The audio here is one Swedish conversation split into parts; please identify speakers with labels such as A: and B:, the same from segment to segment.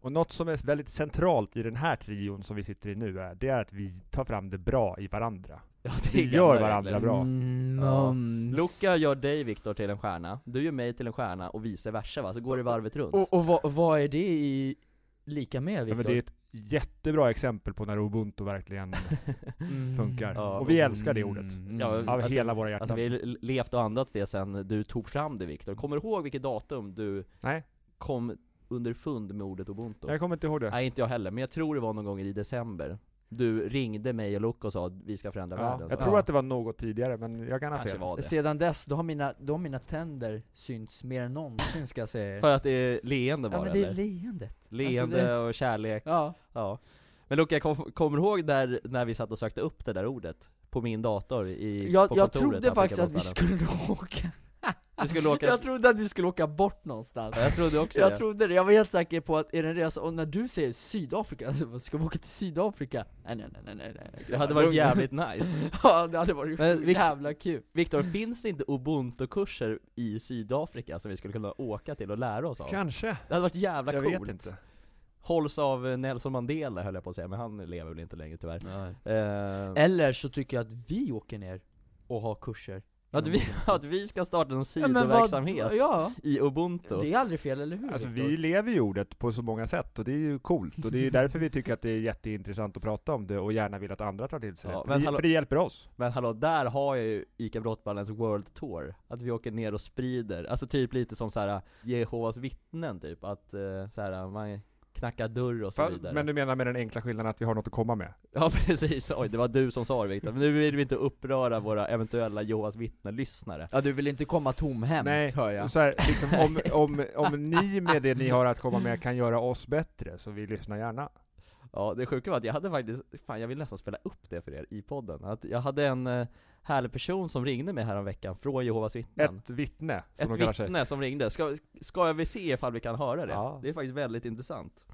A: Och något som är väldigt centralt i den här trion som vi sitter i nu är, det är att vi tar fram det bra i varandra.
B: Ja,
A: Vi
B: är
A: gör
B: gamla
A: varandra
B: regler.
A: bra.
C: Mm,
B: Ja.
C: mums.
B: Luca gör dig Viktor till en stjärna, du gör mig till en stjärna och vice versa va, så går det varvet runt.
C: Och, och vad, vad är det i lika med
A: Ja,
C: Viktor?
A: men det är ett jättebra exempel på när ubuntu verkligen
C: Mm.
A: funkar.
B: Ja.
A: Och vi älskar det ordet.
C: Mm.
B: Ja,
A: Av
B: Alltså,
A: hela våra hjärtan.
B: Alltså vi har ju levt och andats det sen du tog fram det Viktor. Kommer du ihåg vilket datum du
A: Nej.
B: kom underfund med ordet ubuntu?
A: Jag kommer inte ihåg det.
B: Nej inte jag heller, men jag tror det var någon gång i december. Du ringde mig och Luca och sa att vi ska förändra
A: Ja,
B: världen.
A: jag
B: så.
A: tror
C: Ja.
A: att det var något tidigare, men jag kan ha
B: Kanske
A: fel.
B: var det.
C: Sedan dess, då har, mina, då har mina tänder synts mer än någonsin ska jag säga er.
B: För att det är leende
C: Ja
B: bara
C: men det är
B: eller?
C: leendet.
B: Leende
C: alltså
B: och kärlek, ja.
C: Ja.
B: Men Luca, kom, kommer du ihåg där, när vi satt och sökte upp det där ordet? På min dator i,
C: Jag,
B: på
C: jag
B: kontoret här
C: trodde
B: på
C: faktiskt att vi
B: Kapellsvärlden?
C: skulle åka
B: Vi skulle åka,
C: Jag trodde att vi skulle åka bort någonstans.
B: Ja, jag trodde också
C: Jag
B: det.
C: trodde det, jag var helt säker på att är det en resa, och när du säger Sydafrika, alltså, vad, ska vi åka till Sydafrika? Nej nej nej nej nej nej.
B: Det hade varit jävligt nice.
C: Ja det hade varit
B: Men
C: så
B: vi-
C: jävla kul
B: Viktor, finns det inte ubuntu-kurser i Sydafrika som vi skulle kunna åka till och lära oss av?
A: Kanske.
B: Det hade varit jävla
A: Jag
B: coolt.
A: vet inte.
B: Hålls av eh, Nelson Mandela höll jag på att säga, men han lever väl inte längre tyvärr. Eh,
C: Eller så tycker jag att vi åker ner och har kurser
B: att, vi, att vi ska starta en sidoverksamhet
C: Ja,
B: i ubuntu.
C: det är aldrig fel, eller hur?
A: Alltså
C: Viktor?
A: vi lever ju ordet på så många sätt och det är ju coolt och det är ju därför vi tycker att det är jätteintressant att prata om det och gärna vill att andra tar till sig
B: Ja,
A: det. För,
B: men
A: vi,
B: hallå-
A: för det hjälper oss.
B: Men hallå, där har jag ju ICA Brottballens World Tour. Att vi åker ner och sprider, alltså typ lite som så här Jehovas vittnen typ, att eh, så här, man knackar dörr och så vidare.
A: Men du menar med den enkla skillnaden att vi har något att komma med?
B: Ja precis, oj det var du som sa det Viktor. Men nu vill vi inte uppröra våra eventuella Jehovas vittnen-lyssnare.
C: Ja du vill inte komma tomhänt
A: Nej,
C: hör jag
A: Så här, liksom, om, om, om ni med det ni har att komma med kan göra oss bättre, så vi lyssnar gärna.
B: Ja det sjuka var att jag hade faktiskt, fan jag vill nästan spela upp det för er i podden. Att jag hade en eh, härlig person som ringde mig häromveckan från Jehovas vittnen.
A: Ett vittne, som
B: Ett
A: de kallar sig.
B: vittne som ringde. Ska, ska jag väl se ifall vi kan höra det?
A: Ja.
B: Det är faktiskt väldigt intressant.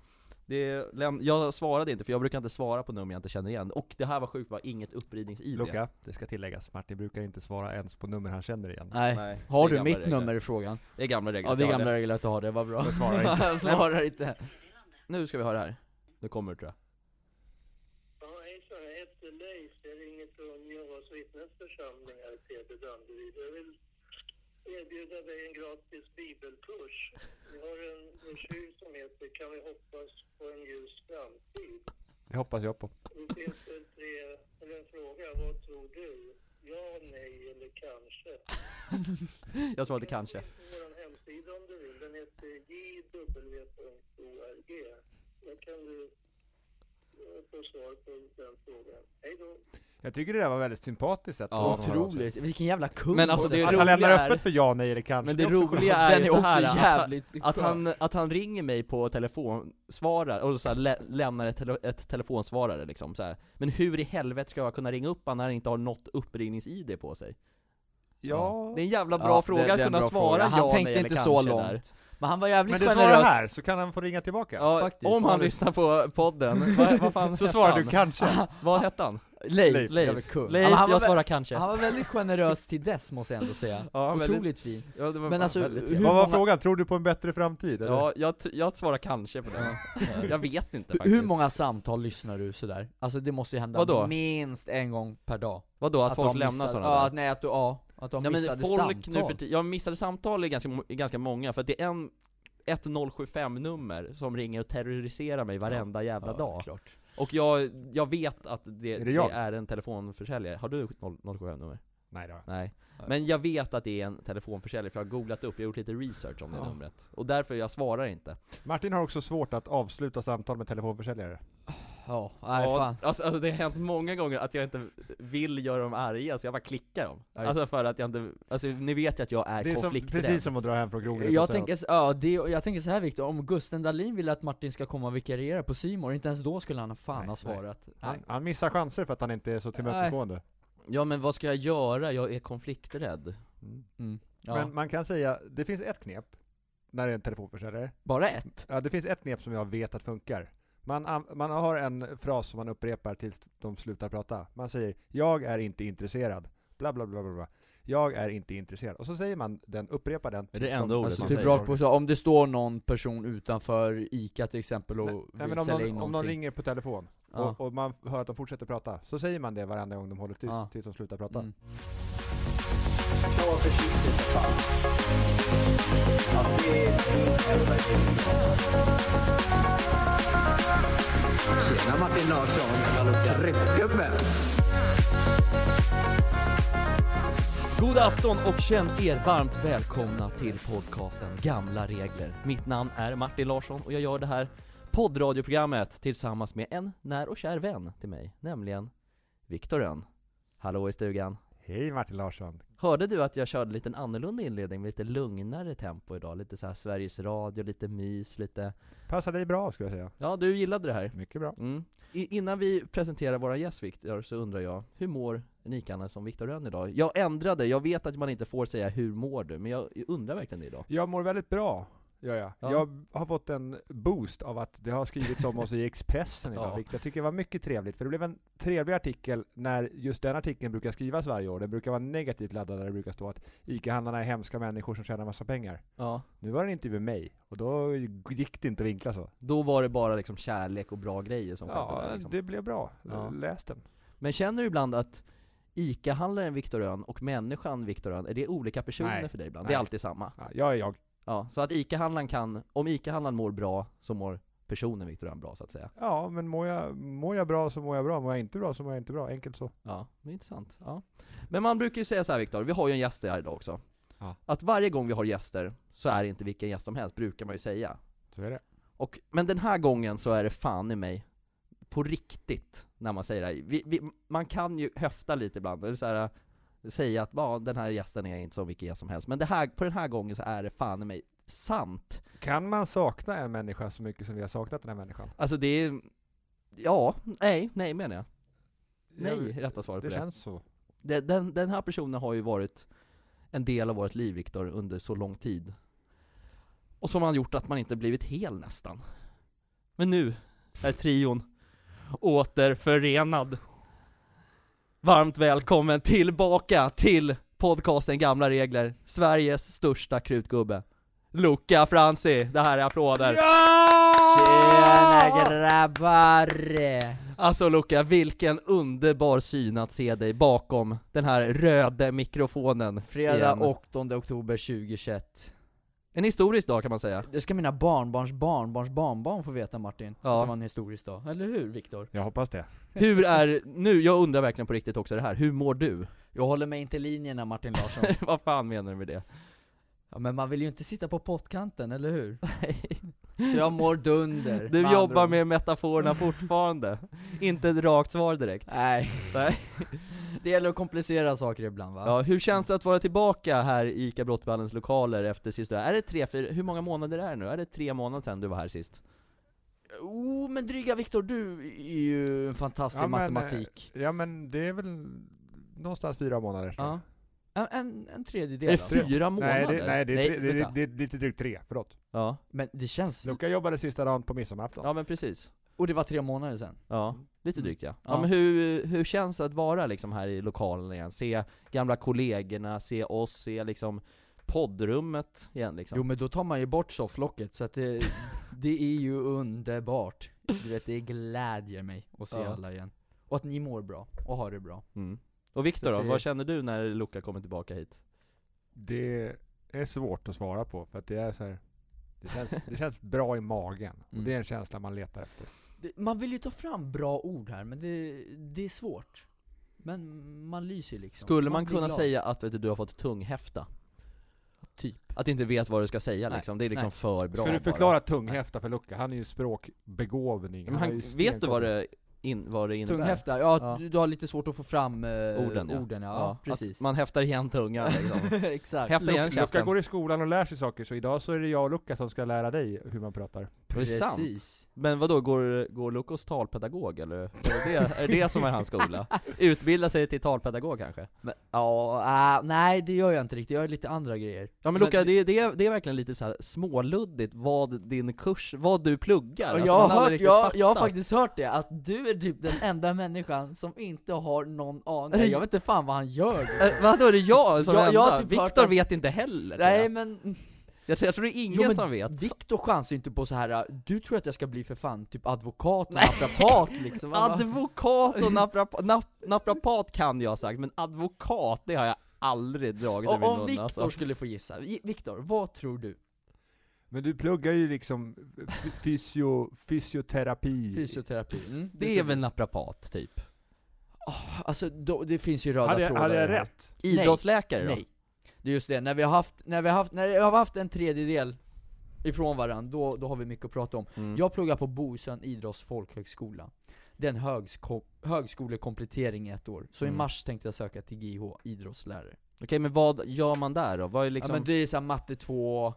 B: Det läm- jag svarade inte, för jag brukar inte svara på nummer jag inte känner igen. Och det här var sjukt, var inget uppridnings-id.
A: Luca, det ska tilläggas, Martin brukar inte svara ens på nummer han känner igen.
C: Nej,
B: Nej,
C: har
B: det är
C: du mitt
B: gamla regler.
C: nummer i frågan?
B: Det är gamla regler.
C: Ja det är
B: Jag har
C: gamla regler att du har det, vad bra
A: Jag svarar inte.
C: Jag svarar inte
B: Nu ska vi höra här. Nu kommer det tror jag.
D: Ja, hejsan. Jag heter Leif. Jag ringer från Jehovas vittnens församling här i Täby, Danderyd. Jag vill erbjuda dig en gratis bibelkurs. Vi har en broschyr som heter Kan vi hoppas på en ljus framtid?
A: Det hoppas jag på.
D: Det finns väl tre, eller en fråga. Vad tror du? Ja, nej eller kanske?
B: Jag svarade kanske.
D: Gå in på vår hemsida om du vill. Den heter jw.org. Där kan du eh, få svar på den frågan. Hej då!
A: Jag tycker det där var väldigt sympatiskt sett.
B: Ja,
A: att de hör av sig.
C: Otroligt, vilken jävla kung
B: Men alltså,
C: på
B: det
A: Att
B: roliga
A: han lämnar
B: är-
A: öppet för ja, nej eller kanske.
B: Men det
A: är också
B: roliga
A: sjukt.
B: är
C: Den
B: ju
C: är
B: så
C: också
B: här, att han-
C: jävligt
B: Att
C: skön.
B: han, att han ringer mig på telefon, svarar, och så här, lä- lämnar ett, tele- ett telefonsvarare liksom så här. Men hur i helvete ska jag kunna ringa upp honom när han inte har något uppringnings-id på sig?
A: Ja.
B: Det är en jävla bra
C: Ja,
B: fråga
C: det- det är
B: att
C: en
B: kunna
C: bra
B: svara
C: fråga.
B: ja,
C: Han
B: nej
C: tänkte
B: eller
C: inte
B: kanske
C: så
B: där.
C: långt Men han var jävligt
A: Men du svarar
C: generös
A: här, så kan han få ringa tillbaka.
B: Ja,
C: Faktiskt.
B: om han lyssnar på podden, vad, vad fan
A: Så
B: hette
A: svarar
B: han?
A: du kanske.
B: Vad hette han?
C: Leif,
B: Leif.
C: jävla kung
B: Leif,
C: Ja, men han var
B: jag
C: vä-
B: svarar kanske.
C: Han var väldigt generös till dess måste jag ändå säga
B: Ja, han var väldigt-
C: Otroligt fin
B: ja, det var
C: men
B: fan
C: alltså,
B: väldigt
C: hur-
B: trevligt.
A: Vad var
C: många-
A: frågan? Tror du på en bättre framtid? Eller?
B: Ja, jag, tr- jag svarar kanske på det. Jag vet inte
C: Hur-
B: faktiskt.
C: Hur många samtal lyssnar du sådär? Alltså det måste ju hända
B: Vadå?
C: minst en gång per dag
B: Vadå, att, folk
C: de
B: lämnar
C: missar-
B: sådana
C: Ja,
B: där?
C: att, nej att du, ja, att de
B: Ja men
C: missade
B: folk
C: samtal
B: nu för tiden, jag missade samtal är ganska, mo- är ganska många, för att det är en 1075-nummer som ringer och terroriserar mig varenda jävla
C: ja,
B: dag.
C: Klart.
B: Och jag, jag vet att det,
A: Är det
B: det,
A: jag?
B: är en telefonförsäljare. Har du 075-nummer?
A: Nej då.
B: Nej.
C: Nej.
B: Men jag vet att det är en telefonförsäljare, för jag har googlat upp, jag har gjort lite research om det
A: Ja.
B: numret. Och därför jag svarar inte.
A: Martin har också svårt att avsluta samtal med telefonförsäljare.
C: Ja, nej
B: Ja,
C: fan.
B: Alltså, alltså det har hänt många gånger att jag inte vill göra dem arga, så jag bara klickar dem.
C: Aj.
B: Alltså för att jag inte, alltså ni vet ju att jag är,
A: Det är som,
B: konflikträdd.
A: precis som att dra hem från krogen.
C: Jag tänker, s- ja, det, jag tänker så här Viktor, om Gusten Dahlin ville att Martin ska komma och vikariera på Simor, inte ens då skulle han fan
A: Nej,
C: ha
A: nej.
C: svarat nej.
A: han, han missar chanser för att han inte är så tillmötesgående.
B: Ja men vad ska jag göra? Jag är konflikträdd.
A: Mm.
C: Ja.
A: Men man kan säga, det finns ett knep när det är en telefonförsäljare.
C: Bara ett?
A: Ja, det finns ett knep som jag vet att funkar. Man, an- man har en fras som man upprepar tills de slutar prata. Man säger 'Jag är inte intresserad' bla bla bla bla. bla. jag är inte intresserad. Och så säger man den, upprepar den.
B: Det är
A: tills
B: det
A: de-
B: enda ordet
A: man
C: Alltså
A: säger.
C: typ rakt på så, om det står någon person utanför ICA till exempel och
A: Nej,
C: vill
A: Nej, men om,
C: sälja
A: någon,
C: in
A: om någon
C: någonting.
A: ringer på telefon
B: Ja.
A: och, och man hör att de fortsätter prata, så säger man det varenda gång de håller tyst,
C: Ja.
A: tills de slutar prata.
C: Mm.
D: Ta försiktigt fan. Alltså det är min hälsa i
E: Tjena Martin Larsson! Träffgubben!
B: God afton och känn er varmt välkomna till podcasten Gamla Regler. Mitt namn är Martin Larsson och jag gör det här poddradioprogrammet tillsammans med en när och kär vän till mig, nämligen Viktor Rönn. Hallå i stugan.
A: Hej Martin Larsson!
B: Hörde du att jag körde en liten annorlunda inledning med lite lugnare tempo idag? Lite så här Sveriges Radio, lite mys, lite...
A: Passar dig bra skulle jag säga.
B: Ja, du gillade det här.
A: Mycket bra.
B: Mm. I, innan vi presenterar våra gäst Viktor, så undrar jag, hur mår Nikanna som Viktor Rönn idag? Jag ändrade, jag vet att man inte får säga 'Hur mår du?' men jag undrar verkligen det idag.
A: Jag mår väldigt bra, gör jag.
B: Ja.
A: Jag har fått en boost av att det har skrivits om oss i Expressen idag,
B: Ja.
A: vilket jag tycker var mycket trevligt, för det blev en trevlig artikel när just den artikeln brukar skrivas varje år. Den brukar vara negativt laddad, där det brukar stå att ICA-handlarna är hemska människor som tjänar massa pengar.
B: Ja.
A: Nu var det en intervju med mig, och då gick det inte att vinkla så.
B: Då var det bara liksom kärlek och bra grejer som skedde
A: Ja,
B: där, liksom.
A: det blev bra.
B: Ja.
A: Läs den.
B: Men känner du ibland att ICA-handlaren Viktor Rönn och människan Viktor Rönn, är det olika personer
A: Nej.
B: för dig ibland? Det
A: Nej.
B: är alltid samma?
A: Ja, jag är jag.
B: Ja, så att ICA-handlaren kan, om ICA-handlaren mår bra, så mår personen Viktor Rönn bra så att säga.
A: Ja, men mår jag, mår jag bra så mår jag bra, mår jag inte bra så mår jag inte bra. Enkelt så.
B: Ja, det är intressant. Ja. Men man brukar ju säga så här Viktor, vi har ju en gäst här idag också.
A: Ja.
B: Att varje gång vi har gäster, så är det inte vilken gäst som helst, brukar man ju säga.
A: Så är det.
B: Och, men den här gången så är det fan i mig på riktigt när man säger det här. Vi, vi, man kan ju höfta lite ibland, eller så här, säga att ja, den här gästen är inte som vilken gäst som helst. Men det här, på den här gången så är det fan i mig sant.
A: Kan man sakna en människa så mycket som vi har saknat den här människan?
B: Alltså det är, ja, nej, nej menar jag. Nej,
A: Jag-
B: är rätta svaret
A: det
B: på det.
A: känns så.
B: det. Den, den här personen har ju varit en del av vårt liv Viktor, under så lång tid. Och som har gjort att man inte blivit hel nästan. Men nu är trion återförenad. Varmt välkommen tillbaka till podcasten Gamla Regler, Sveriges största krutgubbe. Luca Franzi, det här är applåder.
C: Tjena grabbar!
B: Alltså Luca, vilken underbar syn att se dig bakom den här röda mikrofonen.
C: Fredag
B: igen.
C: 8 oktober 2021
B: En historisk dag kan man säga.
C: Det ska mina barnbarns barnbarns barnbarn få veta Martin,
B: Ja.
C: att det var en historisk dag, eller hur Viktor?
A: Jag hoppas det.
B: Hur är, nu, jag undrar verkligen på riktigt också det här, hur mår du?
C: Jag håller mig inte i linjerna Martin Larsson
B: Vad fan menar du med det?
C: Ja men man vill ju inte sitta på pottkanten, eller hur? Så jag mår dunder
B: Du
C: med andra
B: jobbar
C: ord.
B: med metaforerna fortfarande. Inte ett rakt svar direkt.
C: Nej,
B: Nej.
C: det gäller att komplicera saker ibland va?
B: Ja, hur känns det att vara tillbaka här i ICA Brottballens lokaler efter sist? Är det tre, fyra, hur många månader är det nu? Är det tre månader sedan du var här sist?
C: Oh men dryga Viktor, du är ju en fantastisk
A: Ja, men, eh,
C: matematik
A: Ja men det är väl någonstans fyra månader. tror jag.
C: Ja en, en, en tredjedel
B: Är det
C: alltså.
B: fyra månader?
A: Nej, det, nej, det, är
C: Nej,
A: tre- det, det,
C: vänta.
A: det, det är lite drygt tre, förlåt.
B: Ja.
C: Men det känns,
A: Luca jobbade sista dagen på midsommarafton.
B: ja, men precis.
C: och det var tre månader sedan
B: Ja, lite drygt ja. ja.
C: Ja.
B: men hur, hur känns det att vara liksom här i lokalen igen? Se gamla kollegorna, se oss, se liksom poddrummet igen liksom?
C: Jo men då tar man ju bort sofflocket så att det, det är ju underbart Du vet, det glädjer mig att se
B: Ja.
C: alla igen Och att ni mår bra, och har det bra
B: Mm. Och Viktor
C: Så
B: då,
C: det-
B: vad känner du när Luca kommer tillbaka hit?
A: Det är svårt att svara på för att det är så här. Det känns, det känns bra i magen. Och
C: Mm.
A: det är en känsla man letar efter.
C: det, Man vill ju ta fram bra ord här, men det, det är svårt Men man lyser ju liksom
B: Skulle man
C: blir
B: kunna
C: glad.
B: säga att vet du, du har fått tunghäfta?
C: Typ
B: Att du inte vet vad du ska säga
C: Nej,
B: liksom, det är liksom
C: nej.
B: för bra
A: Ska du
B: bara.
A: förklara tunghäfta för Luca? Han är ju språkbegåvning.
B: Men
A: är
B: han,
A: ju
B: vet du
A: stenkoll.
B: vad det, in, vad det innebär?
C: Tunghäfta, ja,
B: Ja.
C: Du, du har lite svårt att få fram eh,
B: Orden ja.
C: orden, ja,
B: att
C: precis
B: Man häftar igen tungan liksom.
C: Exakt
B: Häfta igen
A: Luca
B: käften.
A: går i skolan och lär sig saker, så idag så är det jag och Luca som ska lära dig hur man pratar.
B: Det är sant.
C: Precis
B: Men vad då går, går Lukos talpedagog eller? Är det är det som är hans skola? Utbilda sig till talpedagog kanske?
C: Men, ja, ah, nej det gör jag inte riktigt, jag gör lite andra grejer
B: Ja men Luka, det, det, det är verkligen lite så här småluddigt vad din kurs, vad du pluggar.
C: Och
B: Alltså,
C: jag,
B: man
C: har
B: hade
C: hört,
B: riktigt
C: jag,
B: fattat.
C: jag har faktiskt hört det, att du är typ den enda människan som inte har någon aning, jag vet inte fan vad han gör
B: Äh, vadå, är det jag som
C: Jag-
B: enda?
C: jag har typ hört
B: Viktor
C: att-
B: vet inte heller. tror
C: Nej
B: jag.
C: men,
B: jag, tror- jag tror det är
C: Jo,
B: ingen
C: men
B: som vet.
C: Viktor chansar ju inte på så här. du tror att jag ska bli för fan typ advokat och naprapat liksom Man bara,
B: Advokat och naprapat, nap, naprapat kan jag ha sagt, men advokat det har jag aldrig dragit över
C: Och om
B: mun
C: Viktor
B: alltså.
C: skulle få gissa, Vi- Viktor, vad tror du?
A: Men du pluggar ju liksom f- fysio, fysioterapi.
C: Fysioterapi? Mm,
B: Det är väl naprapat typ?
C: Alltså då, det finns ju röda
A: hade, jag,
C: trådar
A: hade
C: i det
A: jag
C: här.
A: rätt?
B: Idrottsläkare då?
C: Nej. Det är just det, när vi har haft, när vi har haft, när vi har haft en tredjedel ifrån varandra, då, då har vi mycket att prata om.
B: Mm.
C: Jag pluggar på Bosön Idrotts folkhögskola. Det är en högsko- högskolekomplettering i ett år. Så i
B: Mm.
C: mars tänkte jag söka till GH, idrottslärare.
B: Okej men vad gör man där då? Vad är liksom...
C: Ja men det är såhär matte 2,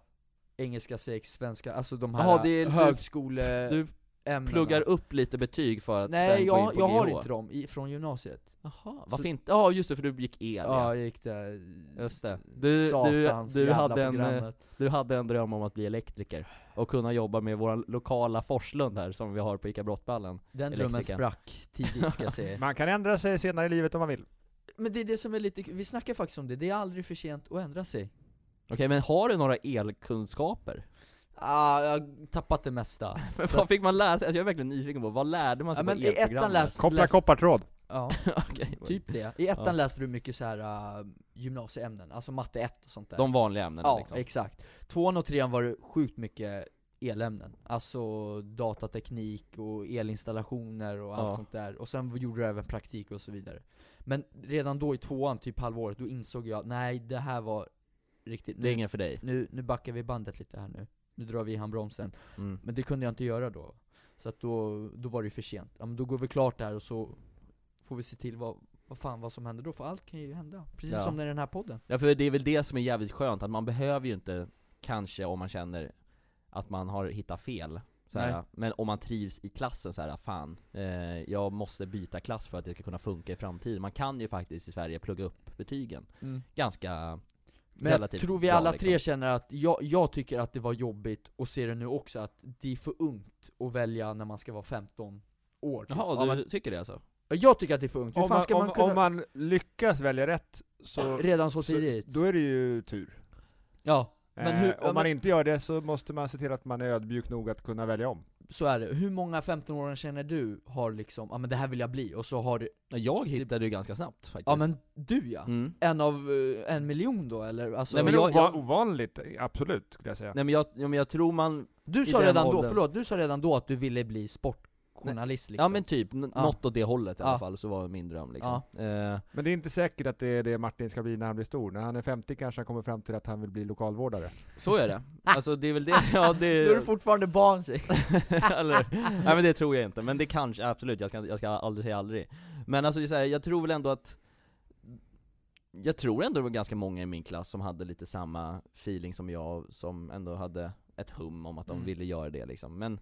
C: engelska 6, svenska, alltså de här
B: Jaha, det är- du-
C: högskole...
B: du
C: ämnena.
B: pluggar upp lite betyg för att
C: Mm. Nej
B: sen gå in
C: jag,
B: på
C: jag
B: GH.
C: har inte dem i, från gymnasiet.
B: Jaha, varför inte? Ja just det, för du gick el
C: Ja,
B: ja.
C: jag gick där.
B: Just det. Du, du,
C: Satans
B: du,
C: jävla
B: hade en, eh,
C: programmet.
B: du hade en dröm om att bli elektriker och kunna jobba med våra lokala Forslund här som vi har på ICA Brottballen.
C: Den drömmen
B: elektriker.
C: sprack tidigt ska jag säga.
A: Man kan ändra sig senare i livet om man vill.
C: Men det är det som är lite, vi snackar faktiskt om det, det är aldrig för sent att ändra sig.
B: Okej men har du några elkunskaper?
C: Ah, jag har tappat det mesta.
B: Men
C: Så-
B: vad fick man lära sig? Alltså, jag är verkligen nyfiken på, vad lärde man sig
C: Ja, men
B: på
C: i ettan
B: elprogrammet?
C: läste-
A: Koppla
C: Läs-
A: koppartråd.
C: Ja,
B: Okej.
C: typ det. I ettan
B: Ja.
C: läste du mycket så här ah, gymnasieämnen, alltså matte 1 och sånt där.
B: De vanliga ämnena
C: ja,
B: liksom.
C: exakt. Tvåan och trean var det sjukt mycket elämnen. Alltså datateknik och elinstallationer och allt
B: Ja.
C: sånt där. Och sen gjorde du även praktik och så vidare. Men redan då i tvåan, typ halvåret, då insåg jag att nej, det här var riktigt...
B: Det är
C: Nu,
B: ingen för dig.
C: nu, nu backar vi bandet lite här nu. Nu drar vi i handbromsen.
B: Mm.
C: Men det kunde jag inte göra då. Så att då, då var det ju för sent. Ja, men då går vi klart där och så får vi se till vad, vad fan vad som händer då, för allt kan ju hända. Precis
B: Ja.
C: som i den här podden.
B: Ja för det är väl det som är jävligt skönt, att man behöver ju inte kanske om man känner att man har hittat fel så här,
C: Nej.
B: men om man trivs i klassen så här, fan, eh, jag måste byta klass för att det ska kunna funka i framtiden. Man kan ju faktiskt i Sverige plugga upp betygen.
A: Mm.
B: Ganska,
C: Men
B: relativt
C: jag tror vi
B: bra,
C: alla
B: liksom.
C: tre känner att jag, jag tycker att det var jobbigt och ser det nu också att det är för ungt att välja när man ska vara 15 år. typ.
B: jaha
C: ja,
B: du
C: men,
B: tycker det alltså?
C: jag tycker att det är för ungt. Hur
A: Om
C: fan
A: man,
C: ska
A: om,
C: man kunna...
A: om man lyckas välja rätt så,
C: redan så
A: så
C: tidigt?
A: då är det ju tur.
C: ja, Men hur-
A: eh,
C: ja,
A: om man
C: men-
A: inte gör det så måste man se till att man är ödmjuk nog att kunna välja om.
C: så är det. Hur många 15-åringar känner du har liksom, ja men det här vill jag bli, och så har du,
B: Ja, Jag hittade ju ganska snabbt faktiskt.
C: ja men du ja.
B: mm.
C: En av eh, en miljon då eller? Alltså,
B: Nej, men
A: det är
B: jag-
A: ova-
B: jag-
A: ovanligt, absolut, skulle jag säga.
B: Nej men jag, ja, men jag tror man,
C: du sa
B: den
C: redan då,
B: åldern.
C: förlåt, du sa redan då att du ville bli sportjournalist liksom.
B: ja men typ, n-
C: Ja.
B: något åt det hållet i alla
C: Ja.
B: fall, så var min dröm liksom. Eh,
A: Men det är inte säkert att det är det Martin ska bli när han blir stor. När han är 50 kanske han kommer fram till att han vill bli lokalvårdare.
B: så är det. Alltså det är väl det, ja det...
A: eh,
C: Då är du fortfarande barn säger jag.
B: Eller, nej men det tror jag inte, men det kanske, absolut, jag ska, jag ska aldrig säga aldrig Men alltså det är så här, jag tror väl ändå att Jag tror ändå det var ganska många i min klass som hade lite samma feeling som jag, som ändå hade ett hum om att de
C: Mm.
B: ville göra det liksom, men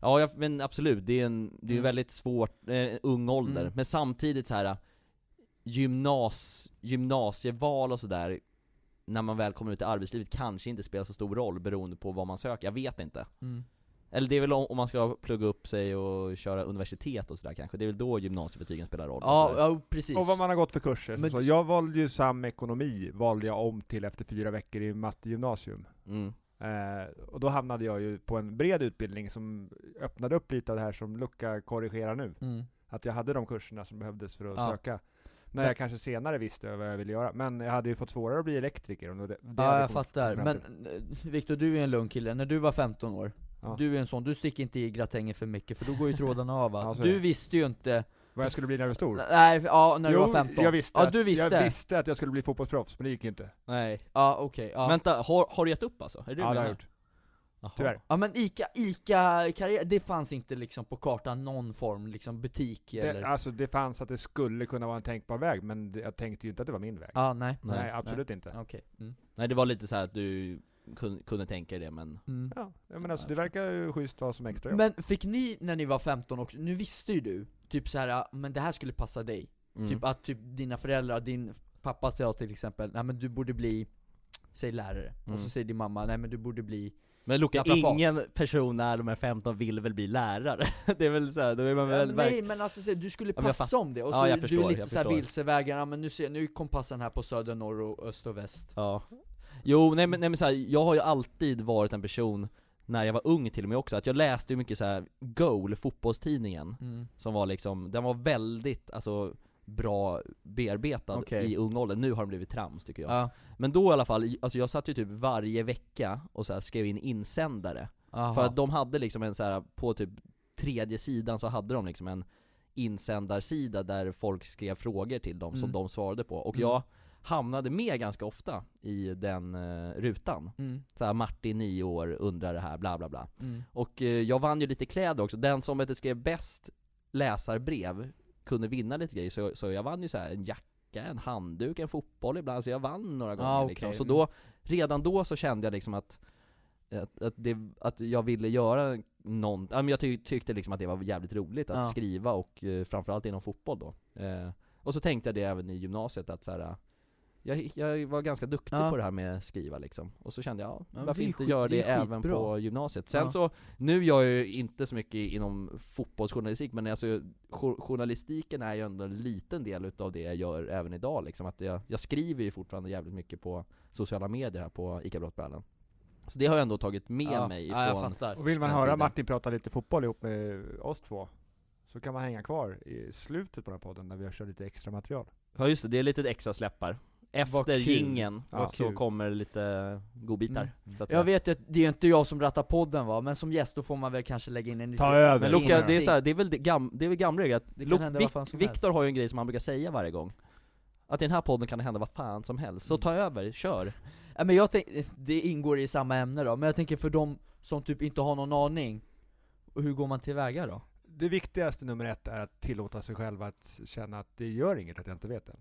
B: Ja jag, men absolut, det är en, det är ju
C: Mm.
B: väldigt svårt, eh, ung ålder,
C: Mm.
B: men samtidigt så här gymnas, gymnasieval och sådär när man väl kommer ut i arbetslivet kanske inte spelar så stor roll beroende på vad man söker, jag vet inte.
C: Mm.
B: Eller det är väl om, om man ska plugga upp sig och köra universitet och sådär kanske, det är väl då gymnasiebetygen spelar roll? Alltså, och
C: Ja,
B: sådär.
C: ja precis.
A: Och vad man har gått för kurser.
C: Men-
A: Så jag valde ju sam ekonomi, valde jag om till efter fyra veckor i mattegymnasium.
B: mm.
A: Eh, och då hamnade jag ju på en bred utbildning som öppnade upp lite av det här som Luca korrigerar nu.
C: Mm.
A: Att jag hade de kurserna som behövdes för att
C: Ja.
A: söka. När
C: Men-
A: jag kanske senare visste vad jag ville göra. Men jag hade ju fått svårare att bli elektriker. Och det, det hade
C: Ja jag
A: kommit
C: fattar,
A: fram
C: men
A: till.
C: eh, Viktor du är en lugn kille, när du var 15 år,
A: Ja.
C: du är en sån, du sticker inte i gratängen för mycket för då går ju trådarna av va?
A: Ja, så är
C: Du
A: det.
C: visste ju inte,
A: Vad jag skulle bli när jag blev stor?
C: nej, ja när du var 15
A: jag visste,
C: Ja
A: att-
C: du visste?
A: jag visste att jag skulle bli fotbollsproffs, men det gick ju inte.
B: Nej.
C: Ja okej, ja.
B: Vänta, har, har du gett upp alltså? Är det det
A: Ja, det har
B: du
A: jag
B: menar?
A: gjort.
B: Jaha.
A: Tyvärr.
C: Ja men ICA, ICA karriär, det fanns inte liksom på kartan någon form liksom butik eller?
A: Det, alltså det fanns att det skulle kunna vara en tänkbar väg, men det, jag tänkte ju inte att det var min väg.
C: Ja nej,
A: nej, absolut inte.
C: Okej, mm.
B: Nej det var lite så här att du kun, kunde tänka er det men
C: Mm.
A: Ja, ja, men alltså det verkar ju schysst att ha som extra jobb.
C: Men fick ni när ni var 15 också, nu visste ju du, typ så här, "Ah, men det här skulle passa dig.
B: mm.
C: Typ att typ dina föräldrar, din pappa säger till exempel, nej men du borde bli, säg lärare. Och
B: Mm.
C: så säger din mamma, nej men du borde bli
B: Men Luca,
C: Naprapat.
B: ingen person när de är 15 vill väl bli lärare? det är väl såhär, då är man
C: Ja,
B: väl
C: men
B: verk-
C: Nej men alltså så här, du skulle
B: Ja, men jag
C: passa om det, och
B: Ja,
C: så
B: jag
C: du
B: förstår,
C: är lite
B: jag
C: såhär
B: förstår.
C: vilsevägar, ja, men nu, ser, nu kom passen här på söder, norr och öst och väst.
B: Ja. Jo, nej men, nej, men så här, jag har ju alltid varit en person, när jag var ung till och med också, att jag läste ju mycket så här Goal, fotbollstidningen,
C: Mm.
B: som var liksom, den var väldigt, alltså bra bearbetad
C: Okej.
B: i ung ålder, nu har den blivit trams tycker jag.
C: Ja.
B: Men då i alla fall, alltså jag satt ju typ varje vecka och så här skrev in insändare.
C: Aha.
B: För att de hade liksom en så här på typ tredje sidan så hade de liksom en insändarsida där folk skrev frågor till dem som
C: Mm.
B: de svarade på. Och
C: Mm.
B: jag hamnade med ganska ofta i den eh, rutan.
C: Mm.
B: Så här, Martin 9 år undrar det här, bla bla bla.
C: Mm.
B: Och eh, jag vann ju lite kläder också. Den som inte skrev bäst läsarbrev kunde vinna lite grejer. Så, så jag vann ju så här en jacka, en handduk, en fotboll ibland. Så jag vann några gånger
C: Ah, okej.
B: liksom. Så då, redan då så kände jag liksom att att, att, det, att jag ville göra någon, ja, men jag ty, tyckte liksom att det var jävligt roligt att
C: Ja.
B: skriva och eh, framförallt inom fotboll då. Eh, och så tänkte jag det även i gymnasiet att så här, eh, jag, jag var ganska duktig
C: Ja.
B: på det här med skriva liksom. Och så kände jag,
C: men
B: ja,
C: det
B: varför
C: är
B: inte
C: skit-
B: göra
C: det
B: det,
C: är
B: även
C: skitbra.
B: på gymnasiet? Sen
C: Ja.
B: så, nu gör jag ju inte så mycket inom fotbollsjournalistik, men alltså jour- journalistiken är ju ändå en liten del utav det jag gör även idag liksom. Att jag, jag skriver ju fortfarande jävligt mycket på sociala medier här på ICA Brottbällen. Så det har jag ändå tagit med
C: ja.
B: mig
C: ja, jag
B: ifrån
C: fattar.
A: Och vill man
B: den
A: höra
B: tiden.
A: Martin prata lite fotboll ihop med oss två, så kan man hänga kvar i slutet på den här podden när vi har kört lite extra material.
B: Ja just det, det är lite extra släppar.
C: Vad
B: Efter
C: kul.
B: jingeln
A: Vad
B: så
C: kul.
B: kommer det lite godbitar. Så att
C: Jag
B: säga.
C: vet ju att det är inte jag som rattar podden va, men som gäst då får man väl kanske lägga in en liten...
A: Ta över!
B: Men Luca, det är,
C: Ingenting.
B: så här, det är väl det gam, det är väl gamla regler att
C: kan
B: Lu-
C: hända vad fan
B: Vic,
C: som helst.
B: Victor har ju en grej som han brukar säga varje gång. Att i den här podden kan det hända vad fan som helst, så ta över, kör!
C: Ja, men jag tänk, eh, det ingår i samma ämne då, men jag tänker för de som typ inte har någon aning, och hur går man tillväga då?
A: Det viktigaste nummer ett är att tillåta sig själv att känna att det gör inget att jag inte vet än.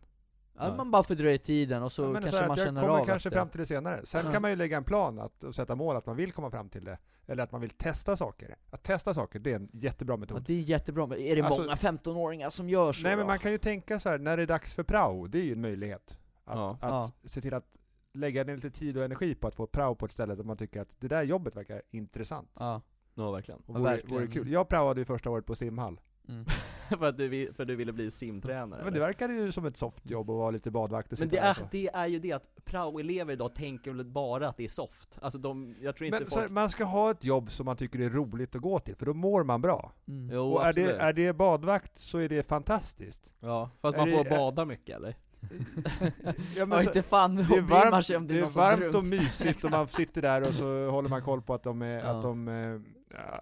C: Ja,
B: Ja.
C: Man bara fördröjer tiden och så
A: Ja, men
C: kanske
A: här,
C: man
A: jag
C: känner
A: kommer
C: av
A: kanske
C: efter.
A: fram till det senare. Sen
C: Ja.
A: kan man ju lägga en plan att, och sätta mål att man vill komma fram till det. Eller att man vill testa saker. Att testa saker, det är en jättebra
C: Ja,
A: metod.
C: det är jättebra, men är det
A: Alltså-
C: många 15-åringar som gör så
A: Nej
C: då?
A: men man kan ju tänka så här, när det är dags för prao, det är ju en möjlighet. Att,
B: Ja.
A: att
C: Ja.
A: se till att lägga ner lite tid och energi på att få prao på ett ställe där man tycker att det där jobbet verkar intressant.
C: Ja,
B: Ja verkligen.
A: Och
C: Ja,
A: vore,
C: verkligen.
A: vore kul. Jag praoade ju första året på simhall.
C: mm.
B: för, att du, vi- för du ville bli simtränare?
A: Men det
B: eller?
A: verkade ju som ett soft jobb att vara lite badvakt och
B: men
A: sitta
B: det
A: där
B: är,
A: och så.
B: det är ju det att praoelever idag tänker väl bara att det är soft. Alltså de, jag tror inte
A: Men så här,
B: folk...
A: man ska ha ett jobb som man tycker är roligt att gå till, för då mår man bra.
C: Mm.
B: Jo,
A: och är det,
B: absolut.
A: är det badvakt så är det fantastiskt.
B: Ja, för att
A: är
B: man
A: det-
B: får
A: är-
B: bada mycket eller?
A: Ja,
C: Ja,
A: så-
C: inte fan
A: det är
C: bryr man
A: varmt,
C: sig om det
A: det
C: är
A: är
C: någon som har
A: varmt och
C: brunt.
A: mysigt och man sitter där och så håller man koll på att, de är,
C: Ja.
A: att, de, eh,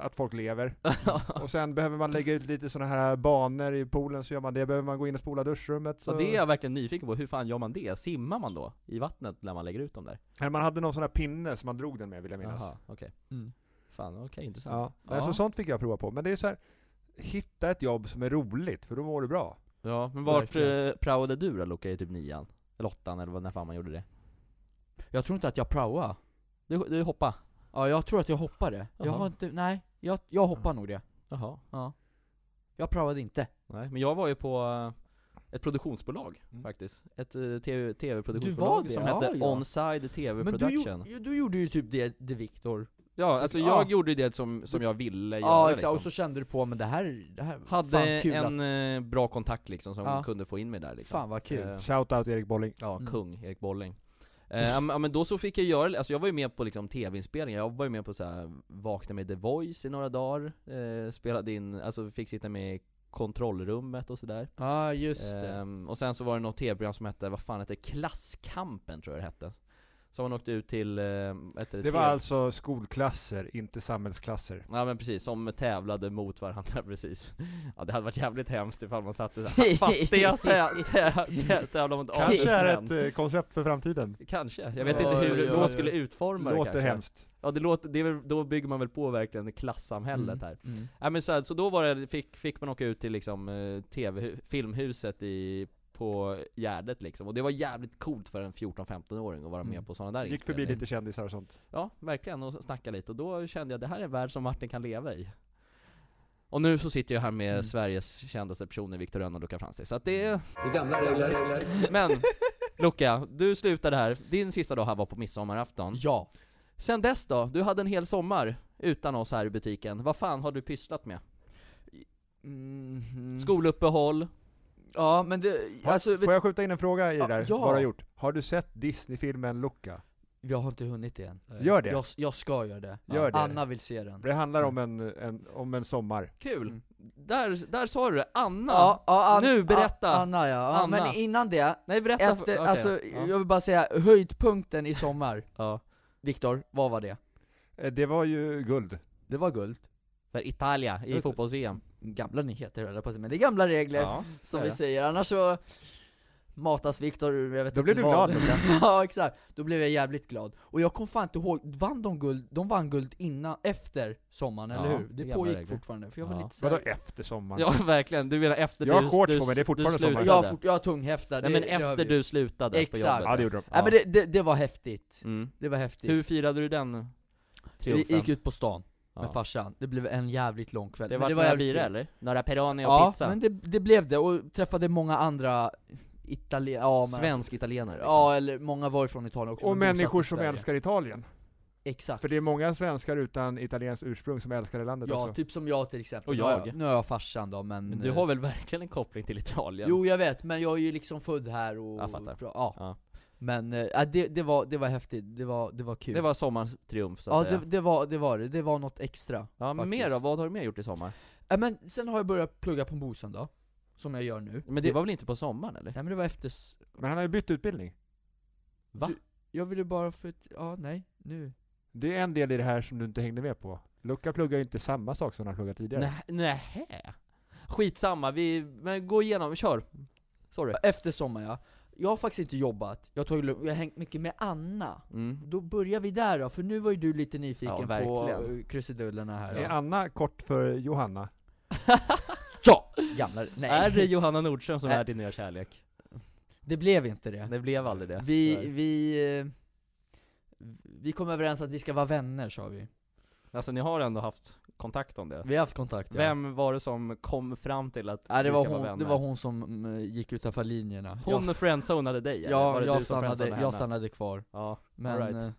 A: att folk lever. Och sen behöver man lägga ut lite sådana här banor i poolen så gör man det. Behöver man gå in och spola duschrummet så...
B: Så det är jag verkligen nyfiken på, hur fan gör man det? Simmar man då? I vattnet när man lägger ut dem där?
A: Nej, Man hade någon sån här pinne som man drog den med vill jag minnas.
B: Jaha, okej.
C: Mm.
B: Fan, okej, intressant.
A: Ja.
C: Ja.
A: Nej, Så sånt fick jag prova på. Men det är så här, hitta ett jobb som är roligt för då mår du bra.
B: Ja, men vart
C: Verkligen.
B: eh, praoade du då Luca i typ nian? Eller åttan eller vad- när fan man gjorde det?
C: Jag tror inte att jag praoar.
B: Du, du hoppa?
C: Ja, jag tror att jag hoppade. Jag
B: Jaha.
C: har inte, nej, jag, jag hoppar nog det.
B: Jaha.
C: Ja. Jag praoade inte.
B: Nej, men jag var ju på eh, ett produktionsbolag
A: Mm.
B: faktiskt. Ett eh, TV
C: var
B: tv-produktionsbolag
C: det?
B: som
C: Ja,
B: hette
C: ja.
B: Onside TV
C: Men du,
B: Production.
C: gjo- du gjorde ju typ det, det Viktor
B: Ja, alltså
C: Ja.
B: jag gjorde ju det som, som jag ville göra
C: Ja exakt,
B: liksom.
C: och så kände du på men det här, det här
B: Hade
C: fan kul
B: en eh, bra kontakt liksom som
C: Ja.
B: kunde få in mig där
C: att,
B: liksom.
C: Fan vad kul.
B: Eh,
A: Shout out Erik Bolling.
B: Ja,
C: Mm.
B: kung, Erik Bolling. Eh, ja, men- ja, men då så fick jag göra, alltså jag var ju med på liksom tv-inspelningar, jag var ju med på så här, vakna med The Voice i några dagar, eh, spelade in, alltså fick sitta med i kontrollrummet och sådär.
C: Ja just det.
B: Ehm, och sen så var det något tv-program som hette, vad fan hette det? Klasskampen tror jag det hette. Som man åkte ut till, eh, vad hette det?
A: Det var
B: TV?
A: alltså skolklasser, inte samhällsklasser.
B: Ja men precis, som tävlade mot varandra precis. Ja det hade varit jävligt hemskt ifall man satte såhär, fattiga tä- tä- tä- tävlar mot
A: Kanske är
B: adelsmän.
A: ett eh, koncept för framtiden.
B: Kanske, jag vet
C: Ja,
B: inte hur
C: ja,
B: ja,
C: ja, ja.
B: skulle utforma det
A: Låter
B: kanske.
A: hemskt.
B: Ja det låter, det är, väl- då bygger man väl på verkligen klassamhället här.
C: Mm.
B: Ja, men så, här, så då var det, fick, fick man åka ut till liksom eh, TV, filmhuset i, på på Gärdet liksom. Och det var jävligt coolt för en 14-15-åring att vara med
C: Mm.
B: på sådana där
A: Gick förbi
B: inspelningar.
A: lite kändisar och sånt.
B: Ja, verkligen, och snacka lite. Och då kände jag det här är en värld som Martin kan leva i. Och nu så sitter jag här med
C: Mm.
B: Sveriges kändaste personer, Victor Rönn och Luca Francis. Så att det är...
E: Det är gamla regler.
B: Men, Luca, du slutade här. Din sista dag här var på midsommarafton.
C: Ja.
B: Sen dess då? Du hade en hel sommar utan oss här i butiken. Vad fan har du pysslat med?
A: Mm.
C: Mhm.
B: Skoluppehåll?
C: Ja men det,
A: Har,
C: alltså, vet,
A: får jag skjuta in en fråga i det
C: Ja,
A: där?
C: ja.
A: Vad har du gjort? Har du sett Disney-filmen Luca?
C: jag har inte hunnit det än.
A: Eh, Gör det!
C: Jag, jag ska göra det.
A: Gör det.
C: Anna vill se den.
A: Det handlar om en, en, om en sommar.
B: Kul!
C: Mm.
B: Där, där sa du det, Anna!
C: ja, An-
B: Nu, berätta.
C: A- Anna ja, ja
B: Anna.
C: men innan det,
B: Nej berätta! för-
C: efter,
B: okej.
C: alltså
B: ja.
C: jag vill bara säga, höjdpunkten i sommar,
B: Ja.
C: Viktor, vad var det?
A: Eh, Det var ju guld.
C: Det var guld.
B: För Italia i
C: Ut-
B: fotbolls-VM.
C: Gamla nyheter höll jag på att säga, men det är gamla regler
B: Ja,
C: som
B: det är
C: vi
B: det.
C: säger, annars så matas Viktor ur, jag vet
A: Då
C: inte
A: blev du
C: vad.
A: glad, Luca.
C: Ja exakt, då blev jag jävligt glad. Och jag kommer fan inte ihåg, vann de guld, de vann guld innan, efter sommaren,
B: Ja,
C: eller hur?
B: det är
C: Det
B: gamla
C: pågick
B: regler.
C: fortfarande, för jag var
B: Ja.
C: lite
A: Vadå
C: såhär
A: efter sommaren?
B: ja verkligen, du menar efter
A: Jag har
B: du,
A: shorts
B: du,
A: på mig, det är
B: du
A: fortfarande sommar.
B: slutade?
A: jag
C: jag har, fort, jag har tunghäfta,
B: Nej
C: det,
B: men
C: det hör
B: efter
C: vi.
B: du slutade på
C: Exakt.
B: jobbet?
A: Ja, det gjorde de.
C: Nej men det, det, det var häftigt,
B: Mm.
C: det var häftigt.
B: Hur firade du den
C: Vi
B: triumfen?
C: gick ut på stan med
B: Ja.
C: farsan, det blev en jävligt lång kväll.
B: Det
C: men
B: var, några
C: jävligt
B: bira
C: kul.
B: eller? Några peroni och
C: Ja,
B: pizza?
C: men det, det blev det, och träffade många andra italienare, ja men
B: Svensk-italienare liksom.
C: Ja, eller många var ju från Italien också.
A: Och
C: men bosatt
A: människor
C: i
A: som
C: Sverige.
A: älskar Italien.
C: Exakt.
A: För det är många svenskar utan italienskt ursprung som älskar det landet
C: Ja,
A: också.
C: typ som jag till exempel.
B: Och
C: Nu har-
B: jag.
C: Nu har jag farsan då, men... eh,
B: Men du har väl verkligen en koppling till Italien?
C: Jo, jag vet, men jag är ju liksom född här och...
B: Jag fattar.
C: Ja.
B: Ja.
C: Men, eh, ja, det, det, var, det var häftigt, det var, det var kul.
B: Det var sommarens triumf så att
C: ja,
B: säga.
C: det, det var det, var det. Det var något extra.
B: ja, men
C: faktiskt.
B: mer då? Vad har du mer gjort i sommar?
C: Ja, men sen har jag börjat plugga på Bosön då, som jag gör nu.
B: Men det var väl inte på sommaren eller?
C: Nej men det var efter... s-
A: Men han har ju bytt utbildning.
B: Va?
C: Du- Jag ville bara för... Ja, nej, nu.
A: Det är en del i det här som du inte hängde med på. Luca pluggar ju inte samma sak som han har pluggat tidigare.
B: Nej, nej. Skitsamma, vi, men gå igenom, kör. Sorry.
C: Efter sommar ja. Jag har faktiskt inte jobbat, jag har tagit lugnt, jag har hängt mycket med Anna.
B: Mm.
C: Då börjar vi där då, för nu var ju du lite
B: Ja,
C: nyfiken på
B: verkligen.
C: eh, krusidullerna här.
A: Är
C: Ja.
A: Anna kort för Johanna?
C: ja! Gamla, nej.
B: Är det Johanna Nordström som
C: Nej.
B: är din nya kärlek?
C: det blev inte det.
B: Det blev aldrig det.
C: Vi, vi, eh, vi kom överens att vi ska vara vänner sa vi.
B: Alltså ni har ändå haft kontakt om det?
C: Vi har haft kontakt ja.
B: Vem var det som kom fram till att
C: Ja, det,
B: vi
C: var
B: ska vara
C: hon, det
B: vänner?
C: var hon som mm, gick utanför linjerna.
B: Hon friendzonade dig eller? var
C: jag, jag,
B: det
C: jag,
B: du som
C: stannade,
B: friendzonade
C: jag
B: henne?
C: stannade kvar.
B: Ja,
C: Men
B: All right.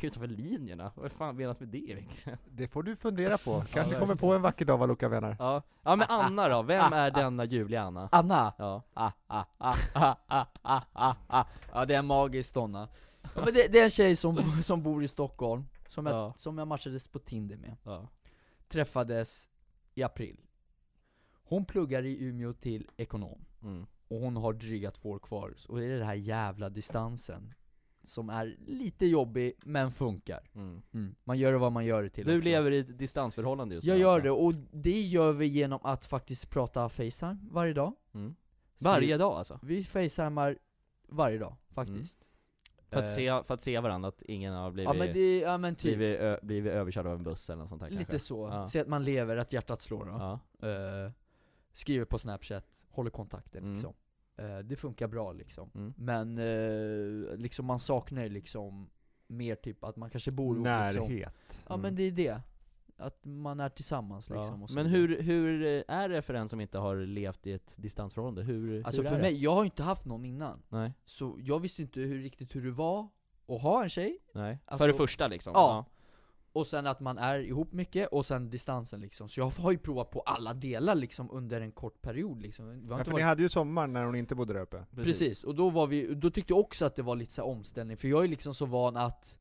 C: eh,
B: utanför linjerna? Vad fan menas med det egentligen?
A: Det får du fundera på. Kanske
B: verkligen.
A: kommer på en vacker dag vad Luca menar.
B: Ja, ja men Anna då, vem är denna ljuvliga Anna?
C: Anna!
B: Ja,
C: Ah, ah, ah, ah, ah, ah, ah, ah. Ja det är en magisk donna. Ja, men det, det är en tjej som, som bor i Stockholm, som jag,
B: Ja.
C: som jag matchades på Tinder med.
B: ja.
C: Träffades i april. Hon pluggar i Umeå till ekonom,
B: Mm.
C: och hon har dryga två år kvar. Och det är den här jävla distansen. Som är lite jobbig, men funkar.
B: Mm.
C: Man gör det vad man gör det till.
B: Du
C: också.
B: lever i ett distansförhållande just
C: Jag
B: nu
C: gör
B: alltså.
C: det, och det gör vi genom att faktiskt prata Facetime varje dag.
B: Mm.
C: Så
B: Varje dag alltså?
C: Vi facetimar varje dag, faktiskt.
B: Mm. För att,
C: Eh,
B: se, för att se varandra, att ingen har blivit,
C: Ja men det, ja men typ,
B: blivit, ö, blivit överkörd av en buss eller något sånt där
C: lite
B: kanske?
C: så.
B: Ja.
C: Se att man lever, att hjärtat slår. då.
B: Ja.
C: Eh, skriver på snapchat, håller kontakten
B: Mm.
C: liksom. Eh, det funkar bra liksom.
B: Mm.
C: Men eh, liksom man saknar ju liksom mer typ att man kanske bor ihop liksom.
A: Närhet.
C: Ja men det är det. Att man är tillsammans
B: Ja.
C: liksom. och så
B: Men
C: vidare.
B: hur, hur eh, är det för en som inte har levt i ett distansförhållande? Hur,
C: Alltså
B: hur
C: för
B: är
C: mig, jag har ju inte haft någon innan.
B: Det? Nej,
C: Så jag visste ju inte hur, riktigt hur det var att ha en tjej.
B: nej.
C: Alltså-
B: för det första liksom?
C: Ja. Och sen att man är ihop mycket, och sen distansen liksom. Så jag har ju provat på alla delar liksom under en kort period liksom. Vi har
A: Ja,
C: inte
A: för ni
C: varit...
A: hade ju sommar när hon inte bodde där uppe.
B: ja.
C: precis. och då var vi, då tyckte jag också att det var lite så här omställning, för jag är liksom så van att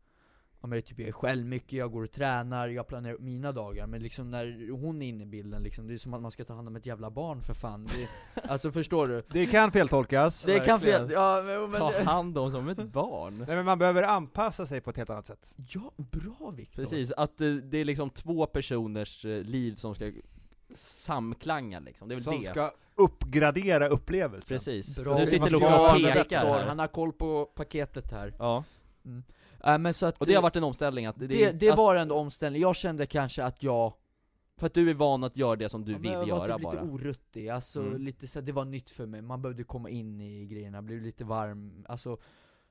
C: Ja, men typ jag är själv mycket, jag går och tränar, jag planerar mina dagar Men liksom när hon är inne i bilden liksom, det är som att man ska ta hand om ett jävla barn för fan det, Alltså förstår du?
A: Det kan feltolkas.
C: Det kan
B: Verkligen.
C: fel, ja men,
B: Ta
C: men
B: hand om som ett barn.
A: Nej men man behöver anpassa sig på ett helt annat sätt.
C: Ja, bra Viktor!
B: Precis, att eh, det är liksom två personers eh, liv som ska samklanga liksom, det är väl
A: Som
B: det?
A: ska uppgradera upplevelsen.
B: Precis,
C: Bra,
B: nu sitter
A: man
B: Luca
A: ska-
B: och pekar
C: Viktor,
B: här.
C: Han har koll på paketet här
B: Ja,
C: äh, men så att
B: och det har varit en omställning att det,
C: Det, det
B: att,
C: var ändå omställning, jag kände kanske att jag
B: För att du är van att göra det som du
C: Ja, men
B: vill
C: jag har varit
B: göra
C: typ
B: bara.
C: lite oruttig, alltså
B: Mm.
C: lite så här, det var nytt för mig, man behövde komma in i grejerna, blev lite varm, alltså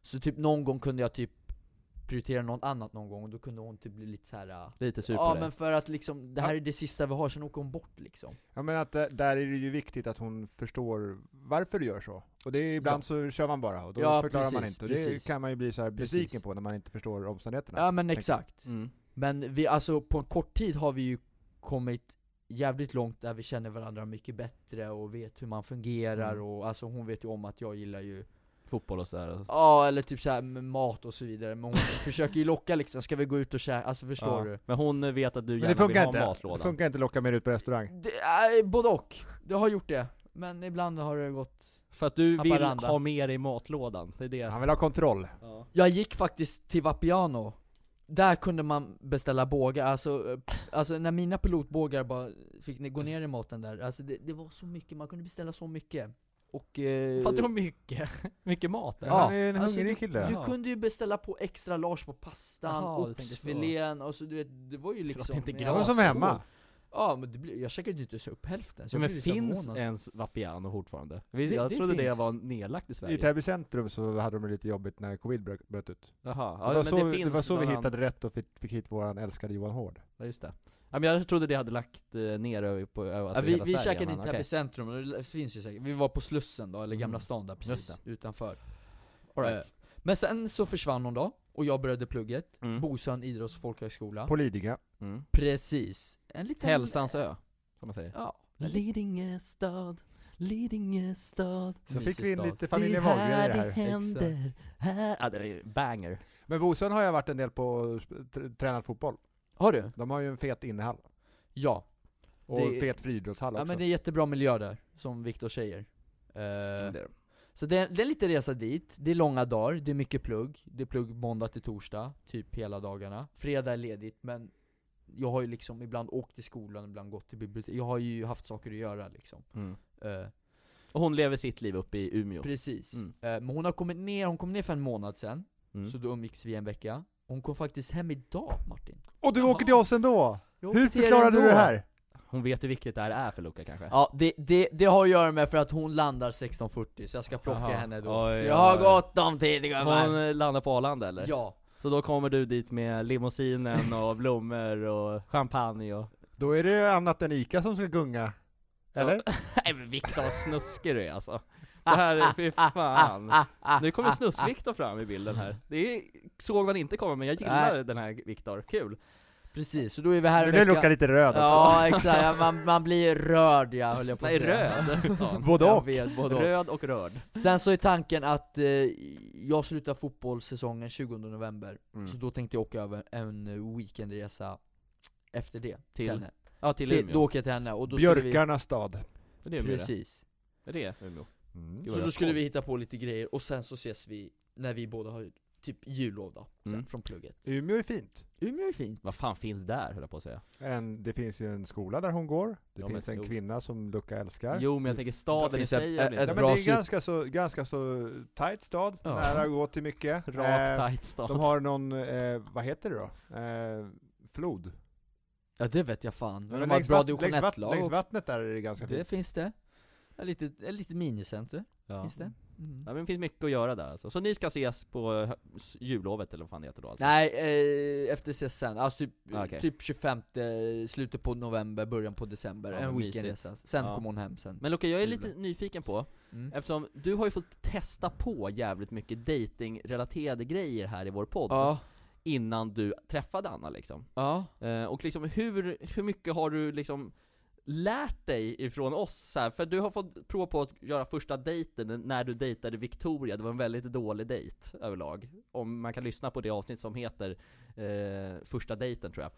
C: Så typ någon gång kunde jag typ prioritera något annat någon gång, och då kunde hon typ bli lite så här. äh,
B: Lite sur på
C: Ja
B: det.
C: men för att liksom, det här är det sista vi har, sen åker hon bort liksom
A: Ja men att eh, där är det ju viktigt att hon förstår varför du gör så. Och det är ibland
C: Ja.
A: så kör man bara och då
C: Ja,
A: förklarar man
C: precis,
A: inte. Och det
C: precis.
A: kan man ju bli så här
C: Precis.
A: besviken på när man inte förstår omständigheterna.
C: Ja men
A: tänker jag.
C: exakt
B: Mm.
C: Men vi, alltså på en kort tid har vi ju kommit jävligt långt där vi känner varandra mycket bättre och vet hur man fungerar
B: Mm.
C: och alltså hon vet ju om att jag gillar ju
B: Fotboll och sådär.
C: Ja eller typ såhär med mat och så vidare, men hon försöker ju locka liksom, ska vi gå ut och käka, alltså förstår
B: Ja.
C: du?
B: Men hon vet att du
A: Men det
B: gärna vill
A: funkar
B: ha
A: inte.
B: matlådan.
A: Det funkar inte att locka mer ut på restaurang.
C: Det, äh, både och, det har gjort det, men ibland har det gått
B: För att du vill
C: Haparanda.
B: ha med dig matlådan. Det är det.
A: Han vill ha kontroll.
B: Ja.
C: Jag gick faktiskt till Vapiano där kunde man beställa bågar, alltså, eh, alltså när mina pilotbågar bara fick ni- gå ner i maten där, alltså det, det var så mycket, man kunde beställa så mycket Och... Eh,
B: Fattar du hur mycket, mycket mat det är?
A: Ja, han är en
B: Alltså,
A: hungrig
C: du,
A: kille.
C: du
B: Ja.
C: kunde ju beställa på extra large på pastan,
B: Jaha, du tänker så.
C: oxfilén, och så du vet, det var ju
B: låter
C: liksom
B: inte
C: ja,
A: Det var
B: Ja,
A: som
B: så.
A: hemma.
C: Ja men det blev, jag käkade ju inte ens upp hälften så jag blev
B: men
C: ju så
B: finns
C: förvånad.
B: ens Vapiano fortfarande? Vi-
C: Det-
B: jag
C: det
B: trodde det
C: finns.
B: var nedlagt i Sverige.
A: I Täby centrum så hade de det lite jobbigt när covid bröt- bröt ut.
B: Jaha,
A: det, var
B: ja, men
A: så,
B: det,
A: det,
B: finns
A: var så vi
B: någon
A: hittade rätt och fick, fick hit våran älskade Johan Hård.
B: Ja just det. Ja, men jag trodde det hade lagt eh, ner över på ö- alltså
C: ja, vi
B: hela
C: vi
B: Sverige,
C: käkade
B: men
C: inte
B: okej.
C: här i centrum, och det finns ju säkert, vi var på Slussen då, eller Gamla
B: Mm.
C: stan där
B: Just
C: precis, utanför
B: All right.
C: Men sen så försvann hon då, och jag började plugget,
B: Mm.
C: Bosön idrotts och folkhögskola
A: På Lidingö.
B: Mm.
C: Precis, en liten
B: Hälsans ö, som man säger.
C: Ja,
B: Lidingö stad, Lidingö stad.
A: Så fick vi in
C: mysig stad.
A: lite familjen Wahlgren i det här.
C: händer,
B: här. Ja, det är ju banger.
A: Men Bosön har jag varit en del på och sp- tr- tränat fotboll.
C: Har du?
A: De har ju en fet innehall.
C: Ja,
A: Och
C: Det-
A: en fet friidrottshall
C: ja
A: också.
C: men det är jättebra miljö där, som Viktor säger Eh,
B: Det är det.
C: Så det är, det är lite resa dit, det är långa dagar, det är mycket plugg. Det är plugg måndag till torsdag, typ hela dagarna. Fredag är ledigt, men jag har ju liksom ibland åkt till skolan, ibland gått till biblioteket. Jag har ju haft saker att göra liksom.
B: Mm.
C: Eh,
B: Och hon lever sitt liv uppe i Umeå.
C: precis.
B: Mm.
C: Eh, men hon har kommit ner, hon kom ner för en månad sen,
B: Mm.
C: så då umgicks vi en vecka. Hon kom faktiskt hem idag Martin.
A: Och du
B: Jaha.
A: åker till oss ändå!
C: Jag
A: Hur
C: åkte till er
A: förklarar du
C: ändå.
A: det här?
B: Hon vet hur viktigt det här är för Luca kanske?
C: Ja, det, det, det har att göra med för att hon landar 16.40, så jag ska plocka
B: Aha.
C: henne då.
B: Oj,
C: så jag har
B: oj.
C: gått om tid
B: Hon
C: gumman.
B: eh, landar på Arlanda eller?
C: Ja.
B: Så då kommer du dit med limousinen och blommor och champagne och...
A: Då är det annat än ICA som ska gunga. Eller?
B: Nej men Viktor vad snuskig du är alltså. Det här är, fy fan. Nu kommer snusk-Viktor fram i bilden här. Det är, såg man inte komma men jag gillar den här Viktor, kul.
C: Precis, så då är vi här
A: Nu
C: en
A: blir
C: vecka.
A: Luca lite röd också.
C: Ja exakt, Ja, man, man blir ju rörd ja, höll jag på att
B: Nej
C: säga.
B: röd, sa han.
A: Både
C: Jag
A: och.
C: Vet, både och.
B: Röd och rörd.
C: Sen så är tanken att eh, jag slutar fotbollssäsongen 20 november,
B: Mm.
C: så då tänkte jag åka över en weekendresa efter det.
B: Till
C: henne.
B: Ja till
C: Till, då
B: Umeå.
C: åker jag till henne och då skulle
A: Björkarnas stad.
B: Det är
C: vi...
B: Umeå det.
C: Precis.
B: Är det Umeå?
A: Mm.
B: Jo,
C: Så
B: jag
C: då skulle
B: kom.
C: vi hitta på lite grejer och sen så ses vi när vi båda har typ jullov då, sen
B: Mm.
C: från plugget.
A: Umeå är fint.
C: Umeå är fint.
B: Vad fan finns där höll jag på att säga.
A: En, det finns ju en skola där hon går. Det
B: Ja,
A: finns
B: men-
A: en
B: jo.
A: kvinna som Luca älskar.
B: Jo men jag tänker staden i
C: Finns det
B: sig
C: ett- eh,
B: är liksom
A: Nej,
B: det
C: ett-
B: inte.
A: men det
C: bra
A: är
C: sup-
A: ganska så, ganska så tight stad.
C: Ja.
A: Nära att gå till mycket.
B: Rakt
A: Eh,
B: tight stad.
A: De har någon, eh, vad heter det då? Eh, flod.
C: Ja det vet jag fan,
A: Men
C: men de har ett
A: längs
C: bra
A: vatt-
C: division
A: längs, vatt-
C: 1-lag
A: längs
C: också.
A: vattnet där är det ganska
C: Det
A: fint.
C: finns det. Ett litet, ett litet minicenter
B: Ja.
C: finns det. Mm.
B: Ja, men det finns mycket att göra där alltså. Så ni ska ses på eh, s- jullovet eller vad fan det heter då alltså?
C: Nej, eh, efter CSN, alltså typ,
B: Ah, okej.
C: typ 25, slutet på november, början på december,
B: Ja,
C: en
B: men
C: weekendresa. Sen
B: Ja.
C: kommer hon hem sen.
B: Men Luca, jag är
C: Julen.
B: lite nyfiken på,
C: Mm.
B: eftersom du har ju fått testa på jävligt mycket dating-relaterade grejer här i vår podd
C: Ja,
B: Innan du träffade Anna liksom
C: ja.
B: eh, Och liksom hur, hur mycket har du liksom lärt dig ifrån oss så här? För du har fått prova på att göra första dejten när du dejtade Victoria, det var en väldigt dålig dejt överlag Om man kan lyssna på det avsnitt som heter eh, första dejten tror jag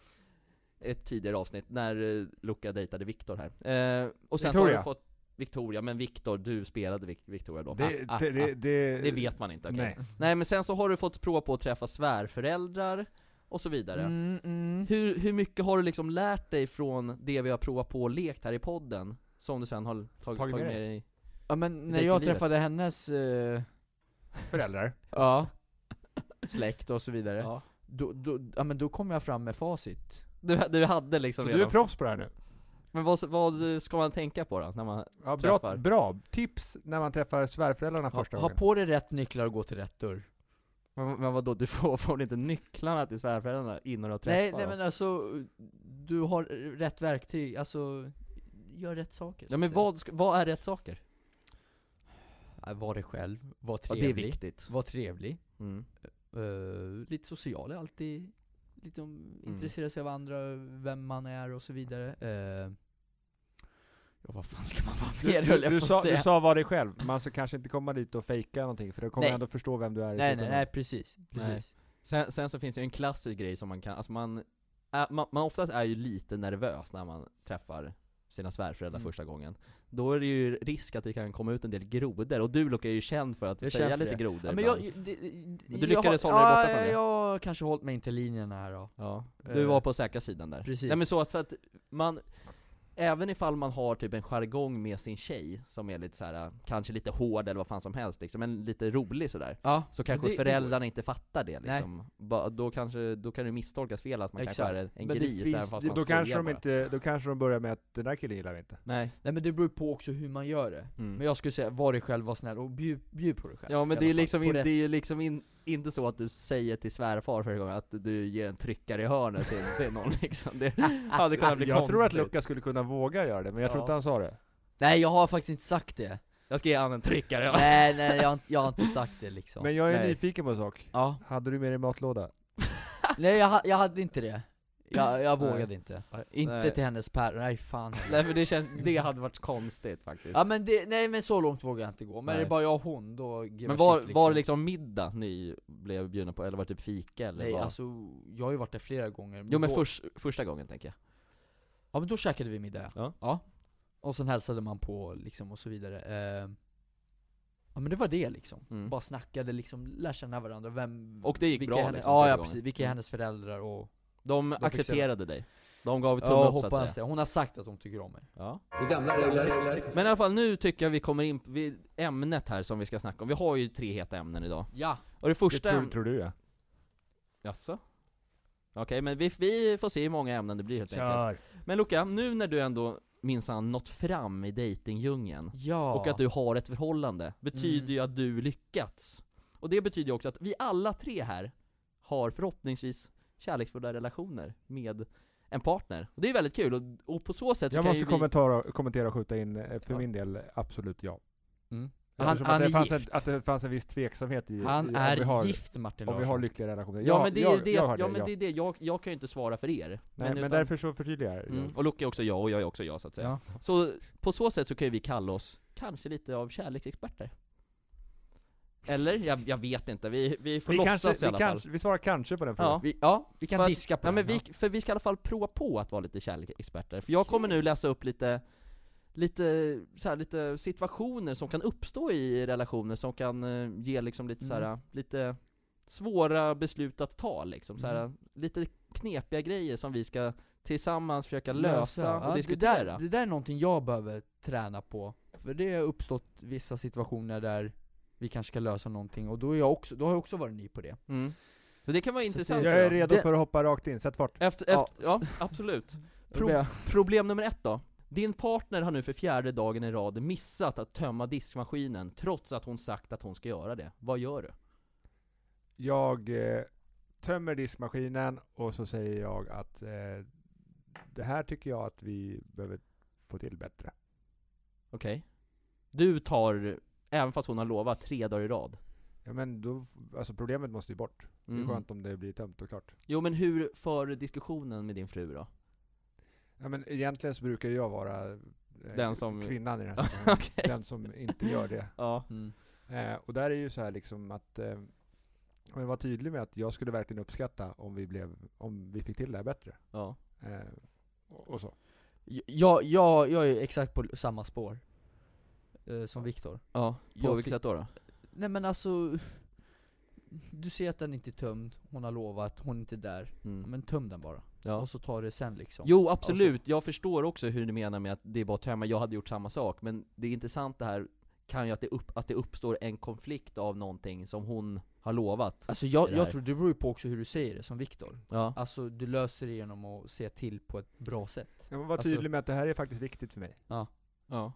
B: ett tidigare avsnitt när eh, Luca dejtade Viktor här. Eh, och sen så har
A: Victoria.
B: du fått Victoria, men Viktor, du spelade Vic- Victoria då.
A: Det,
C: Ah, ah,
A: det, det,
C: ah.
A: det,
B: Det vet man inte, okej. Nej.
A: Nej.
B: men sen så har du fått prova på att träffa svärföräldrar och så vidare.
C: Mm, mm.
B: Hur, hur mycket har du liksom lärt dig från det vi har provat på och lekt här i podden? Som du sen har tagit, tagit, med dig?
C: ja men när
B: Det är
C: jag
B: livet.
C: träffade hennes eh,
A: Föräldrar.
C: ja, släkt och så vidare,
B: Ja.
C: då, då, ja, men då kom jag fram med facit.
B: Du, du hade liksom
A: Så
B: redan.
A: du är proffs på det här nu?
B: Men vad, vad ska man tänka på då? När man,
A: Ja, bra,
B: Träffar.
A: bra tips när man träffar svärföräldrarna
C: Ha,
A: första
C: ha
A: gången.
C: på dig rätt nycklar och gå till rätt dörr.
B: men, men vadå, du får, får väl inte nycklarna till svärföräldrarna innan du har träffat
C: Nej, nej
B: dem?
C: men alltså, du har rätt verktyg, alltså Gör rätt saker
B: Ja men vad, ska- vad är rätt saker?
C: Ja, Var dig själv, var
B: Ja, det är
C: trevlig
B: viktigt.
C: Var trevlig,
B: Mm.
C: Eh, lite social är alltid Lite om,
B: Mm.
C: intressera sig av andra, vem man är och så vidare Eh, Ja vad fan ska man vara mer höll
A: Du,
C: jag på
A: sa,
C: att
A: du
C: säga
A: sa var dig själv, man ska kanske inte komma dit och fejka någonting för då kommer
C: Nej.
A: jag ändå förstå vem du är. i
C: Nej nej
A: slutändan.
C: nej precis, precis
B: Nej. Sen, sen så finns det ju en klassisk grej som man kan, alltså man, är, man, man oftast är ju lite nervös när man träffar sina svärföräldrar
C: Mm.
B: första gången. Då är det ju risk att det kan komma ut en del grodor, och du Luca är ju känd för att
C: Jag är känd
B: säga
C: för
B: lite
C: det.
B: grodor
C: Ja, men jag,
B: ibland.
C: det-
B: du
C: jag
B: lyckades
C: har-
B: hålla dig
C: ja,
B: borta från det.
C: Jag har kanske hållit mig till linjerna här då
B: Ja, du
C: Eh,
B: var på säkra sidan där.
C: precis.
B: Nej men så att, för att man, även ifall man har typ en jargong med sin tjej som är lite så här, kanske lite hård eller vad fan som helst liksom, men lite rolig sådär.
C: Ja,
B: Så kanske
C: det- det går.
B: föräldrarna inte fattar det liksom. Ba, då kanske, då kan det misstolkas fel att man
C: Exakt.
B: kanske är en
C: Men det
B: gris
C: finns-
B: även fast
C: det-
B: man
A: Då
B: skojar
A: kanske, de
B: bara.
A: inte, då kanske de börjar med att den där killen gillar vi inte.
B: Nej.
C: Nej men det beror på också hur man gör det
B: Mm.
C: Men jag skulle säga, var dig själv, var snäll och bjud, bjud på dig själv
B: Ja men
C: i
B: det är
C: alla
B: ju
C: fall.
B: liksom,
C: På
B: in,
C: rätt-
B: det är ju liksom in, inte så att du säger till svärfar förra gången att du ger en tryckare i hörnet till, till någon liksom. Det hade kunnat bli
A: Jag
B: konstigt.
A: tror att Luca skulle kunna våga göra det, men jag tror
B: Ja.
A: inte han sa det.
C: Nej jag har faktiskt inte sagt det
B: Jag ska ge han en tryckare i hörnet.
C: Nej nej jag, har inte- jag har inte sagt det liksom
A: Men jag är
B: Nej.
A: nyfiken på en sak.
C: Ja,
A: Hade du med dig matlåda?
C: nej jag, ha- jag hade inte det Jag, jag
B: Nej.
C: vågade inte
B: Nej.
C: Inte
B: Nej.
C: till hennes päron, nej fan
B: Nej för det känns, det hade varit konstigt faktiskt.
C: Ja men det, nej men så långt vågar jag inte gå, men
B: Nej.
C: det är bara jag och hon då give
B: Men
C: a
B: var,
C: shit,
B: var det liksom middag ni blev bjudna på, eller var det typ fika eller
C: Nej
B: vad?
C: alltså, jag har ju varit där flera gånger
B: jo men
C: då,
B: förs- första gången tänker jag.
C: Ja men då käkade vi middag
B: Ja.
C: Och sen hälsade man på liksom och så vidare eh, Ja men det var det liksom,
B: Mm.
C: bara snackade liksom, lär känna varandra, vem
B: Och det gick
C: vilka
B: bra,
C: är henne,
B: liksom,
C: Ja
B: första
C: ja
B: gången.
C: precis, vilka är
B: Mm.
C: hennes föräldrar och
B: De
C: fixar
B: accepterade dig. De gav tummen
C: Ja
B: upp så att
C: hoppas
B: säga.
C: det, hon har sagt att hon tycker om mig
B: Ja.
E: I gamla regler.
B: Men i alla fall nu tycker jag vi kommer in på ämnet här som vi ska snacka om. Vi har ju tre heta ämnen idag.
C: Ja!
B: Och det första...
A: det
B: äm-
A: tror, tror du ja.
B: Jaså? Okej men vi, vi får se hur många ämnen det blir helt enkelt. Men Luca, nu när du ändå minsann nått fram i dejtingdjungeln.
C: Ja!
B: och att du har ett förhållande betyder
C: Mm.
B: ju att du lyckats. Och det betyder ju också att vi alla tre här har förhoppningsvis kärleksfulla relationer med en partner. Och det är väldigt kul, och, och på så sätt så
A: Jag
B: kan
A: måste
B: ju vi...
A: kommentera, kommentera och skjuta in, eh, för
B: Ja.
A: min del, absolut ja.
C: Mm.
A: Jag
C: Han-
A: tror
C: han
A: att, det
C: är
A: fanns en,
C: gift.
A: att det fanns en viss tveksamhet i, i
C: Han
A: om vi
C: är
A: har,
C: gift Martin
A: om vi
C: Larsson
A: har lyckliga relationer.
B: Ja men det är
A: jag,
B: ju det,
A: jag
B: ja,
A: hörde
B: men det är det, jag, jag kan ju inte svara för er.
A: Nej, men
B: utan-
A: därför så förtydligar jag.
B: Mm. Och Luca är också jag, och jag är också jag så att säga.
C: Ja.
B: Så på så sätt så kan ju vi kalla oss kanske lite av kärleksexperter. Eller? Jag, jag vet inte, vi, vi får
A: Vi,
B: låtsas
A: kanske,
B: i
A: vi,
B: alla fall.
A: kanske, vi svarar kanske på den frågan.
B: Ja.
C: Vi, ja, vi kan
B: För att-
C: diska på
B: Ja,
C: den,
B: men vi, för vi ska i alla fall prova på att vara lite kärleksexperter, för jag kommer nu läsa upp lite Lite, så här, lite situationer som kan uppstå i relationer som kan eh, ge liksom lite så här, lite svåra beslut att ta liksom, så här, lite knepiga grejer som vi ska tillsammans försöka lösa, och
C: Ja,
B: diskutera.
C: Det där, det där är någonting jag behöver träna på, för det har uppstått vissa situationer där vi kanske ska lösa någonting, och då, är jag också, då har jag också varit ny på det
B: Mm. Så det kan vara
C: Så
B: intressant.
A: Jag är
B: tror
A: redo
C: Det-
A: för att hoppa rakt in, sätt fart.
B: Efter,
C: Ja.
B: efter, ja. absolut.
C: Då
B: Pro-
C: blir jag-
B: Problem nummer ett då. Din partner har nu för fjärde dagen i rad missat att tömma diskmaskinen trots att hon sagt att hon ska göra det. Vad gör du?
A: Jag eh, tömmer diskmaskinen och så säger jag att eh, det här tycker jag att vi behöver få till bättre.
B: Okej. Du tar, även fast hon har lovat, tre dagar i rad.
A: Ja men då, f- alltså problemet måste ju bort. Det
B: Mm.
A: är skönt om det blir tömt och klart.
B: Jo men hur för du diskussionen med din fru då?
A: Ja men egentligen så brukar jag vara eh,
B: Den som-
A: kvinnan i den här situationen.
B: Okej.
A: Den som inte gör det.
B: Ja.
C: Mm.
A: Eh, och där är ju så här liksom att eh, men var tydlig med att jag skulle verkligen uppskatta om vi, blev, om vi fick till det här bättre.
B: ja.
A: Eh, och, och så.
C: Jag, jag, jag är exakt på samma spår eh, som Viktor
B: Ja, på
C: Jag
B: vilket
C: ty-
B: sätt då? då?
C: Nej men alltså, du ser att den inte är tömd, hon har lovat, hon är inte där,
B: Mm.
C: men töm den bara,
B: Ja.
C: och så tar det sen liksom
B: Jo absolut, jag förstår också hur du menar med att det är bara att tömma, jag hade gjort samma sak, men det är intressant det här kan ju att det, upp, att det uppstår en konflikt av någonting som hon har lovat.
C: Alltså
B: i
C: jag,
B: det här.
C: jag tror det beror ju på också hur du säger det, som Viktor
B: Ja.
C: Alltså du löser det genom att se till på ett bra sätt
A: Jag var
C: Alltså-
A: tydlig med att det här är faktiskt viktigt för mig.
B: ja.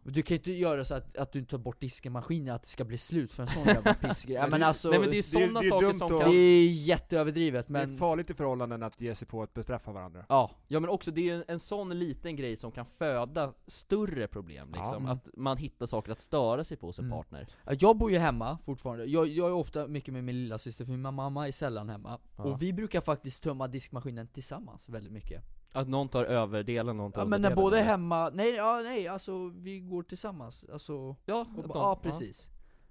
C: Du kan ju inte göra så att, att du inte tar bort diskmaskinen, att det ska bli slut för en sån jävla pissgrej Ja,
A: Men
C: men
A: det-
C: alltså,
B: Nej men det är
A: det är
B: sådana saker
A: dumt
B: som
A: att-
B: kan...
C: det är jätteöverdrivet
A: Det är
C: men
A: farligt i förhållanden att ge sig på att bestraffa varandra.
C: Ja,
B: Ja men också, det är ju en, en sån liten grej som kan föda större problem
A: Ja.
B: liksom.
C: Mm.
B: Att man hittar saker att störa sig på hos en
C: Mm.
B: partner.
C: Ja, Jag bor ju hemma fortfarande, jag, jag är ofta mycket med min lilla syster för min mamma är sällan hemma
B: Ja.
C: Och vi brukar faktiskt tömma diskmaskinen tillsammans väldigt mycket
B: Att någon tar överdelen, någon tar
C: Ja men när
B: underdelen,
C: båda är
B: eller?
C: hemma, nej ja, nej alltså vi går tillsammans, alltså
B: Ja,
C: och,
B: att
C: ba-
B: de,
C: Ja precis,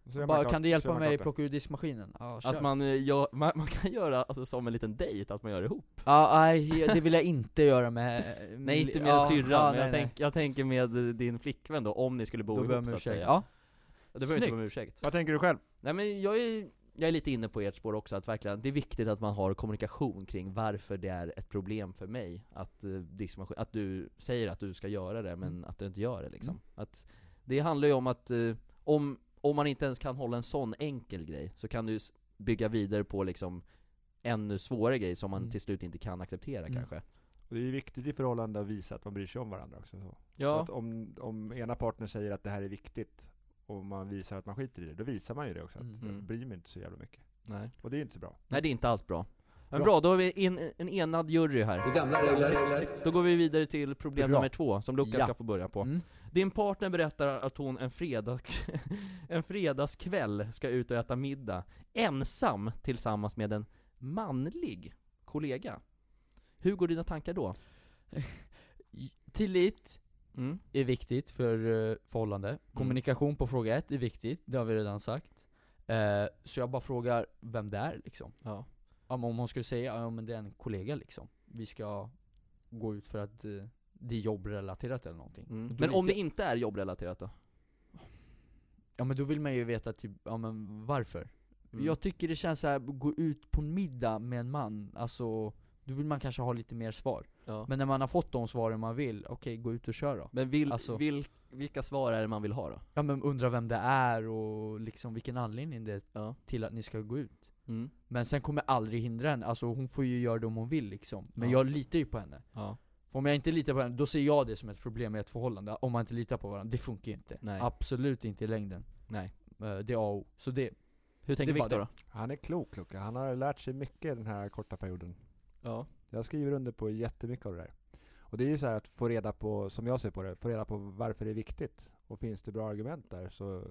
A: Så gör man
C: bara
A: klart-
C: kan du
A: så gör
C: hjälpa
A: man
C: mig
A: klart det.
C: plocka ur diskmaskinen? Ja,
B: Att
C: kör.
B: man, eh, gör, man, man kan göra alltså, som en liten dejt, att man gör det ihop.
C: Ja, nej det vill jag inte göra med min
B: Nej inte med
C: Mm, ja,
B: syrran, men
C: ja, nej,
B: jag,
C: nej.
B: tänk, jag tänker med eh, din flickvän då, om ni skulle bo
C: Då ber jag
B: ihop
C: om
B: så att
C: ursäkt,
B: säga.
C: ja
B: Det behöver inte
C: Snyggt.
B: vara med ursäkt.
A: Vad tänker du själv?
B: Nej men jag är, jag är lite inne på ert spår också, att verkligen, det är viktigt att man har kommunikation kring varför det är ett problem för mig att, eh, diskmaskin, att du säger att du ska göra det, men att du inte gör det liksom.
C: Mm.
B: Att det handlar ju om att, eh, om, om man inte ens kan hålla en sån enkel grej, så kan du s- bygga vidare på liksom ännu svårare grejer som man
C: Mm.
B: till slut inte kan acceptera
C: Mm.
B: kanske.
A: Och det är viktigt i förhållanden att visa att man bryr sig om varandra också. Så. Så Att om, om ena partnern säger att det här är viktigt och man visar att man skiter i det, då visar man ju det också. Att
C: Mm.
A: Jag bryr mig inte så jävla mycket.
B: nej.
A: Och det är inte så bra.
B: Nej det är inte alls bra. Men
C: Bra.
B: bra, då har vi en, en enad jury här.
E: Gamla regler, regler.
B: Då går vi vidare till problem
C: Bra.
B: nummer två, som Lukas
C: Ja.
B: ska få börja på.
C: Mm.
B: Din partner berättar att hon en, fredag, en fredagskväll ska ut och äta middag, ensam tillsammans med en manlig kollega. Hur går dina tankar då?
C: Tillit
B: Mm.
C: är viktigt för eh, förhållande, kommunikation på fråga ett är viktigt, det har vi redan sagt Eh, Så jag bara frågar vem det är liksom
B: Ja.
C: Om, om hon skulle säga, ja men det är en kollega liksom Vi ska gå ut för att eh, det är jobbrelaterat eller någonting
B: Mm.
C: Då
B: Men
C: vill
B: om det
C: inte-
B: inte är jobbrelaterat då?
C: Ja men då vill man ju veta typ, ja men varför?
B: Mm.
C: Jag tycker det känns så här gå ut på en middag med en man, alltså Då vill man kanske ha lite mer svar
B: Ja. Men,
C: Men när man har fått de svaren man vill, okej gå ut och kör då
B: vil,
C: Alltså-
B: vil, vilka svar är det man vill ha då?
C: Ja men undra vem det är och liksom vilken anledning det är
B: Ja.
C: till att ni ska gå ut
B: Mm.
C: Men sen kommer jag aldrig hindra henne, alltså hon får ju göra det om hon vill liksom Men
B: Ja.
C: jag litar ju på henne
B: Ja.
C: Om jag inte litar på henne, då ser jag det som ett problem i ett förhållande Om man inte litar på varandra, det funkar ju inte
B: Nej.
C: Absolut inte i längden
B: Nej.
C: Eh, Det är A och O, så det
B: Hur tänker
C: Det är bara
B: Viktor då?
A: Han är klok Luca. Han har lärt sig mycket den här korta perioden.
B: Ja.
A: Jag skriver under på jättemycket av det där. Och det är ju så här att få reda på, som jag ser på det, få reda på varför det är viktigt. Och finns det bra argument där, så,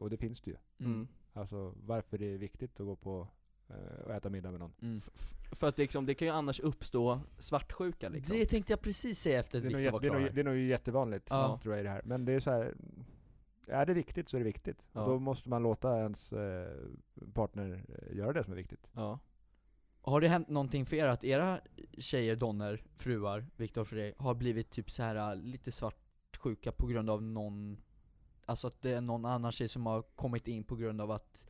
A: och det finns det ju.
B: Mm.
A: Alltså varför det är viktigt att gå på eh, och äta middag med någon.
C: Mm.
B: För att liksom, det kan ju annars uppstå svartsjuka liksom.
C: Det tänkte jag precis säga efter att
A: Det är, nog,
C: Viktor var
A: jä- det, är
C: klar
A: nog,
C: här.
A: det är nog jättevanligt,
B: Ja.
A: tror jag, i det här. Men det är så här, är det viktigt så är det viktigt. Och
B: Ja.
A: Då måste man låta ens eh, partner eh, göra det som är viktigt.
B: Ja.
C: Har det hänt någonting för er att era tjejer, donner, fruar, Viktor för dig, har blivit typ så här lite svartsjuka på grund av någon Alltså att det är någon annan tjej som har kommit in på grund av att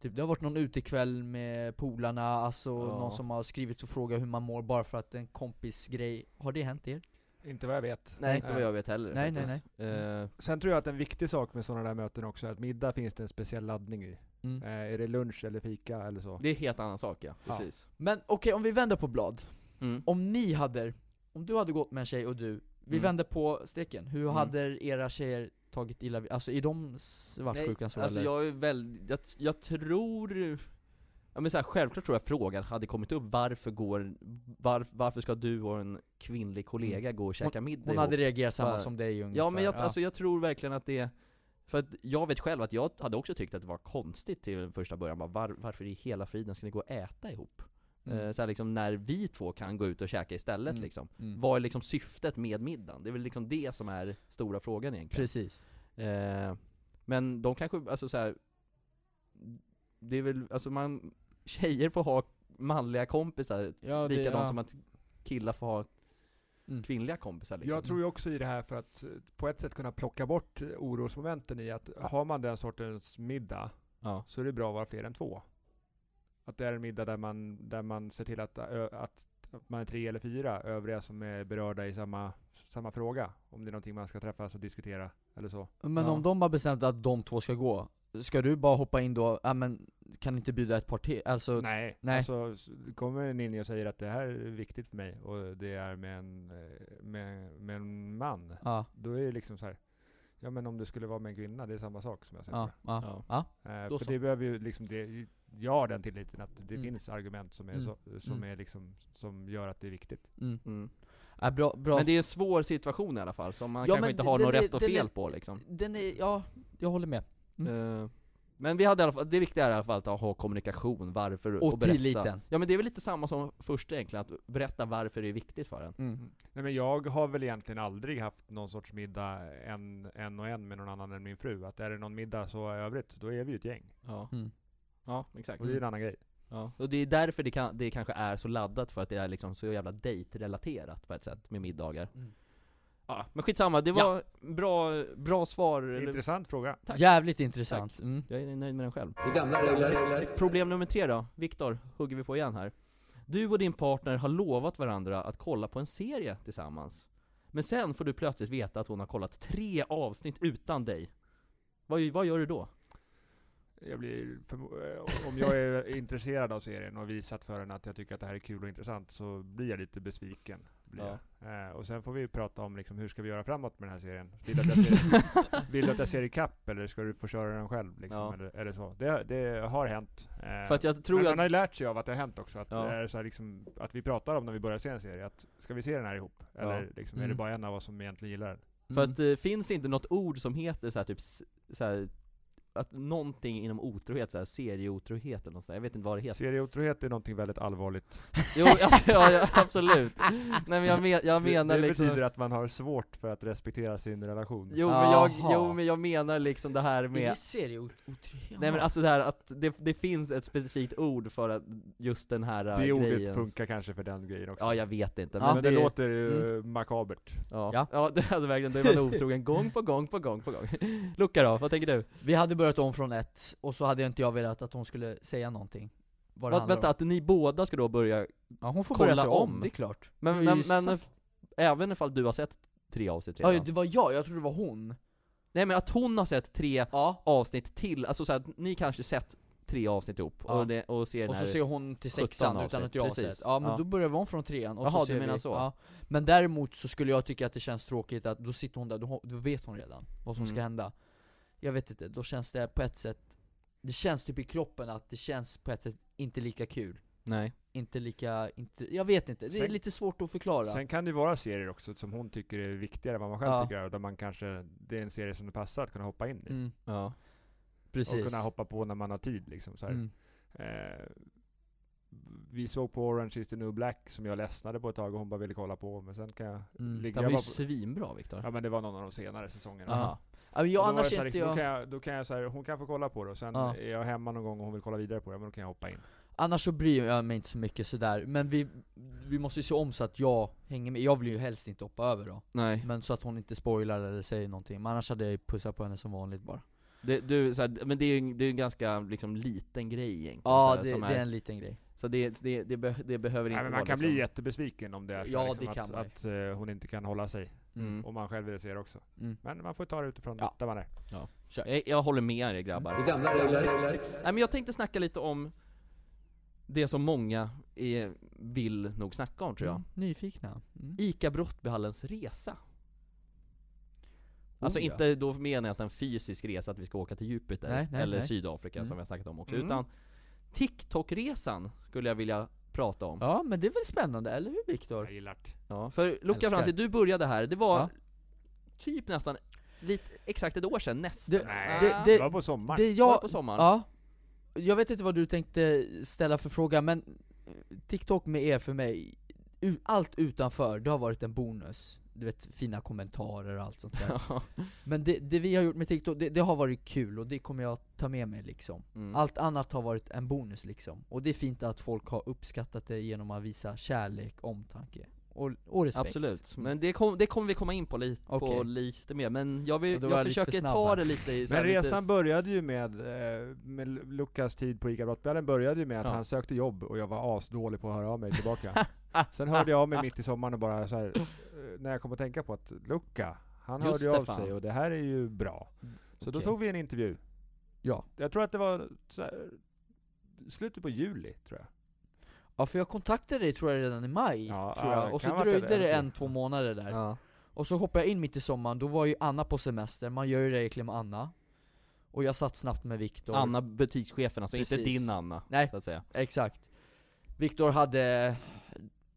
C: Typ det har varit någon utekväll med polarna, alltså
B: Ja.
C: någon som har skrivit och frågat hur man mår bara för att det är en kompisgrej Har det hänt er?
A: Inte vad jag vet.
B: Nej, inte vad jag vet heller
C: Nej, nej,
B: faktiskt. Eh,
A: Sen tror jag att en viktig sak med sådana där möten också är att middag finns det en speciell laddning i.
C: Mm.
A: Eh, är det lunch eller fika eller så?
B: det är en helt annan sak ja,
A: Ja.
B: precis.
C: Men okej, om vi vänder på blad
B: Mm.
C: Om ni hade, om du hade gått med en tjej och du, vi
B: Mm.
C: vänder på steken, hur
B: Mm.
C: hade era tjejer tagit illa vid- Alltså är de svartsjuka så
B: alltså
C: eller?
B: jag är väldigt, jag, jag tror, ja men så här, självklart tror jag frågan hade kommit upp, varför går, varf, varför ska du och en kvinnlig kollega gå och käka middag
C: Mm. Hon
B: ihop?
C: hade reagerat samma
B: Bara-
C: som dig ungefär
B: Ja men jag, alltså, jag tror verkligen att det, för att jag vet själv att jag hade också tyckt att det var konstigt till första början, bara, var, varför i hela friden ska ni gå och äta ihop?
C: Mm.
B: Eh, så här, liksom, när vi två kan gå ut och käka istället
C: Mm.
B: liksom.
C: Mm.
B: Vad är liksom syftet med middagen? Det är väl liksom det som är stora frågan egentligen.
C: Precis
B: Eh, men de kanske, alltså så här. Det är väl, alltså man, tjejer får ha manliga kompisar,
C: Ja, det-
B: likadant
C: ja.
B: som att killar får ha
C: Mm.
B: kvinnliga kompisar liksom.
A: Jag tror ju också i det här för att eh, på ett sätt kunna plocka bort eh, orosmomenten i att har man den sortens middag
B: Ja.
A: så är det bra att vara fler än två. Att det är en middag där man, där man ser till att, ö, att, att man är tre eller fyra övriga som är berörda i samma, samma fråga. Om det är någonting man ska träffas och diskutera eller så.
C: Men
B: Ja.
C: om de har bestämt att de två ska gå, ska du bara hoppa in då, ja men kan inte bjuda ett par till? Alltså,
A: Nej,
C: nej.
A: alltså s- kommer en in och säger att det här är viktigt för mig och det är med en, eh, med, med en man.
C: ja,
A: Då är det liksom så här. Ja men om det skulle vara med en kvinna, det är samma sak som jag säger.
C: ja, Typ. ja,
B: Ja.
C: ja.
A: Eh,
C: Då
A: för
C: så.
A: det behöver ju liksom det, jag har den tilliten att det
C: Mm.
A: finns argument som är,
C: Mm.
A: så, som
C: Mm.
A: är liksom, som gör att det är viktigt.
C: Mm.
B: Mm.
C: ja bra, bra.
B: Men det är en svår situation i alla fall, som man
C: Ja, men
B: kanske inte har
C: den
B: något
C: är-
B: rätt och
C: den
B: fel
C: är-
B: på liksom.
C: Den är, ja, jag håller med. Mm.
B: Eh, Men vi hade i alla fall, det viktiga är i alla fall att ha kommunikation, varför
C: Och
B: berätta.
C: tilliten.
B: Ja men det är väl lite samma som först egentligen, att berätta varför det är viktigt för en.
C: Mm.
A: Nej men jag har väl egentligen aldrig haft någon sorts middag en, en och en med någon annan än min fru. Att är det någon middag så i övrigt, då är vi ju ett gäng.
B: Ja,
C: Mm.
B: ja exakt.
A: Och det är en annan grej.
B: Ja. Och det är därför det, kan, det kanske är så laddat, för att det är liksom så jävla dejtrelaterat på ett sätt, med middagar.
C: Mm.
B: Ja, men skitsamma, det
C: Ja.
B: var bra, bra svar. eller-
A: Intressant fråga.
B: Tack.
C: Jävligt intressant. Mm.
B: Jag är nöjd med den själv.
E: Gamla regler.
B: Problem nummer tre då, Viktor, hugger vi på igen här. Du och din partner har lovat varandra att kolla på en serie tillsammans. Men sen får du plötsligt veta att hon har kollat tre avsnitt utan dig. Vad, vad gör du då?
A: Jag blir förmo- eh, om jag är intresserad av serien och visat för henne att jag tycker att det här är kul och intressant så blir jag lite besviken. Blir
B: Ja.
A: jag. Eh, och sen får vi ju prata om liksom, hur ska vi göra framåt med den här serien. Vill du att jag ser, vill du att jag ser i kapp eller ska du få köra den själv? Liksom,
B: Ja.
A: eller, eller så. Det, det har hänt. Eh,
B: För att jag tror
A: men
B: jag...
A: man har ju lärt sig av att det har hänt också, att,
B: Ja.
A: det är så här liksom, att vi pratar om när vi börjar se en serie, att ska vi se den här ihop? Eller
B: Ja.
A: liksom, är det
C: Mm.
A: bara en av oss som egentligen gillar den?
B: För att eh, det finns inte något ord som heter så här typ s- så här, att någonting inom otrohet, så här, serieotrohet eller något sånt. där. Jag vet inte vad det heter.
A: Serieotrohet är någonting väldigt allvarligt.
B: Jo, alltså, ja, ja, absolut. Nej men jag, men, jag menar
A: det det
B: liksom...
A: betyder att man har svårt för att respektera sin relation.
B: Jo men, jag,
C: Jaha.
B: jo men jag menar liksom det här
C: Är
B: med
C: det serieotrohet?
B: Nej men alltså det här att det, det finns ett specifikt ord för att just den här äh,
A: det
B: grejen.
A: ordet funkar kanske för den grejen också.
B: Ja Mm. jag vet inte
C: Ja,
A: men,
B: men
A: det, låter ju makabert.
B: Ja,
C: Ja.
B: ja. det, alltså verkligen, då är man otrogen gång på gång på gång på gång Luca då, vad tänker du?
C: Vi hade börjat om från ett, och så hade jag inte jag velat att hon skulle säga någonting. Vad det
B: Vad,
C: handlar
B: vänta,
C: om.
B: att ni båda ska då börja
C: Ja, hon får
B: kolla
C: börja sig om,
B: om.
C: det är klart. Det
B: Men,
C: är
B: men,
C: ju
B: men
C: sant.
B: f- även ifall du har sett tre avsnitt
C: ja,
B: redan?
C: det var jag, jag trodde det var hon.
B: Nej men att hon har sett tre
C: Ja.
B: avsnitt till, alltså så här, att ni kanske sett tre avsnitt ihop
C: Ja.
B: och, det, och ser
C: Och
B: den
C: så
B: här
C: ser hon till
B: 17
C: sexan utan
B: avsnitt,
C: att jag har
B: precis.
C: sett. Ja men
B: Ja.
C: då börjar vi om från trean och
B: Jaha,
C: så
B: du
C: ser
B: menar
C: vi,
B: så.
C: Ja. Men däremot så skulle jag tycka att det känns tråkigt att då sitter hon där, då, då vet hon redan vad som ska
B: Mm.
C: hända. Jag vet inte, då känns det på ett sätt, det känns typ i kroppen att det känns på ett sätt inte lika kul.
B: Nej,
C: Inte lika, inte, jag vet inte, det är
A: Sen-
C: lite svårt att förklara.
A: Sen kan det ju vara serier också som hon tycker är viktigare än vad man själv
C: Ja.
A: tycker är, och där man kanske, det är en serie som det passar att kunna hoppa in i.
C: mm,
B: ja
C: precis.
A: Och kunna hoppa på när man har tid liksom så här.
C: Mm.
A: Eh, vi såg på Orange is the new black som jag ledsnade på ett tag och hon bara ville kolla på men sen kan jag
C: Mm.
A: ligga
B: Den var ju
A: bara på-
B: svinbra Viktor
A: Ja men det var någon av de senare säsongerna.
C: Aha. Ja, men jag,
A: Och då var det
C: annars
A: så här,
C: är inte
A: liksom,
C: jag,
A: Då kan jag, då kan jag så här, hon kan få kolla på det och sen
C: Ja.
A: är jag hemma någon gång och hon vill kolla vidare på det, men då kan jag hoppa in.
C: annars så bryr jag mig inte så mycket sådär, men vi, vi måste ju se om så att jag hänger med, jag vill ju helst inte hoppa över då.
B: Nej
C: Men så att hon inte spoilar eller säger någonting, men annars hade jag ju pussat på henne som vanligt bara
B: Det, du, så här, men det är ju en- det är ju en ganska liksom, liten grej egentligen. så
C: Ja
B: här,
C: det,
B: som
C: det
B: är,
C: är en liten grej
B: Så det, det, det, beh- det behöver inte
A: Nej, men
B: vara
A: man kan
B: liksom,
A: bli jättebesviken om det är så
C: Ja,
A: här, liksom,
C: det kan
A: att,
C: man ju.
A: att eh, hon inte kan hålla sig.
B: Mm.
A: Och man själv vill se det också.
C: Mm.
A: Men man får ta det utifrån
C: Ja.
A: där man är.
B: jag, jag håller med er grabbar.
E: Gamla regler.
B: Nej men jag tänkte snacka lite om det som många är, vill nog snacka om tror jag.
C: Mm, Nyfikna mm.
B: ICA Brottbyhallens resa. Alltså
C: Oh, ja.
B: inte, då menar jag att en fysisk resa, att vi ska åka till Jupiter
C: Nej, nej,
B: eller
C: nej.
B: Sydafrika
C: Mm.
B: som vi har snackat om också,
A: Mm.
B: utan TikTok-resan skulle jag vilja prata om.
C: Ja men det är väl spännande, eller hur
A: Jag
C: Viktor?
A: gillar det.
B: Ja, för Luca
C: Älskar.
B: Franzi, du började här, det var
C: Ja.
B: typ nästan lite, exakt ett år sedan, nästan.
C: Det-
A: Nej,
C: det-
A: det var på sommaren.
C: Det
B: var
C: jag,
B: på sommaren.
C: ja Jag vet inte vad du tänkte ställa för fråga men eh, TikTok med er för mig, u- allt utanför, det har varit en bonus Du vet, fina kommentarer och allt sånt där
B: Ja.
C: Men det, det vi har gjort med TikTok, det, det har varit kul och det kommer jag ta med mig liksom
B: Mm.
C: Allt annat har varit en bonus liksom. Och det är fint att folk har uppskattat det genom att visa kärlek, omtanke och, och respekt. Mm.
B: Absolut, men det kommer det kommer vi komma in på lite, på
C: Okej.
B: lite mer, men jag,
C: Ja,
B: vill,
C: då var
B: jag
C: jag lite för
B: försöker
C: snabb
B: ta
C: här.
B: det lite i så
A: Men
B: här lite
A: resan
B: s-
A: började ju med, eh, med Lukas tid på ICA Brottbjörnen började ju med att
B: Ja.
A: han sökte jobb och jag var asdålig på att höra av mig tillbaka. Sen hörde jag av mig mitt i sommaren och bara så här, eh, när jag kom att tänka på att Luca, han
B: Just
A: hörde ju
B: det,
A: av
B: fan.
A: sig och det här är ju bra. Så då
C: Okej.
A: tog vi en intervju.
C: Ja.
A: Jag tror att det var så här, slutet på juli tror jag.
C: Ja för jag kontaktade dig tror jag redan i maj,
A: Ja,
C: tror
A: ja,
C: jag. Och
A: kan
C: så
A: vara det
C: dröjde det
A: där.
C: en, två månader där.
B: Ja.
C: Och så hoppade jag in mitt i sommaren, då var ju Anna på semester, man gör ju det egentligen med Anna. Och jag satt snabbt med Viktor.
B: Anna butikschefen alltså, inte
C: Precis.
B: din Anna
C: Nej.
B: så att säga
C: Exakt. Viktor hade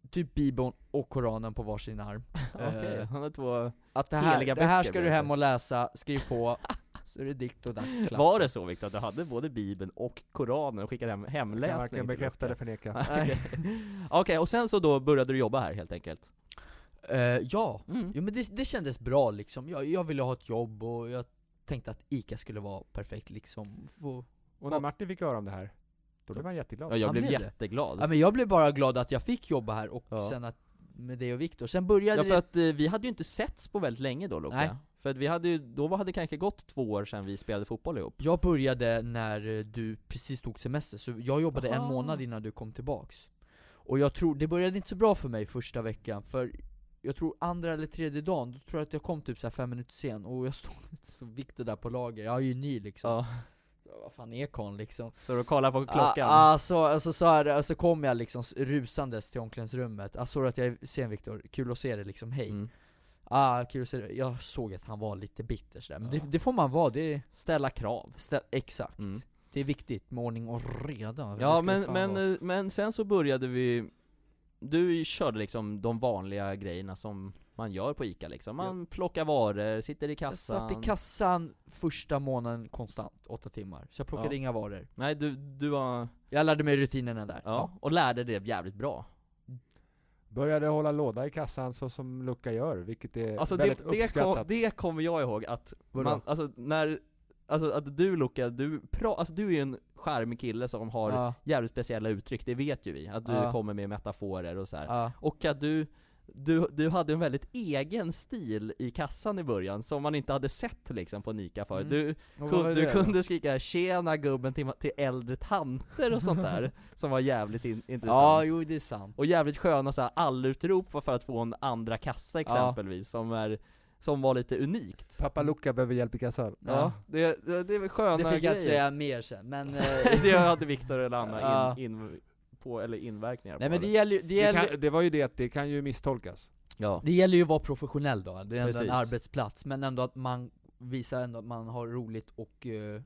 C: typ Bibeln och Koranen på varsin arm.
B: Okej,
C: Eh,
B: han har två...
C: Att det här,
B: Heliga
C: det här
B: böcker, liksom.
C: ska
B: vill
C: du
B: jag
C: hem
B: säga.
C: och läsa, skriv på, så är det dikt och dack. klart.
B: Var det så Viktor att du hade både bibeln och koranen och skickade hem
A: Jag kan
B: hemläsning?
A: varken
B: till
A: bekräfta eller
B: Lotta?
A: förneka.
B: Okej, Okej, och sen så då började du jobba här helt enkelt?
C: Eh, ja,
B: Mm.
C: jo, men det, det kändes bra liksom. Jag, jag ville ha ett jobb och jag tänkte att ICA skulle vara perfekt liksom. Få...
A: Och när Martin fick höra om det här, då blev han
B: Ja,
A: jätteglad.
B: jag
C: Han
B: blev
C: blev det.
B: jätteglad
C: Ja, men jag blev bara glad att jag fick jobba här och
B: Ja.
C: sen att, med dig och Viktor. Sen började
B: Ja för
C: det...
B: att eh, vi hade ju inte setts på väldigt länge då Loke
C: Nej.
B: För att vi hade ju, då hade det kanske gått två år sedan vi spelade fotboll ihop
C: Jag började när eh, du precis tog semester, så jag jobbade en
B: Aha.
C: månad innan du kom tillbaks Och jag tror, det började inte så bra för mig första veckan, för jag tror andra eller tredje dagen, då tror jag att jag kom typ så här fem minuter sen och jag stod så Viktor där på lager, jag är ju ny liksom
B: Ja,
C: Vad fan är kon liksom?
B: så då kollade på klockan
C: Ah, ah, så, alltså, så, här, alltså kom jag liksom s- rusandes till omklädningsrummet, ah, sorry att jag är sen Viktor, kul att se dig liksom, hej
B: Mm.
C: ah, kul att se dig. Jag såg att han var lite bitter sådär, men
B: Ja.
C: det, det får man vara, det är
B: Ställa krav
C: stä- exakt
B: mm.
C: det är viktigt med ordning och reda.
B: Ja men, men, eh, men sen så började vi Du körde liksom de vanliga grejerna som man gör på ICA liksom Man plockar varor, sitter i
C: jag
B: kassan
C: satt i kassan första månaden konstant, åtta timmar. Så jag plockade
B: Ja.
C: inga varor.
B: Nej du, du var, ja,
C: Jag lärde mig rutinerna där.
B: och lärde det jävligt bra
A: Började hålla låda i kassan så som Luca gör, vilket är
B: Alltså det,
A: väldigt
B: det, kom,
A: uppskattat.
B: det kommer jag ihåg att
C: Vadå?
B: man, alltså när, alltså att du Luca, du, pra, alltså du är ju en charmig kille som har
C: Ja,
B: jävligt speciella uttryck, det vet ju vi. Att du
C: Ja.
B: kommer med metaforer och så här.
C: ja.
B: Och att du, du, du hade en väldigt egen stil i kassan i början, som man inte hade sett liksom på Nika förut.
C: Mm.
B: Du,
C: Och vad
B: kun,
C: var
B: du
C: det då?
B: kunde skrika 'Tjena gubben' till, till äldre tanter och sånt där, som var jävligt in, intressant.
C: Ja, jo det är sant.
B: Och jävligt sköna så här allutrop var för att få en andra kassa exempelvis, som, är, som var lite unikt.
A: Pappa Luca behöver hjälp i kassan.
B: Ja, det, det, det är väl sköna
C: Det fick jag
B: grejer.
C: inte säga mer sen, men... eh,
B: det hade Viktor eller Anna
C: Ja.
B: in, in, på, eller inverkningar
C: nej
B: på.
C: men det
B: eller?
C: gäller ju, det
A: Det,
C: gäller, det,
A: kan, det var ju det att det kan ju misstolkas.
B: ja.
C: gäller ju att vara professionell då, det är ändå
B: Precis.
C: en arbetsplats, men ändå att man visar ändå att man har roligt och eh,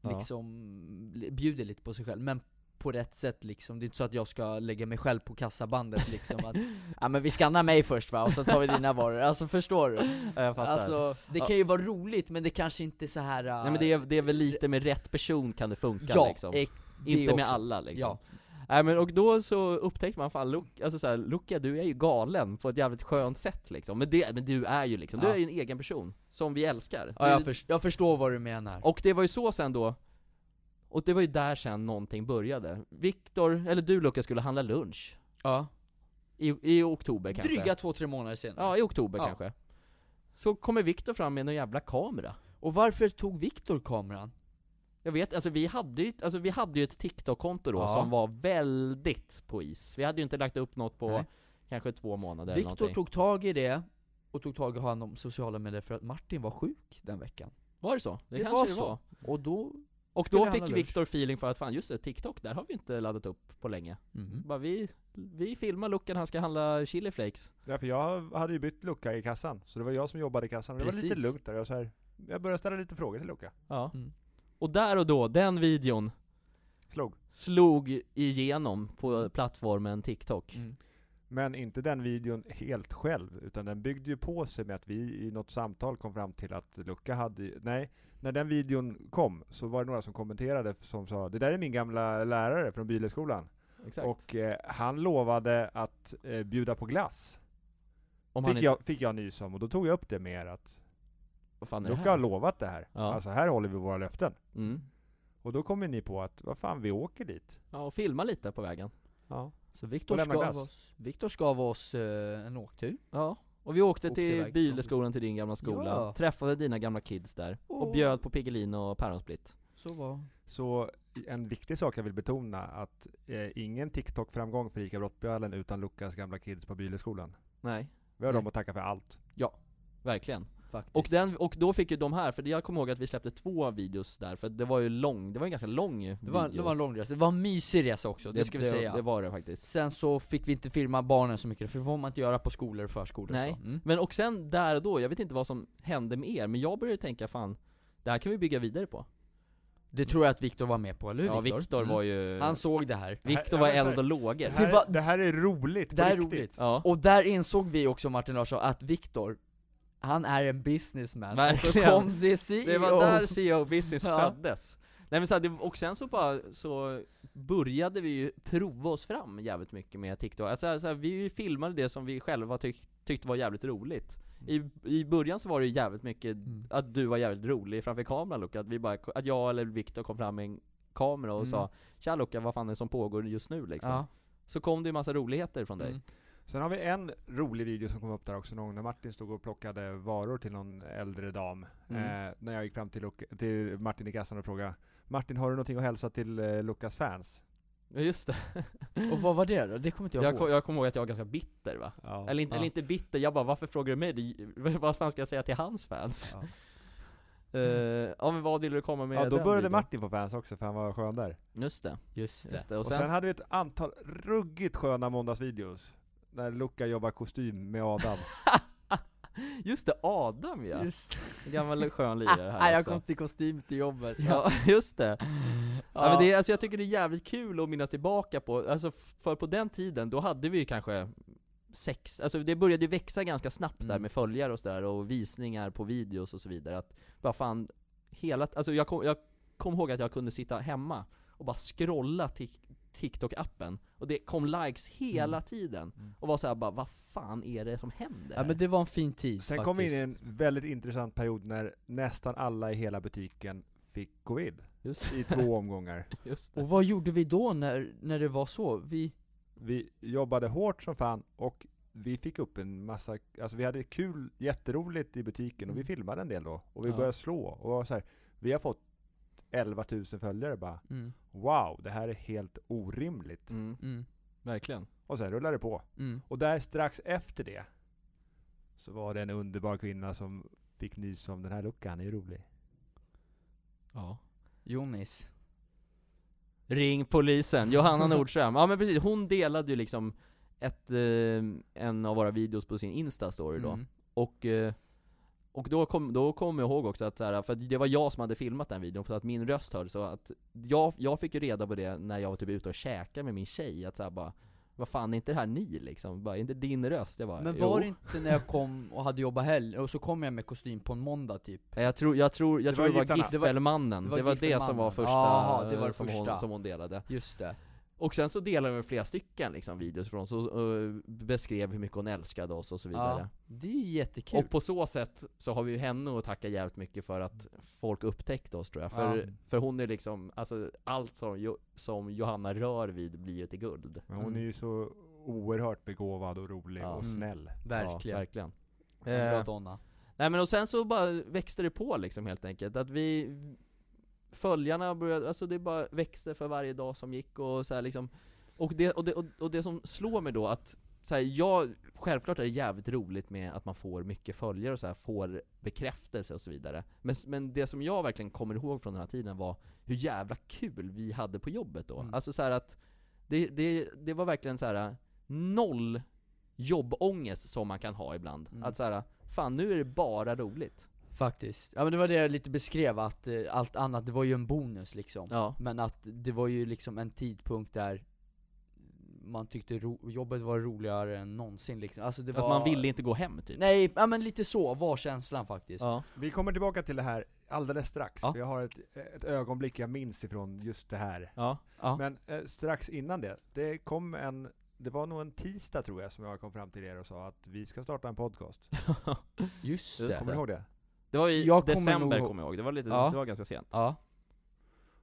B: Ja.
C: liksom li- bjuder lite på sig själv, men på rätt sätt liksom. Det är inte så att jag ska lägga mig själv på kassabandet liksom att Ja men vi skannar mig först va, och sen tar vi dina varor, alltså förstår du?
B: ja, jag fattar.
C: Alltså, det kan ju vara roligt men det kanske inte är så här äh,
B: Nej men det är, det är väl lite med rätt person kan det funka
C: ja,
B: liksom.
C: ex- det
B: Inte med
C: också.
B: alla liksom.
C: Ja.
B: Nej men och då så upptäckte man fan Luca, alltså så här, Luca du är ju galen på ett jävligt skönt sätt liksom. Men, det, men du är ju liksom, du
C: Ja.
B: är ju en egen person. Som vi älskar.
C: Ja,
B: Du-
C: jag, förs- jag förstår vad du menar.
B: Och det var ju så sen då och det var ju där sen någonting började. Viktor, eller du Luca skulle handla lunch.
C: Ja.
B: I, i oktober kanske.
C: Dryga två, tre månader senare.
B: Ja, i oktober
C: Ja.
B: kanske. Så kommer Viktor fram med någon jävla kamera.
C: Och varför tog Viktor kameran?
B: Jag vet, alltså vi hade ju, alltså, vi hade ju ett TikTok-konto då
C: Ja.
B: som var väldigt på is. Vi hade ju inte lagt upp något på
C: Nej.
B: kanske två månader eller
C: Viktor
B: någonting.
C: tog tag i det, och tog tag i hand om sociala medier för att Martin var sjuk den veckan.
B: Var det så? Det,
C: Det
B: kanske
C: var
B: det
C: så.
B: var.
C: Och då...
B: Och
C: Skulle
B: då
C: handla
B: fick
C: lunch.
B: Viktor feeling för att fan just det, TikTok, där har vi inte laddat upp på länge.
C: Mm.
B: Bara vi, vi filmar Lucan, han ska handla chili flakes.
A: Därför jag hade ju bytt Luca i kassan, så det var jag som jobbade i kassan. Det var lite
B: Precis.
A: lugnt där. Jag, så här, jag började ställa lite frågor till Luca.
B: Ja.
C: Mm.
B: Och där och då, den videon
A: Slog.
B: slog igenom på plattformen TikTok.
C: Mm.
A: Men inte den videon helt själv, utan den byggde ju på sig med att vi i något samtal kom fram till att Luca hade ju- Nej, när den videon kom så var det några som kommenterade som sa Det där är min gamla lärare från Byleskolan.
C: Mm.
B: Exakt.
A: Och eh, han lovade att eh, bjuda på glass.
B: Om han
A: Fick
B: inte,
A: jag, fick jag nys om och då tog jag upp det med er att
B: vad fan är det
A: Luca har
B: här?
A: lovat det här.
B: Ja.
A: Alltså här håller vi våra löften.
B: Mm.
A: Och då kommer ni på att, vad fan vi åker dit.
B: Ja, och filma lite på vägen.
A: Ja.
C: Så
A: Och
C: Viktor
A: lämna glass.
C: gav oss, Viktor gav oss eh, en åktur.
B: Ja, och vi åkte
C: Åkte
B: till
C: iväg
B: Byleskolan till din gamla skola,
C: Ja.
B: träffade dina gamla kids där, och
C: Åh.
B: bjöd på Piggelin och päronsplit.
C: Så var...
A: Så en viktig sak jag vill betona att eh, ingen TikTok-framgång för ICA Brottbjörnen utan Lukas gamla kids på Byleskolan.
B: Nej,
A: Vi har
C: Nej.
A: dem att tacka för allt.
B: verkligen.
C: faktiskt.
B: Och, den, och då fick ju de här, för jag kommer ihåg att vi släppte två videos där, för det var ju lång, det var en ganska lång video
C: det, var, det var en lång resa, det var en mysig resa också, det, ska vi
B: det,
C: säga
B: Det var det faktiskt
C: Sen så fick vi inte filma barnen så mycket, för det får man inte göra på skolor och förskolor
B: Nej.
C: och så. Mm.
B: Men och sen där och då, jag vet inte vad som hände med er, men jag började tänka fan, det här kan vi bygga vidare på
C: Det tror jag att Viktor var med på, eller hur
B: Ja
C: Viktor? Mm.
B: Viktor var ju,
C: Han såg det här,
B: Viktor
A: Ja,
B: var
A: men så här-
B: eld och lågor
A: Det här,
C: Det var-
A: det här är roligt, på
C: det här är
A: riktigt.
C: roligt
B: Ja,
C: Och där insåg vi också Martin Larsson att Viktor, han är en businessman
B: Verkligen.
C: Och så kom det E CEO
B: det var där CEO Business
C: Ja.
B: föddes Nej men så här, det, och sen så bara, så började vi ju prova oss fram jävligt mycket med TikTok, alltså, så här, så här, vi filmade det som vi själva tyck, tyckte var jävligt roligt I, I början så var det ju jävligt mycket
C: Mm.
B: att du var jävligt rolig framför kameran Luca, att, vi bara, att jag eller Viktor kom fram med en kamera och
C: Mm.
B: sa 'Tja Luca, vad fan är det som pågår just nu?' liksom
C: Ja.
B: Så kom det ju massa roligheter från dig
C: Mm.
A: Sen har vi en rolig video som kom upp där också någon gång när Martin stod och plockade varor till någon äldre dam.
B: Mm.
A: Eh, när jag gick fram till, Luc- till Martin i kassan och frågade Martin, har du någonting att hälsa till eh, Lukas fans?
B: Ja just det,
C: Och vad var det då? Det kommer inte jag,
B: jag,
C: jag
B: kom,
C: ihåg
B: jag kommer ihåg att jag var ganska bitter va?
A: Ja.
B: Eller, inte,
C: Ja.
B: eller inte bitter, jag bara 'Varför frågar du mig? Det- Vad fan ska jag säga till hans fans?'
A: Ja.
B: Eh, ja men vad ville du komma med
A: Ja, då
B: den
A: började
B: videon?
A: Martin få fans också för han var skön där.
B: Just det,
C: Just det
B: just det. Och,
A: Och
B: sen,
A: sen hade vi ett antal ruggigt sköna måndagsvideos. När Luca jobbar kostym med Adam.
B: Just det, Adam ja!
C: Just det.
B: Gammal skön lirare
C: Ah,
B: här
C: jag
B: också.
C: kom till kostym till jobbet
B: Ja, just det. Ja.
C: Ja.
B: men det, är- alltså jag tycker det är jävligt kul att minnas tillbaka på, alltså f- för på den tiden, då hade vi ju kanske sex, alltså det började ju växa ganska snabbt där
C: Mm.
B: med följare och sådär, och visningar på videos och så vidare, att bara fan, hela, alltså jag kom, jag kom ihåg att jag kunde sitta hemma och bara scrolla tik, TikTok-appen, och det kom likes hela
C: Mm.
B: tiden,
C: Mm.
B: och var såhär bara, vad fan är det som händer?
C: Ja men det var en fin tid
A: Sen
C: faktiskt.
A: kom vi in i en väldigt intressant period när nästan alla i hela butiken fick covid.
B: just,
A: I två omgångar.
B: just det.
C: Och vad gjorde vi då när, när det var så? Vi,
A: Vi jobbade hårt som fan och vi fick upp en massa, alltså vi hade kul, jätteroligt i butiken och vi
C: Mm.
A: filmade en del då. Och vi
B: Ja.
A: började slå och var så här, vi har fått 11 000 följare bara.
C: mm,
A: Wow, det här är helt orimligt.
B: Mm,
C: mm,
B: verkligen.
A: Och sen rullade det på.
C: mm.
A: Och där strax efter det så var det en underbar kvinna som fick nys om den här luckan, han är ju rolig.
B: Ja.
C: Jonis
B: Ring polisen, Johanna Nordström. Ja men precis, hon delade ju liksom ett, eh, en av våra videos på sin instastory då.
C: Mm.
B: Och, eh, och då kom, då kom jag ihåg också att, så här, för att det var jag som hade filmat den videon för att min röst hördes så att jag, jag fick ju reda på det när jag var typ ute och käkade med min tjej, att så här, bara Vad fan är inte det här ni liksom? Bara, är inte din röst? Jag bara,
C: Men
B: "Jo."
C: var det inte när jag kom och hade jobbat helg, och så kom jag med kostym på en måndag typ?
B: Nej, Jag tror, jag tror, jag
A: Det
B: tror
A: var
B: det var
A: giftarna.
B: Giffelmannen,
C: Det
B: det
C: var
B: var det, som var
C: Giffelmannen.
B: första,
C: Jaha, det
B: eh,
C: var det
B: som,
C: första.
B: Hon, som hon delade
C: Just det
B: Och sen så delade vi flera stycken liksom, videos från så eh, beskrev hur mycket hon älskade oss och så vidare.
C: Det är ju jättekul
B: och på så sätt så har vi ju henne att tacka jävligt mycket för att folk upptäckte oss tror jag. För,
C: Ja.
B: för hon är liksom, alltså allt som, Jo- som Johanna rör vid blir ju till guld.
A: Men hon är ju så oerhört begåvad och rolig
B: Ja.
A: och
C: Mm.
A: snäll.
B: Ja,
C: Verkligen,
B: verkligen.
C: En bra
B: Eh,
C: donna
B: Nej men och sen så bara växte det på liksom helt enkelt, att vi Följarna började, alltså det bara växte för varje dag som gick och så här liksom Och det, och det, och, och det som slår mig då att så här, jag, självklart är det jävligt roligt med att man får mycket följare och så här, får bekräftelse och så vidare men, men det som jag verkligen kommer ihåg från den här tiden var hur jävla kul vi hade på jobbet då
C: Mm.
B: Alltså så här att det, det, det var verkligen så här noll jobbångest som man kan ha ibland
C: Mm.
B: Att så här, Fan, nu är det bara roligt.
C: Faktiskt, ja men det var det jag lite beskrev att eh, allt annat, det var ju en bonus liksom
B: Ja.
C: Men att det var ju liksom en tidpunkt där man tyckte ro- jobbet var roligare än någonsin liksom Alltså det
B: Att
C: var
B: man ville inte gå hem typ.
C: Nej, ja men lite så var känslan faktiskt
B: Ja.
A: Vi kommer tillbaka till det här alldeles strax.
C: Ja.
A: för Jag har ett, ett ögonblick jag minns ifrån just det här.
B: Ja.
C: Ja.
A: Men eh, strax innan det, det kom en, det var nog en tisdag tror jag som jag kom fram till er och sa att vi ska starta en podcast.
C: Just
B: Just
C: det
A: Kommer ni ihåg det?
B: Det var i
C: Jag kommer nog
B: december
C: ihåg-
B: kommer jag ihåg, det var lite,
C: Ja.
B: det var ganska sent.
C: Ja,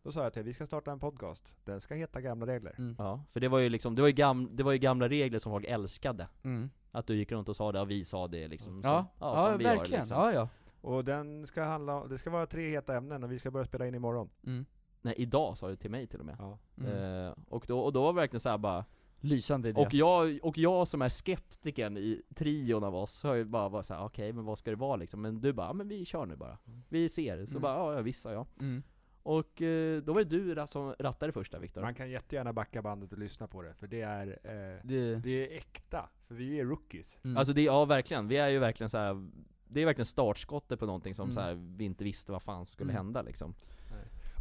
A: Då sa jag till er, vi ska starta en podcast. Den ska heta Gamla Regler.
C: mm.
B: Ja. För det var ju liksom, det var ju, gam, det var ju gamla regler som folk älskade.
C: Mm.
B: Att du gick runt och sa det, och vi sa det liksom. som-
C: ja, ja,
B: som vi gör,
C: verkligen,
B: liksom.
C: ja ja
A: Och den ska handla om, det ska vara tre heta ämnen och vi ska börja spela in imorgon.
C: mm.
B: Nej, idag sa du till mig till och med.
A: Ja.
C: Mm.
B: Eh, och, då, och då var det verkligen såhär bara
C: Lysande idé.
B: Eh. Och jag, och jag som är skeptiken i trion av oss, har ju bara varit såhär, okej men vad ska det vara liksom? Men du bara, "Ja, men vi kör nu bara. Vi ser. Så
C: Mm.
B: bara, ja ja, visst sa jag.
C: mm.
B: Och eh, då var det du ra- som rattade första Viktor.
C: Mm.
A: Man kan jättegärna backa bandet och lyssna på det, för det är, eh,
C: det,
A: det är äkta. För vi är rookies.
C: mm.
B: Mm. Alltså det, ja verkligen, vi är ju verkligen så här. Det är verkligen startskottet på någonting som
C: Mm.
B: så här, vi inte visste vad fan skulle
C: Mm.
B: hända liksom.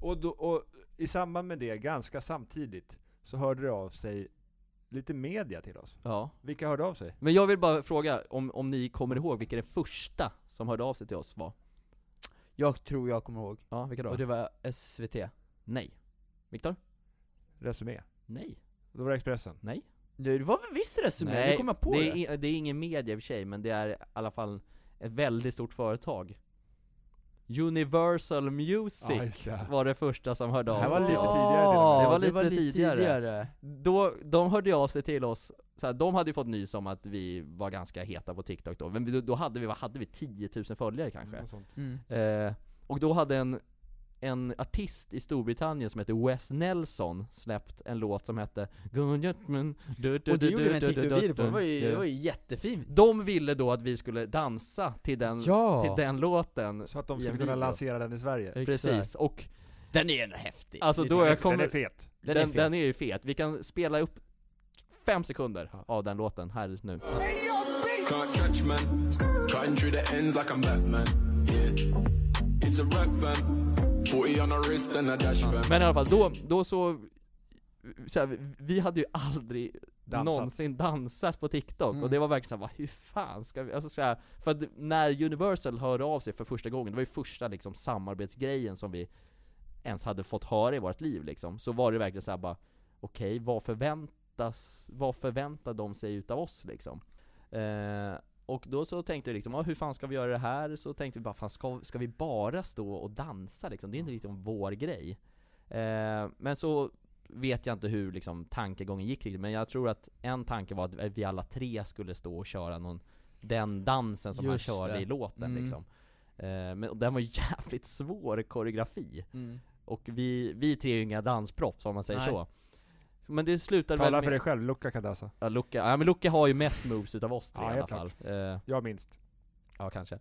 A: Och, då, och i samband med det, ganska samtidigt, så hörde det av sig lite media till oss.
B: Ja.
A: Vilka hörde av sig?
B: Men jag vill bara fråga om, om ni kommer ihåg vilka den första som hörde av sig till oss var?
C: Jag tror jag kommer ihåg.
B: Ja, vilka då?
C: Och det var SVT.
B: Nej. Viktor?
A: Resumé.
B: Nej.
A: Då var det Expressen.
B: Nej.
C: Det var väl visst resumé, nu
B: Nej,
C: kom jag på
B: det
C: det.
B: är, i- det är ingen media i och för sig, men det är i alla fall ett väldigt stort företag Universal
A: Ja,
B: Music
A: just det.
B: var det första som hörde
A: Det
B: av
A: här var
B: sig
A: lite
B: till oss.
A: tidigare till och med.
B: Det var lite tidigare.
C: tidigare.
B: Då, De hörde av sig till oss, så här, de hade ju fått nys om att vi var ganska heta på TikTok då, men vi- då hade vi, vad hade vi? 10 000 följare kanske?
A: Något sånt.
C: Mm.
B: Eh, och då hade en, en artist i Storbritannien som heter Wes Nelson släppt en låt som hette Och
C: Och det gjorde vi en TikTok-video på, det var ju, det var ju jättefint.
B: De ville då att vi skulle dansa till den,
C: Ja!
B: till den låten
A: Så att de
B: I
A: skulle
B: en
A: kunna
B: video.
A: lansera den i Sverige.
C: Exakt.
B: Precis, och
C: Den är ändå häftig.
B: Alltså,
C: Det
B: då
C: tycker
B: är
A: Den
B: jag
A: är-
B: kommer-
A: Den är fet.
B: den, den, är ju fet, vi kan spela upp fem sekunder
A: Ja.
B: av den låten här nu
F: Can't catch man. Cutting through the ends like I'm Batman. Yeah. It's a rap man. 40 on a wrist and a dash fam.
B: Men i alla fall, då, då så, så här, vi- vi hade ju aldrig
A: Dansat.
B: någonsin dansat på TikTok,
C: Mm.
B: och det var verkligen såhär, hur fan ska vi, alltså så här, för att när Universal hörde av sig för första gången, det var ju första liksom samarbetsgrejen som vi ens hade fått höra i vårt liv liksom, så var det verkligen såhär bara, okej, vad förväntas, vad förväntar de sig utav oss liksom? Eh, och då så tänkte vi liksom, ah, hur fan ska vi göra det här? Så tänkte vi bara, fan ska, ska vi bara stå och dansa liksom? Det är inte riktigt vår grej. Eh, men så vet jag inte hur liksom, tankegången gick riktigt, men jag tror att en tanke var att vi alla tre skulle stå och köra någon, den dansen som
C: Just
B: han körde
C: det.
B: i låten
C: Mm.
B: liksom. Eh, men och den var ju jävligt svår koreografi.
C: Mm.
B: Och vi, vi tre är ju inga dansproffs om man säger
C: Nej.
B: så. Men det slutade
A: Tala
B: väl
A: för
B: med...
A: dig själv, Luca kan dansa.
B: Ja, Luca, ja, men Luca har ju mest moves utav oss tre
A: Ja,
B: i alla
A: helt
B: fall. Eh,
A: Jag minst.
B: ja, kanske.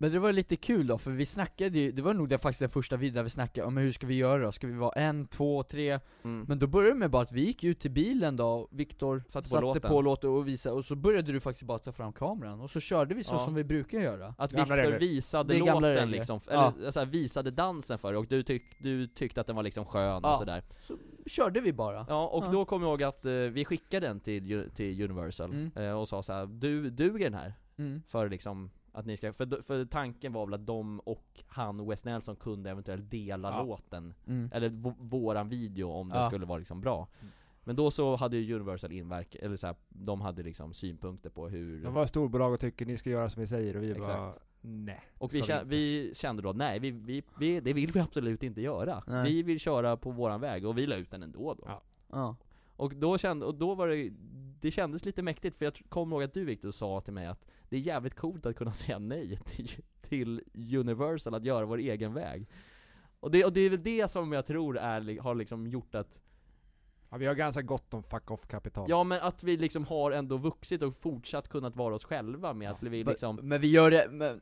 C: Men det var lite kul då, för vi snackade ju, det var nog det, faktiskt den första videon där vi snackade om men hur ska vi göra då? Ska vi vara en, två, tre?
B: Mm.
C: Men då började det med bara att vi gick ut till bilen då, Viktor
B: Satte på
C: satte
B: låten.
C: på låten och visade, och så började du faktiskt bara ta fram kameran, och så körde vi så
B: Ja.
C: som vi brukar göra
B: Att
A: Gamla
B: Viktor
A: regler.
B: visade
C: Det är gamla regler.
B: låten liksom,
C: Ja.
B: eller så här, visade dansen för dig och du, tyck, du tyckte att den var liksom skön och
C: Ja.
B: sådär
C: Körde vi bara
B: Ja, och
C: Ja.
B: då kom jag ihåg att eh, vi skickade den till, Ju- till Universal
C: Mm.
B: eh, och sa så här: du duger den här?
C: mm.
B: För liksom att ni ska, för, d- för tanken var väl att de och han, Wes Nelson, kunde eventuellt dela
A: Ja.
B: låten
C: Mm.
B: Eller v- våran video om den
C: Ja.
B: skulle vara liksom bra
A: Mm.
B: Men då så hade ju Universal inverk, eller så här, de hade liksom synpunkter på hur
A: De var storbolag och tycker ni ska göra som vi säger och vi
B: Exakt.
A: bara, nej.
B: Och vi,
A: Ska vi
B: kä- vi kände då, nej vi, vi, vi, det vill vi absolut inte göra.
C: Nej.
B: Vi vill köra på våran väg, och vi la ut den ändå då.
A: Ja.
C: Ja.
B: Och då kände, och då var det, det kändes lite mäktigt, för jag tr- kommer ihåg att du Victor sa till mig att det är jävligt coolt att kunna säga nej till, till Universal, att göra vår egen väg. Och det, och det är väl det som jag tror är, li- har liksom gjort att,
A: Ja, vi har ganska gott om fuck off-kapital.
B: ja men att vi liksom har ändå vuxit och fortsatt kunnat vara oss själva med att vi
C: Va-
B: liksom
C: Men vi gör det, men,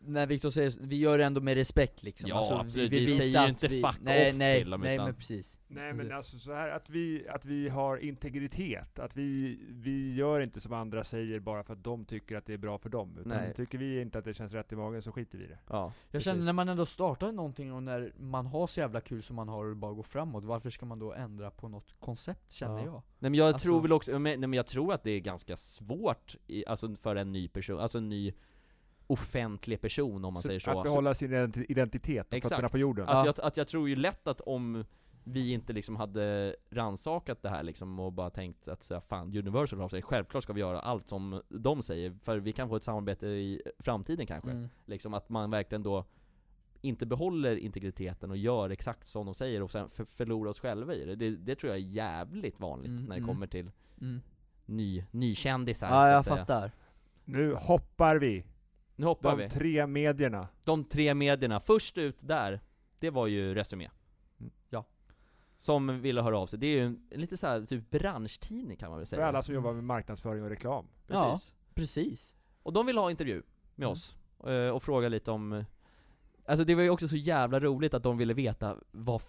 C: när Viktor säger så, vi gör det ändå med respekt liksom
B: Ja,
C: Alltså,
B: absolut. Vi säger ju
C: visar att
B: inte
C: vi,
B: fuck
C: nej,
B: off
C: nej,
B: till dem,
C: Nej
B: utan-
C: men precis
A: Nej men alltså så här att vi, att vi har integritet, att vi, vi gör inte som andra säger bara för att de tycker att det är bra för dem. Utan
B: Nej.
A: tycker vi inte att det känns rätt i magen så skiter vi i det.
B: Ja,
C: Jag
B: precis.
C: känner när man ändå startar någonting och när man har så jävla kul som man har och det bara går framåt, varför ska man då ändra på något koncept känner
B: Ja.
C: jag?
B: Nej men jag
C: Alltså-
B: tror väl också, men, nej, men jag tror att det är ganska svårt i, alltså för en ny person, alltså en ny offentlig person om man säger så.
A: Att behålla sin identi- identitet och
B: Exakt.
A: fötterna på jorden.
B: Att,
C: Ja.
B: jag, att jag tror ju lätt att om vi inte liksom hade ransakat det här liksom och bara tänkt att så här, fan Universal har sig, självklart ska vi göra allt som de säger, för vi kan få ett samarbete i framtiden kanske.
C: Mm.
B: Liksom att man verkligen då inte behåller integriteten och gör exakt som de säger och sen för, förlorar oss själva i det. det. Det tror jag är jävligt vanligt
C: Mm,
B: när det
C: mm.
B: kommer till
C: Mm.
B: ny, nykändisar så
C: Ja
B: att
C: jag
B: säga.
C: fattar.
A: Nu hoppar vi!
B: Nu hoppar
A: De
B: vi.
A: tre medierna.
B: De tre medierna, först ut där, det var ju Resumé.
C: Mm, Ja.
B: som ville höra av sig. Det är ju en, en lite så här typ branschtidning kan man väl
A: För
B: säga.
A: alla som jobbar med marknadsföring och reklam.
C: Ja.
B: Precis.
C: Precis.
B: Och de ville ha intervju med
C: Mm.
B: oss eh, och fråga lite om eh, Alltså det var ju också så jävla roligt att de ville veta vad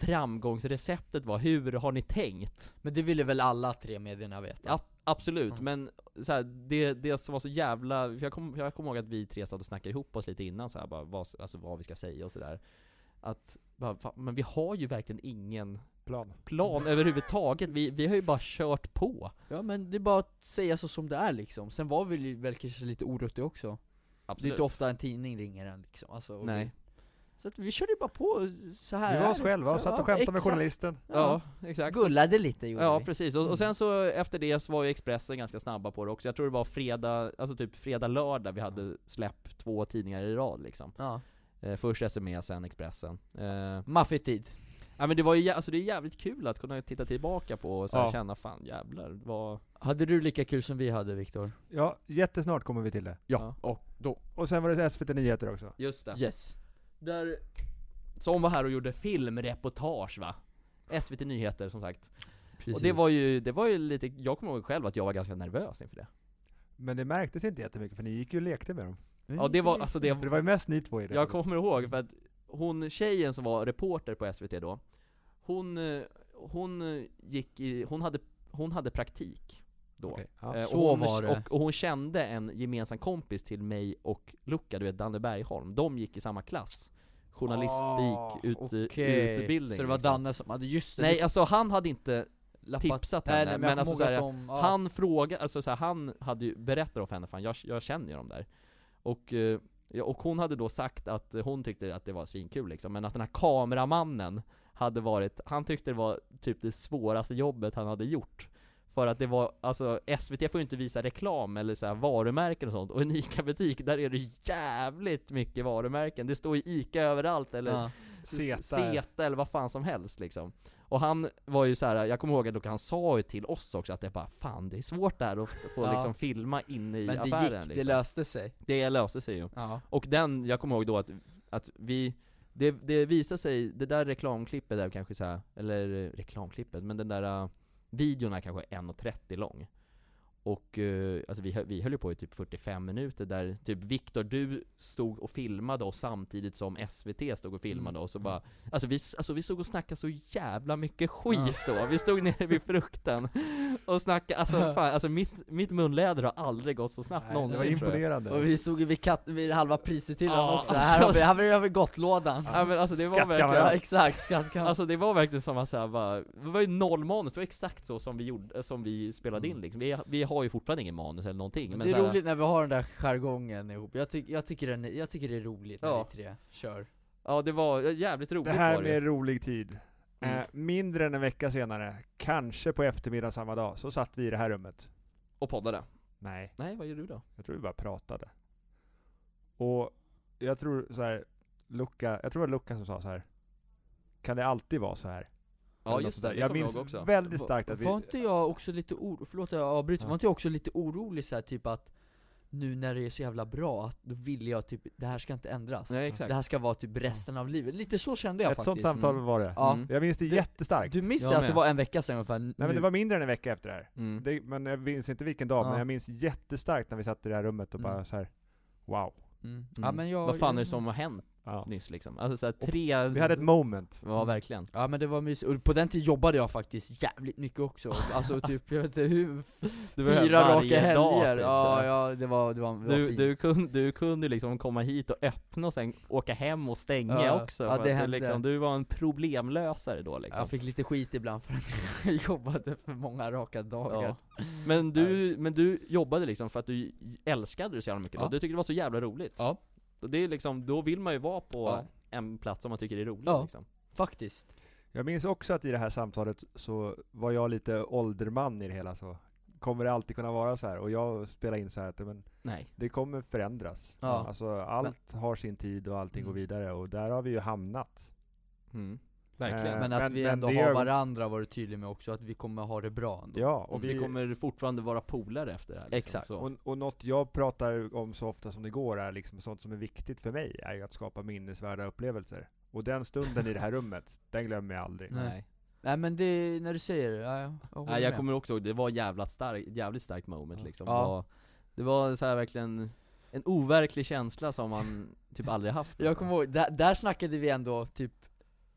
B: framgångsreceptet var, hur har ni tänkt?
C: Men det ville väl alla tre medierna veta?
B: Ja, absolut,
C: Mm.
B: men så här, det, det som var så jävla, för jag kommer jag kom ihåg att vi tre satt och snackade ihop oss lite innan så här, bara, vad, alltså, vad vi ska säga och sådär Att, bara, fan, men vi har ju verkligen ingen
A: Plan.
B: plan överhuvudtaget, vi, vi har ju bara kört på
C: Ja men det är bara att säga så som det är liksom, sen var vi li- väl kanske lite orutiga också Det är inte ofta en tidning ringer en liksom, alltså, och
B: Nej.
C: Vi, Så att vi körde bara på så här
A: Vi var
C: är
A: oss
C: det.
A: själva och
C: Så-
A: satt
C: ja,
A: och skämtade med
C: exakt.
A: journalisten.
B: Ja, exakt
C: Gullade lite gjorde
B: Ja
C: vi
B: precis, och,
C: Mm.
B: och sen så efter det så var ju Expressen ganska snabba på det också, jag tror det var fredag, alltså typ fredag, lördag vi hade släppt två tidningar i rad liksom
C: ja.
B: eh, Först SMS, sen Expressen eh,
C: Maffig tid
B: Ja men det var ju, jä- alltså det är jävligt kul att kunna titta tillbaka på och så här
A: Ja.
B: känna fan jävlar vad
C: Hade du lika kul som vi hade Viktor?
A: Ja, jättesnart kommer vi till det.
B: Ja.
C: och då
A: Och sen var det SVT Nyheter också.
B: Just det
C: Yes
B: Där, som var här och gjorde filmreportage va? SVT Nyheter som sagt
C: Precis.
B: Och det var ju, det var ju lite, jag kommer ihåg själv att jag var ganska nervös inför det
A: Men det märktes inte jättemycket för ni gick ju och lekte med dem.
B: Ja det var, alltså det
A: Det var ju mest ni två i det.
B: Jag kommer ihåg för att hon tjejen som var reporter på SVT då Hon, eh, hon eh, gick i, hon hade, hon hade praktik då
A: Okej, ja.
B: Eh,
C: Så
B: och, hon,
C: var det.
B: Och, och hon kände en gemensam kompis till mig och Luca, du vet Danne Bergholm, de gick i samma klass Journalistikutbildning
C: Ah, Okej.
B: utbildning
C: Så det var
B: liksom.
C: Danne som hade, just det,
B: Nej
C: det-
B: alltså han hade inte
C: lappat-
B: tipsat
C: Nej,
B: henne,
C: nej,
B: men,
C: jag
B: alltså
C: kommer ihåg
B: såhär,
C: att de- Mm, ja.
B: han frågade, alltså så här, han hade ju berättat för henne, fan jag, jag känner ju dem där. Och, eh, ja, och hon hade då sagt att eh, hon tyckte att det var svinkul liksom, men att den här kameramannen hade varit, han tyckte det var typ det svåraste jobbet han hade gjort. För att det var, alltså SVT får ju inte visa reklam eller så här varumärken och sånt, och en ICA-butik, där är det jävligt mycket varumärken. Det står ju ICA överallt eller
C: ja.
A: Zeta.
B: Zeta eller vad fan som helst liksom. Och han var ju så här, jag kommer ihåg att han sa ju till oss också att det bara fan det är svårt där att få
C: Ja.
B: liksom filma inne i
C: Men det gick,
B: affären liksom.
C: det löste sig
B: det löste sig ju.
C: Ja,
B: Och den, jag kommer ihåg då att, att vi, det, det visade sig, det där reklamklippet där kanske så här, eller eh, reklamklippet, men den där eh, videon är kanske 1.30 lång. Och eh, alltså vi, hö- vi höll ju på i typ 45 minuter där typ Viktor, du stod och filmade oss samtidigt som SVT stod och filmade
C: Mm,
B: oss och
C: mm.
B: bara Alltså vi, s- alltså vi stod och snackade så jävla mycket skit då, vi stod nere vid frukten och snackade, alltså fan, alltså mitt, mitt munläder har aldrig gått så snabbt
A: Nej, det
B: någonsin
A: var
B: tror jag.
A: imponerande.
C: och vi stod ju vid, katt, vid halva priset till
B: Ja,
C: honom också,
B: alltså-
C: här har vi, här har vi, här har vi gottlådan
B: Ja men alltså det var
A: Skattkamera.
B: verkligen
C: Ja exakt, skattkamp
B: Alltså det var verkligen som att såhär bara, det var ju noll manus, det var exakt så som vi gjorde, eh, som vi spelade in liksom. vi, vi har ju fortfarande ingen manus eller någonting men
C: Mm. det är
B: såhär,
C: roligt när vi har den där jargongen ihop, jag, tyck, jag, tycker, den, är- jag tycker det är roligt när
B: Ja.
C: vi tre kör
B: Ja det var jävligt roligt
A: Det här
B: var det ju.
A: med rolig tid.
B: Mm.
A: Eh, mindre än en vecka senare, kanske på eftermiddagen samma dag, så satt vi i det här rummet.
B: Och poddade
A: Nej,
B: Nej vad gjorde du då?
A: jag tror vi bara pratade. Och jag tror så här, Luca, jag tror det var Luca som sa så här. Kan det alltid vara så här? Eller
B: Ja
A: något
B: just
A: sånt
B: det,
A: där.
B: det
A: Jag
B: kommer
A: minns
B: jag ihåg också
A: väldigt starkt att vi...
C: Var inte jag också lite orolig, förlåt att jag avbryter,
A: Ja.
C: var inte jag också lite orolig så här, typ att nu när det är så jävla bra, att då vill jag typ, det här ska inte ändras
B: Nej exakt
C: Det här ska vara typ resten av livet, lite så kände jag
A: Ett sånt
C: faktiskt
A: samtal
B: Mm.
A: var det.
C: Ja,
B: Mm.
A: Jag minns det
C: Du-
A: jättestarkt.
C: Du missade
B: Jag
C: att det
B: med.
C: var en vecka sedan ungefär,
A: Nej men det var mindre än en vecka efter det här.
B: mm.
A: Det, men jag minns inte vilken dag,
C: Ja.
A: men jag minns jättestarkt när vi satt i det här rummet och
C: Mm.
A: bara så här. wow.
C: mm.
B: Mm.
C: ja, men jag,
B: Vad fan är det som har hänt
A: Ja.
B: nyss liksom? Alltså såhär tre
A: Vi hade ett moment.
C: Mm.
B: Ja verkligen
C: Ja men det var mysigt, och på den tiden jobbade jag faktiskt jävligt mycket också, alltså typ, jag vet inte hur,
B: Du var
C: fyra
B: här
C: raka
B: varje dag,
C: helger,
B: typ, så
C: ja
B: här.
C: ja det var, det var, det var
B: Du,
C: fint.
B: du, kun, du kunde liksom komma hit och öppna och sen åka hem och stänga
C: Ja,
B: också
C: ja,
B: för
C: det
B: att du
C: hände.
B: liksom, Du var en problemlösare då liksom
C: Jag fick lite skit ibland för att jag jobbade för många raka dagar
B: Ja. Men, du, men du jobbade liksom för att du älskade det så jävla mycket
C: Ja.
B: då. Du tyckte det var så jävla roligt.
C: Ja.
B: Och det är liksom, då vill man ju vara på
C: Ja.
B: en plats som man tycker är rolig
C: Ja.
B: liksom.
C: Faktiskt.
A: Jag minns också att i det här samtalet så var jag lite ålderman i det hela så. Kommer det alltid kunna vara så här? Och jag spelar in så här att men
B: Nej.
A: det kommer förändras.
C: Ja.
A: Alltså allt har sin tid och allting går
C: Mm.
A: vidare och där har vi ju hamnat.
B: Mm. Verkligen.
A: Eh,
C: Men att
A: men-
C: vi
A: men
C: ändå
A: det
C: har
A: gör-
C: varandra var du tydlig med också, att vi kommer ha det bra ändå.
A: Ja,
B: och
A: och,
B: vi
A: vi,
B: kommer fortfarande vara polare efter det här. liksom,
C: Exakt.
B: Så.
A: och, och något jag pratar om så ofta som det går är liksom sånt som är viktigt för mig är ju att skapa minnesvärda upplevelser. Och den stunden i det här rummet, den glömmer jag aldrig.
B: Nej.
C: Nej men det, när du säger det, ja, jag, jag håller
B: Nej, jag
C: med.
B: kommer också ihåg, det var jävligt stark, jävligt starkt moment liksom
C: Ja.
B: Det var, det var så här verkligen en overklig känsla som man typ aldrig haft
C: Jag kommer ihåg, där, där snackade vi ändå typ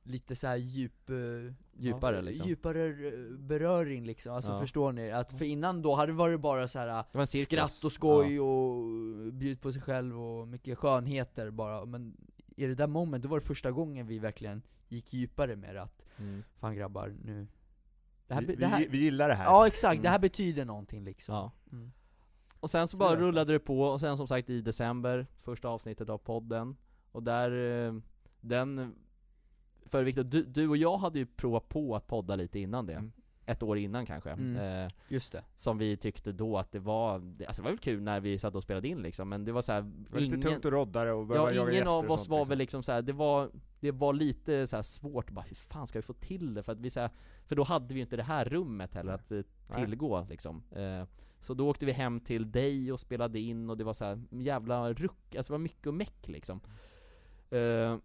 C: lite så här djup, eh,
B: Djupare
C: ja,
B: liksom
C: djupare eh, beröring liksom, alltså
B: Ja.
C: förstår ni? Att för innan då hade det varit bara så här eh,
B: Det var en cirkus
C: skratt och skoj och bjud på sig själv och mycket skönheter bara, men i det där moment, då var det första gången vi verkligen gick djupare med det att
B: mm.
C: Fan grabbar, nu det här,
A: Vi,
C: be- det här,
A: vi, vi gillar det här.
C: Ja exakt, det här
B: Mm.
C: betyder någonting liksom
B: Ja
C: Mm.
B: Och sen så
C: Tror
B: bara
C: jag så.
B: rullade det på, och sen som sagt i december, första avsnittet av podden Och där, eh, den För Viktor, du, du och jag hade ju provat på att podda lite innan det
A: Mm.
B: Ett år innan kanske
C: Mm.
B: eh,
C: Just det
B: Som vi tyckte då att det var, det- alltså det var väl kul när vi satt och spelade in liksom Men det var så här,
A: Det var lite tungt och roddare och
B: Ja,
A: behöva jaga
B: ingen
A: gäster
B: av
A: och
B: oss
A: sånt,
B: var
A: liksom.
B: väl liksom så här, det var det var lite så här svårt bara, hur fan ska vi få till det? För att vi så här, för då hade vi ju inte det här rummet heller att eh,
A: Nej.
B: tillgå liksom. Eh, Så då åkte vi hem till dig och spelade in och det var så här jävla ruck, alltså det var mycket och meck liksom. Eh,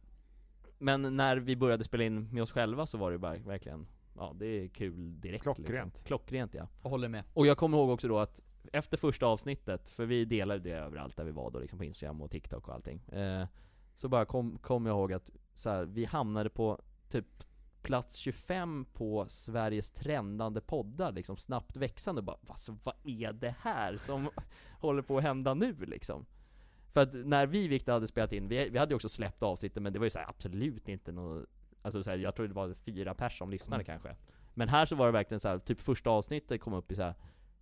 B: Men när vi började spela in med oss själva så var det bara verkligen, ja det är kul direkt Liksom.
A: Klockrent.
B: Klockrent ja.
C: Jag håller med
B: Och jag kommer ihåg också då att efter första avsnittet, för vi delade det överallt där vi var då liksom på Instagram och TikTok och allting. Eh, så bara kom, kom jag ihåg att så här, vi hamnade på typ plats 25 på Sveriges trendande poddar liksom, snabbt växande. Bara, alltså, vad är det här som håller på att hända nu liksom? För att när vi Viktor hade spelat in, vi, vi hade ju också släppt avsnittet men det var ju så här, absolut inte något, alltså så här, jag tror det var fyra pers som
C: Mm.
B: lyssnade kanske. Men här så var det verkligen så här, typ första avsnittet kom upp i så här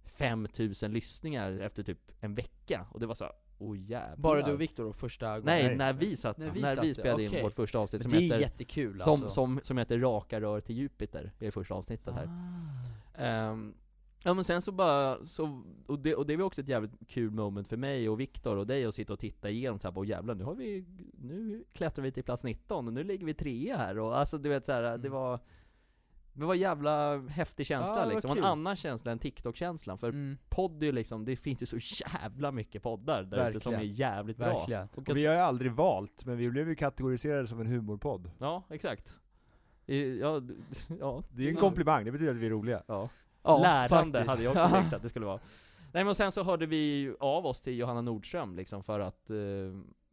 B: 5000 lyssningar efter typ en vecka. Och det var så här, oh jävlar.
C: Bara du och Viktor då första gången?
B: Nej,
A: Nej.
B: när vi satt, när
C: När
B: vi,
C: vi satt, ja.
B: spelade in
C: Okej.
B: vårt första avsnitt som
C: Men det är ju
B: heter,
C: jättekul
B: som,
C: alltså
B: som, som heter Raka rör till Jupiter, det är första avsnittet här.
C: Ah.
B: Ehm, ja men sen så bara, så, och, det, och det var också ett jävligt kul moment för mig och Viktor och dig att sitta och titta igenom såhär, åh jävlar nu har vi, nu klättrar vi till plats 19 och nu ligger vi trea här och alltså du vet såhär, det
C: Mm.
B: var det var en jävla häftig känsla
C: Ja, det var
B: liksom, och en
C: kul.
B: annan känsla än TikTok-känslan för
C: mm,
B: podd är ju liksom, det finns ju så jävla mycket poddar där ute som är
C: Verkligen.
B: jävligt bra
C: Verkligen
A: Och vi har ju aldrig valt, men vi blev ju kategoriserade som en humorpodd.
B: Ja, exakt. I- Ja, d- ja.
A: Det
C: Mm.
A: är en komplimang, det betyder att vi är roliga.
B: Ja.
C: Ja,
B: Lärande
C: faktiskt.
B: hade jag också tänkt att det skulle vara. Nej men sen så hörde vi ju av oss till Johanna Nordström liksom för att eh,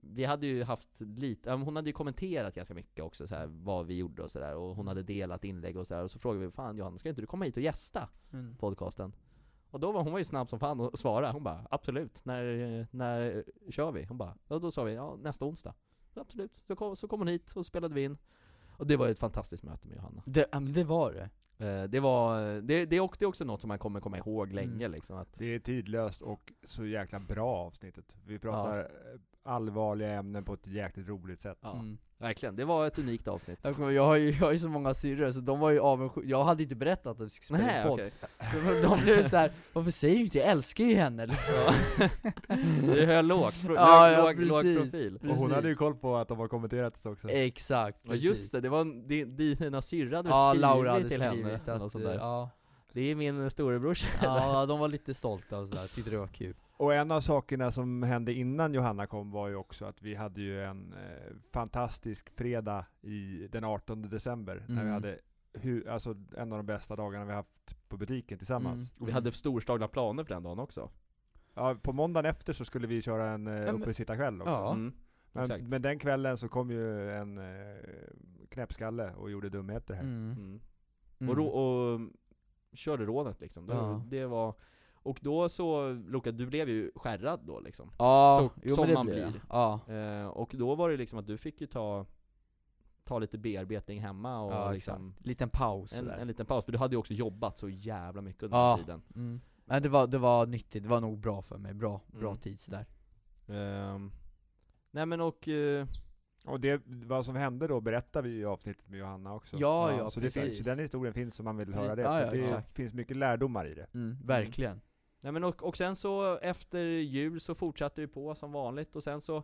B: vi hade ju haft lite, ja, men hon hade ju kommenterat ganska mycket också så här, vad vi gjorde och sådär och hon hade delat inlägg och sådär och så frågade vi Fan Johanna, ska inte du komma hit och gästa
C: Mm.
B: podcasten? Och då var hon var ju snabb som fan och svara. Hon bara absolut, när, eh, när eh, kör vi? Hon bara, och då sa vi ja, nästa onsdag. Absolut, så kom, så kom hon hit och spelade vi in. Och det var ju ett fantastiskt möte med Johanna.
C: Det, ja, men det var det
B: Eh, Det var, det, det är också- det är också något som man kommer komma ihåg länge
C: Mm.
B: liksom att,
A: Det är tidlöst och så jäkla bra avsnittet. Vi pratar eh, allvarliga ämnen på ett jäkligt roligt sätt.
B: ja,
C: mm.
B: verkligen, det var ett unikt avsnitt
C: jag, kommer, jag, har ju, jag har ju så många syrror så de var ju avundsjuka, jag hade inte berättat att vi skulle spela
B: Nej
C: in podd
B: okej,
C: de, de blev så här, varför säger du inte jag älskar ju henne liksom?
B: du höll låg, pro,
C: Ja,
B: låg, låg,
C: ja,
B: låg
C: precis.
B: profil
A: Och hon
C: Precis. Eh.
A: hade ju koll på att de har kommenterat oss också.
C: Exakt,
B: Ja just det, det var en- di- dina syrra hade
C: Ja,
B: skrivit
C: Laura hade
B: till henne
C: skrivit
B: något
C: att, eh,
B: sånt där.
C: ja,
B: Det är min storebrors
C: ja de var lite stolta och sådär, tyckte det var kul
A: Och en av sakerna som hände innan Johanna kom var ju också att vi hade ju en eh, fantastisk fredag i den 18 december. När vi
C: Mm.
A: hade hu- alltså en av de bästa dagarna vi haft på butiken tillsammans.
C: Mm.
B: Och vi hade storslagna planer för den dagen också
A: Ja, på måndagen efter så skulle vi köra en eh,
C: men-
A: uppesittarkväll också.
C: Ja.
B: mm. exakt.
A: men, men den kvällen så kom ju en eh, knäppskalle och gjorde dumheter här.
C: Mm.
B: Mm.
C: Mm.
B: Och, rå, och körde rånet liksom, det,
C: Ja.
B: det var Och då så, Luka, du blev ju skärrad då liksom
C: Ja,
B: Så-
C: jo,
B: som
C: men det
B: man
C: jag.
B: blir.
C: Ja.
B: Eh, och då var det liksom att du fick ju ta, ta lite bearbetning hemma och
C: ja,
B: liksom
C: exakt. Liten paus
B: en,
C: sådär.
B: en liten paus, för du hade ju också jobbat så jävla mycket under
C: Ja.
B: den tiden
C: Mm. Men det var, det var nyttigt, det var nog bra för mig, bra, bra
B: Mm.
C: tid sådär
B: Ehm, Nej men och, eh,
A: Och det, vad som hände då berättar vi ju i avsnittet med Johanna också.
C: Ja, ja,
A: så, det finns,
C: precis. Mm.
A: så den historien finns om man vill höra det.
C: Ja, ja,
A: För det
C: exakt.
A: finns mycket lärdomar i det.
C: mm. Verkligen
B: nej men och, och sen så efter jul så fortsatte vi på som vanligt och sen så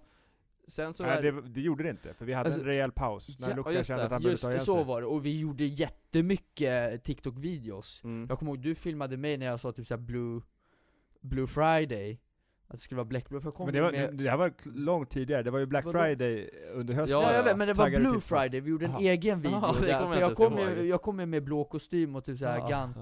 B: Sen så
A: Nej,
B: är-
A: det, det gjorde det inte, för vi hade
C: Alltså-
A: en rejäl paus när
C: Ja,
A: Luca
B: just
A: kände
B: det.
A: att han behövde
C: Just
A: ta
C: det,
A: igen
C: så
A: sig.
C: var det, och vi gjorde jättemycket TikTok-videos
B: mm.
C: Jag kommer ihåg, du filmade mig när jag sa typ såhär blue, blue friday det skulle vara Black Blue, för jag kom
A: Men det, var,
C: med...
A: det här var långt tidigare, det var ju Black
C: Vadå?
A: Friday under hösten.
B: Ja,
C: Ja, jag vet, men det var
A: Taggade
C: Blue
A: till-
C: Friday, vi gjorde en
A: Aha.
C: egen video
B: Aha, det
C: där,
B: kommer
C: för
B: jag
C: jag
B: inte ens
C: kom, ju,
B: ihåg.
C: jag kom ju med blå kostym och typ såhär
B: Ja.
C: gant,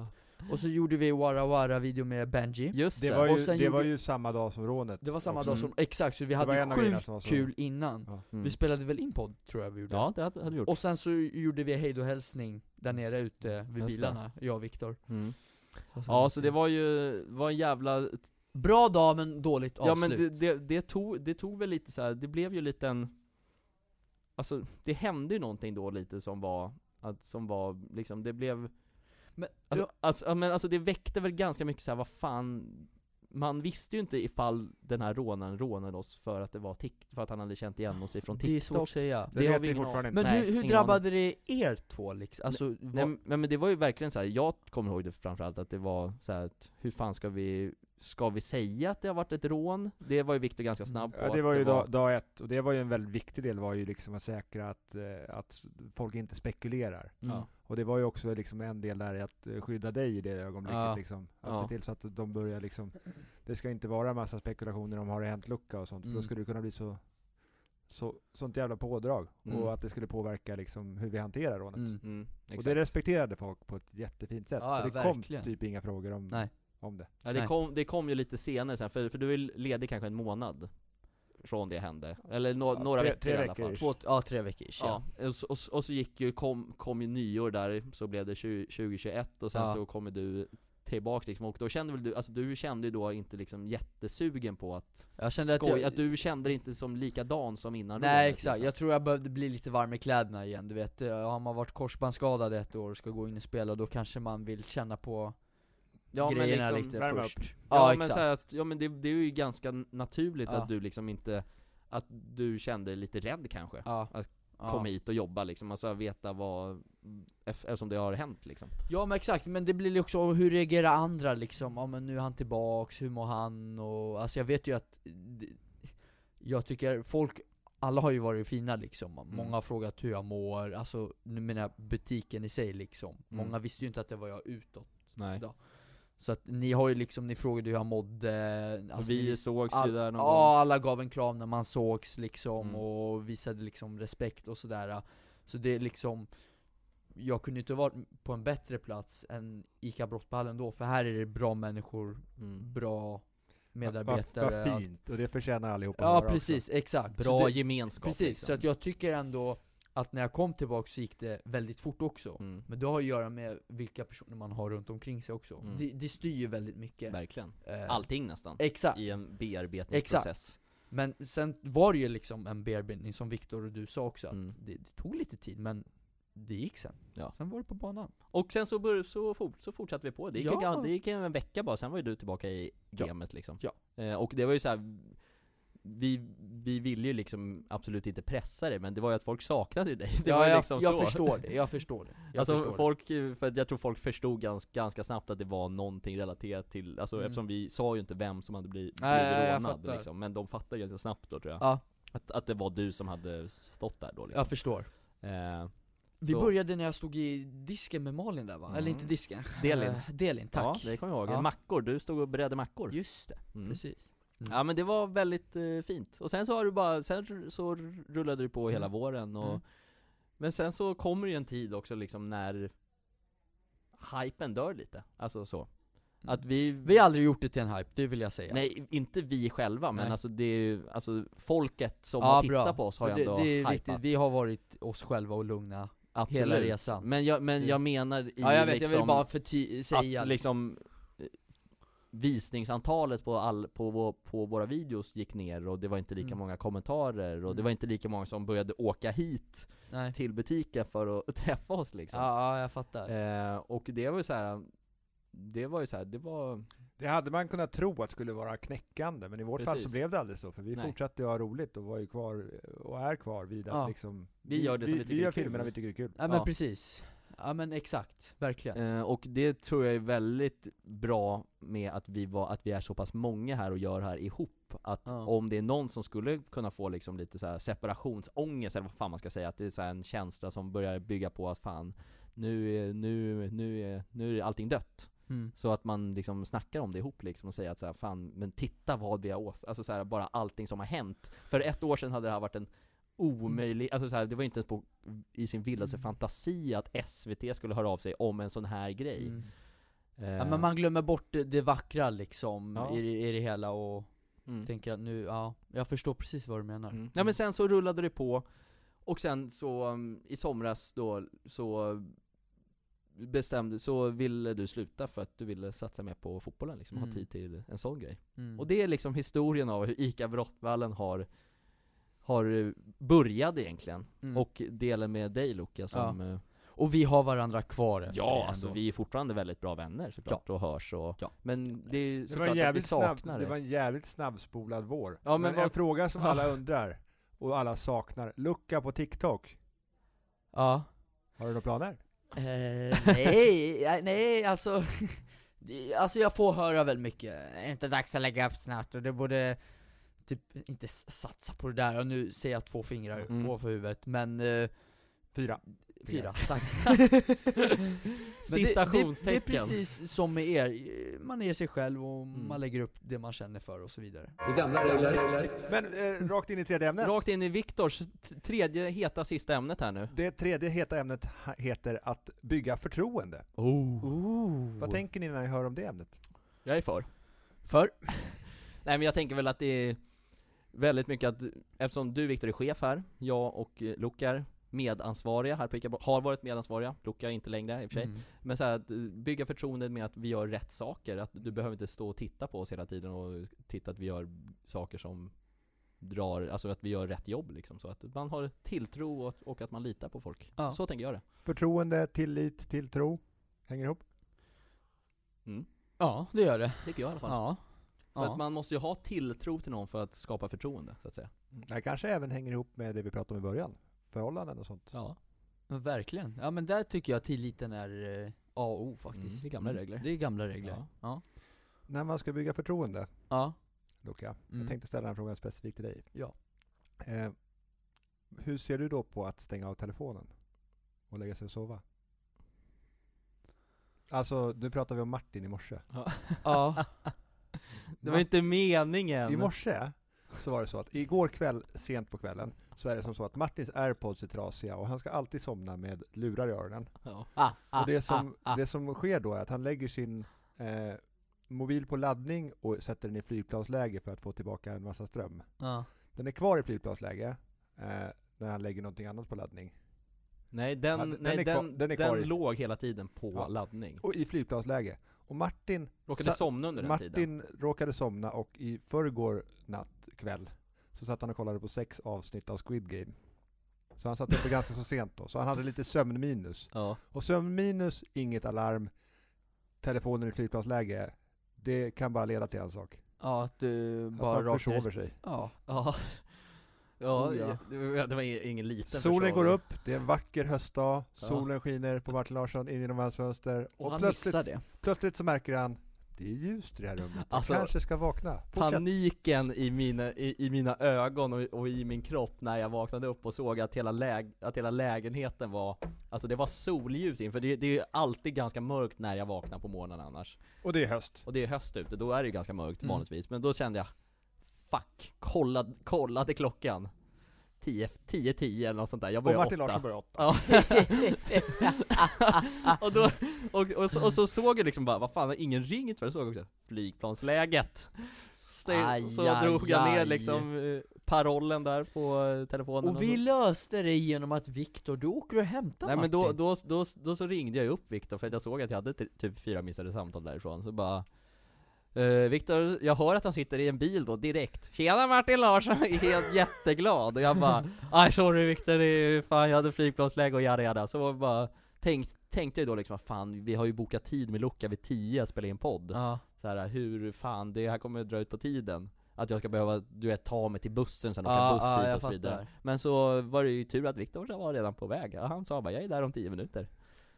C: och så gjorde vi Wara Wara video med Benji
B: Just det.
A: Det var ju,
C: Och sen
A: det var
C: gjorde-
A: ju samma dag som rånet.
C: Det var samma
A: också. Mm.
C: dag som, exakt, så vi
A: var
C: hade
A: en av
C: ju
A: grejerna som var
C: sjukt
A: så.
C: kul innan
A: Ja.
B: Mm.
C: Vi spelade väl in podd, tror jag vi gjorde
B: Ja, det hade hade du gjort.
C: Och sen så gjorde vi hej då hälsning där nere ute vid
B: Just
C: bilarna, jag och Viktor
B: Mm. Ja, så det var ju, var en jävla
C: Bra dag men dåligt
B: Ja
C: avslut
B: men det, det, det, tog, det tog väl lite så här. det blev ju lite en Alltså, det hände ju någonting då lite som var, att, som var liksom, det blev
C: Men-
B: alltså,
C: ja.
B: alltså, ja, men alltså det väckte väl ganska mycket så här, vad fan Man visste ju inte ifall den här rånaren rånade oss för att det var tick, för att han hade känt igen oss ifrån
C: Det är
B: TikTok
C: svårt att säga
A: Det,
B: Det har
A: vet
B: vi
A: vi
B: ingen
A: fortfarande inte.
C: Men
B: Nej,
C: hur, hur
B: ingen
C: drabbade det er två liksom? Alltså,
B: Nej,
C: vad-
B: men, men det var ju verkligen så här. jag kommer ihåg det framförallt att det var så här att hur fan ska vi, ska vi säga att det har varit ett rån? Det var ju Viktor ganska snabb på
A: Ja, det
B: att
A: var ju dag, dag ett, och det var ju en väldigt viktig del, var ju liksom att säkra att, eh, att folk inte spekulerar.
C: Mm.
B: Ja.
A: Och det var ju också liksom en del där i att eh, skydda dig i det ögonblicket
C: Ja.
A: liksom. Att
B: Ja.
A: se till så att de börjar liksom, det ska inte vara massa spekulationer om har det hänt lucka och sånt, för då
C: Mm.
A: skulle det kunna bli så, så sånt jävla pådrag.
B: Mm.
A: Och att det skulle påverka liksom hur vi hanterar rånet.
C: Mm.
B: Mm,
A: Och
B: exakt.
A: det respekterade folk på ett jättefint sätt.
C: Ja,
A: för
C: ja,
A: det kom
C: verkligen.
A: typ inga frågor om,
C: Nej.
A: om det.
B: Ja, det,
C: Nej.
B: kom, det kom ju lite senare sen, för, för du är ledig kanske en månad från det hände. Eller nå-
A: Ja,
B: några
A: tre-
B: veckor
A: tre
B: i alla
A: veckor
B: fall.
A: ish.
C: Två, ja tre veckor
B: Ja, och, så- och, så- och så gick ju, kom, kom ju nyår där, så blev det 20, 2021 och sen
C: Ja.
B: så kommer du tillbaks liksom, och då kände väl du, alltså du kände ju då inte liksom jättesugen på att,
C: Jag kände att,
B: skoj,
C: jag,
B: att du kände dig inte som likadan som innan
C: Nej
B: rånet,
C: exakt,
B: liksom.
C: jag tror jag behövde bli lite varm i kläderna igen, du vet eh, Har man varit korsbandsskadad ett år och ska gå in och spela, då kanske man vill känna på
B: ja, men
C: grejerna
B: liksom,
A: värma
C: lite
A: upp.
C: först
B: Ja,
C: Ja,
B: men
C: exakt,
B: så här, att, ja men det, det är ju ganska naturligt
C: Ja.
B: att du liksom inte, att du kände dig lite rädd kanske.
C: ja,
B: att
C: ja.
B: komma hit och jobba liksom, alltså veta vad, eff- eftersom det har hänt liksom.
C: ja men exakt, men det blir också, hur reagerar andra liksom? Ja men nu är han tillbaks, hur mår han? Och, alltså jag vet ju att det- Jag tycker folk, alla har ju varit fina liksom
B: Mm.
C: Många har frågat hur jag mår, alltså nu menar jag butiken i sig liksom
B: Mm.
C: Många visste ju inte att det var jag utåt
B: Nej.
C: Så att ni har ju liksom, ni frågade hur jag mådde alltså,
B: vi
C: ni-
B: sågs ju
C: all-
B: där någon
C: Ja, alla gav en kram när man sågs liksom
B: Mm.
C: och visade liksom respekt och sådär Så det är liksom Jag kunde inte vara på en bättre plats än ICA Brottballen då, för här är det bra människor,
B: gång. Mm.
C: bra
A: Vad-
C: medarbetare
A: Vad
C: allt.
A: fint, och det förtjänar allihopa att
C: Ja
A: höra också.
C: precis, exakt Så
B: Bra
C: det,
B: gemenskap
C: Precis,
B: liksom.
C: så att jag tycker ändå att när jag kom tillbaka så gick det väldigt fort också
B: mm.
C: Men det har att göra med vilka personer man har runt omkring sig också
B: Mm.
C: det, det styr ju väldigt mycket
B: Verkligen.
C: eh,
B: Allting nästan.
C: Exakt
B: I en bearbetningsprocess.
C: Men sen var det ju liksom en bearbetning som Viktor och du sa också, att
B: Mm.
C: det, det tog lite tid men det gick sen.
B: Ja.
C: Sen var det på banan.
B: Och sen så, bör, så, for, så fortsatte vi på. Det gick,
C: Ja.
B: ja. det gick en vecka bara, sen var ju du tillbaka i
C: Ja.
B: gamet liksom.
C: Ja.
B: Eh, och det var ju så här. Vi, vi ville ju liksom absolut inte pressa dig, men det var ju att folk saknade ju dig. Det
C: ja,
B: var ju
C: jag,
B: liksom
C: jag
B: så.
C: förstår det, jag förstår det. Jag
B: alltså
C: förstår
B: folk, för att jag tror folk förstod ganska, ganska snabbt att det var någonting relaterat till, alltså
C: Mm.
B: eftersom vi sa ju inte vem som hade blivit,
C: Nej,
B: blivit
C: nej, jag
B: rånad
C: fattar.
B: liksom, men de fattade ganska snabbt då tror jag.
C: det. Ja,
B: Att, att det var du som hade stått där då liksom.
C: jag förstår.
B: Eh,
C: Vi
B: Så-
C: började när jag stod i disken med Malin där va?
B: Mm.
C: Eller inte disken.
B: Delin.
C: Eh, Delin,
B: Ja,
C: tack.
B: det kommer jag ihåg.
C: Ja.
B: Mackor, du stod och beredde mackor.
C: Just det,
B: Mm.
C: precis.
B: Ja men det var väldigt eh, fint. Och sen så har du bara, sen r- så rullade du på hela
C: Mm.
B: våren och
C: Mm.
B: Men sen så kommer det ju en tid också liksom när Hypen dör lite, alltså så. Att vi
C: Mm. Vi har aldrig gjort det till en hype, det vill jag säga.
B: Nej, inte vi själva, men
C: Nej.
B: alltså det är ju, alltså folket som
C: Ja,
B: har
C: bra.
B: tittat på oss har
C: För
B: ju
C: det,
B: ändå
C: det är
B: hypat.
C: viktigt, vi har varit oss själva och lugna
B: Absolut.
C: hela resan.
B: Men jag, men
C: Det-
B: jag menar i
C: ja jag vet,
B: liksom
C: jag vill bara förti- säga
B: att liksom eh, visningsantalet på, all, på, vår- på våra videos gick ner och det var inte lika
C: Mm.
B: många kommentarer och det
C: Mm.
B: var inte lika många som började åka hit
C: Nej.
B: till butiken för att träffa oss liksom.
C: Ja, ja, jag fattar.
B: Eh, och det var ju så här. Det var ju så här, det var...
A: Det hade man kunnat tro att skulle vara knäckande, men i vårt fall så
B: Precis.
A: blev det aldrig så, för vi
B: Nej.
A: fortsatte ju ha roligt och var ju kvar, och är kvar vid att
C: Ja.
A: liksom
B: Vi gör det som
A: vi,
B: vi tycker
A: vi
B: är
A: gör
B: kul.
A: filmerna vi tycker är kul.
C: Ja men
B: Ja.
C: precis, ja men exakt, verkligen
B: Eh, och det tror jag är väldigt bra med att vi, var, att vi är så pass många här och gör här ihop. Att
C: Ja.
B: om det är någon som skulle kunna få liksom lite så här separationsångest eller vad fan man ska säga, att det är så här en känsla som börjar bygga på att fan, nu är, nu, nu är, nu är allting dött.
C: Mm.
B: Så att man liksom snackar om det ihop liksom och säger att så här, fan, men titta vad vi har åstadkommit, alltså så här, bara allting som har hänt. För ett år sedan hade det här varit en omöjlig, alltså så här, det var inte ens på, i sin vildaste
C: Mm.
B: fantasi att SVT skulle höra av sig om en sån här grej.
C: Mm.
B: Eh,
C: Ja, men man glömmer bort det, det vackra liksom
B: Ja.
C: i, det- i det hela och
B: mm.
C: tänker att nu, ja, jag förstår precis vad du menar.
B: Mm. Ja men sen så rullade det på, och sen så um, i somras då så bestämde, så ville du sluta för att du ville satsa mer på fotbollen liksom, ha
C: Mm.
B: tid till en sån grej.
C: Mm.
B: Och det är liksom historien av hur ICA Brottvallen har, har eh, börjat egentligen.
C: Mm.
B: Och delen med dig Luca som, eh,
C: Och vi har varandra kvar efter det
B: ja
C: ändå.
B: alltså vi är fortfarande väldigt bra vänner såklart och hörs och,
C: Ja.
B: men det är
A: Det var, en
B: såklart att vi
A: jävligt
B: saknar
A: snabb,
B: det.
A: det var en jävligt snabbspolad vår.
B: Ja, men
A: men en
B: vad-
A: fråga som
B: Ja.
A: alla undrar, och alla saknar. Lucka på TikTok,
C: Ja.
A: har du några planer?
C: Eh, nej, eh, nej alltså det- Alltså jag får höra väldigt mycket, är det inte dags att lägga upp snart? Och det borde typ inte s- satsa på det där, och nu ser jag två fingrar
B: Mm.
C: ovanför huvudet men eh,
A: Fyra.
C: Fyra, tack Men det, det, det är
B: Citationstecken.
C: precis som med er, man är sig själv och
B: Mm.
C: man lägger upp det man känner för och så vidare
E: I gamla regler, regler.
A: Men eh, rakt in i tredje ämnet.
B: Rakt in i Viktors t- tredje heta sista ämnet här nu.
A: Det tredje heta ämnet ha- heter att bygga förtroende.
B: Oh.
C: Oh.
A: Vad tänker ni när ni hör om det ämnet?
B: Jag är för.
C: För?
B: Nej men jag tänker väl att det är väldigt mycket att, eftersom du Viktor är chef här, jag och eh, Luca är medansvariga här på ICA Bro- har varit medansvariga, Luca är inte längre i och för sig.
C: Mm.
B: Men så här, att eh, bygga förtroendet med att vi gör rätt saker, att du behöver inte stå och titta på oss hela tiden och titta att vi gör saker som drar, alltså att vi gör rätt jobb liksom. Så att man har tilltro och, och att man litar på folk.
C: Ja.
B: Så tänker jag det.
A: Förtroende, tillit, tilltro. Hänger ihop?
B: Mm.
C: Ja, det gör det
B: Tycker jag i alla fall.
C: Ja,
B: För
C: ja.
B: att man måste ju ha tilltro till någon för att skapa förtroende, så att säga.
A: Mm. Det här kanske även hänger ihop med det vi pratade om i början. Förhållanden och sånt.
B: Ja.
C: Men verkligen. Ja men där tycker jag tilliten är eh, A och O faktiskt.
B: Mm, det är gamla regler.
C: Det är gamla regler.
B: Ja.
C: Ja. ja.
A: När man ska bygga förtroende, Luca.
C: Mm.
A: Jag tänkte ställa den frågan specifikt till dig.
C: Ja.
A: Eh, hur ser du då på att stänga av telefonen? Och lägga sig och sova? Alltså, nu pratar vi om Martin i morse.
C: Ja.
B: Det var inte meningen!
A: I morse så var det så att igår kväll, sent på kvällen, så är det som så att Martins airpods är trasiga och han ska alltid somna med lurar i öronen.
B: Ja.
C: Ah,
A: och det som,
C: ah, ah.
A: det som sker då är att han lägger sin eh, mobil på laddning och sätter den i flygplansläge för att få tillbaka en massa ström.
C: Ja.
A: Den är kvar i flygplansläge eh, när han lägger någonting annat på laddning.
B: Nej, den,
A: Ja, den-
B: nej,
A: den är
B: den,
A: kvar-
B: den,
A: den är kvar i-
B: låg hela tiden på
A: Ja.
B: laddning.
A: Och i flygplansläge. Och Martin,
B: Råkade
A: Sa-
B: somna under den tiden.
A: Martin råkade somna och i förrgår natt, kväll, så satt han och kollade på sex avsnitt av Squid Game. Så han satt uppe ganska så sent då, så han hade lite sömnminus.
B: Ja.
A: Och sömnminus, inget alarm, telefonen i flygplansläge, det kan bara leda till en sak.
C: ja, att du
A: Att
C: bara
A: man
C: rakt ner-
A: försover sig.
C: Ja.
B: Ja. Ja,
C: Oh, ja.
B: det- det var ingen liten
A: Solen går
B: försvarare.
A: upp, det är en vacker höstdag,
B: Ja.
A: solen skiner på Martin Larsson in genom hans fönster.
C: Och, han
A: plötsligt,
C: missar det.
A: plötsligt så märker han, det är ljust i det här rummet,
B: Alltså,
A: jag kanske ska vakna. Fortsätt.
B: Paniken i mina, i, i mina ögon och, och i min kropp när jag vaknade upp och såg att hela, läg, att hela lägenheten var, alltså det var solljus in, för det, det är ju alltid ganska mörkt när jag vaknar på morgonen annars.
A: Och det är höst.
B: Och det är höst ute, då är det ju ganska mörkt
C: Mm.
B: vanligtvis, men då kände jag Fuck, kolla, kollade klockan 10, 10, 10 eller något sånt där, jag
A: Och
B: började
A: Martin
B: åtta.
A: Larsson börjar åtta.
B: Ja. och, då, och, och, så, och så såg jag liksom bara, vad fan har ingen ringt för? Jag såg också flygplansläget. Så,
C: Aj,
B: så drog jag
C: aj,
B: ner
C: aj.
B: liksom eh, parollen där på eh, telefonen.
C: Och vi löste det genom att Viktor, du åker och hämtar
B: Nej men då,
C: Martin.
B: då, då, då så ringde jag ju upp Viktor för att jag såg att jag hade ty- typ fyra missade samtal därifrån, så bara eh, Viktor, jag hör att han sitter i en bil då direkt. Tjena Martin Larsson! är Helt jätteglad. Och jag bara, aj sorry Viktor, det är fan jag hade flygplansläge och jada jada. Så bara, tänk, tänkte jag då liksom, fan vi har ju bokat tid med Luca vid 10 att spela in podd.
C: Ja.
B: Så här, hur fan, det här kommer dra ut på tiden. Att jag ska behöva, du vet, ta mig till bussen sen, åka
C: Ja,
B: buss
C: ja,
B: hit
C: jag
B: och så vidare.
C: fattar.
B: Men så var det ju tur att Viktor var redan på väg, Ja, han sa bara 'Jag är där om 10 minuter'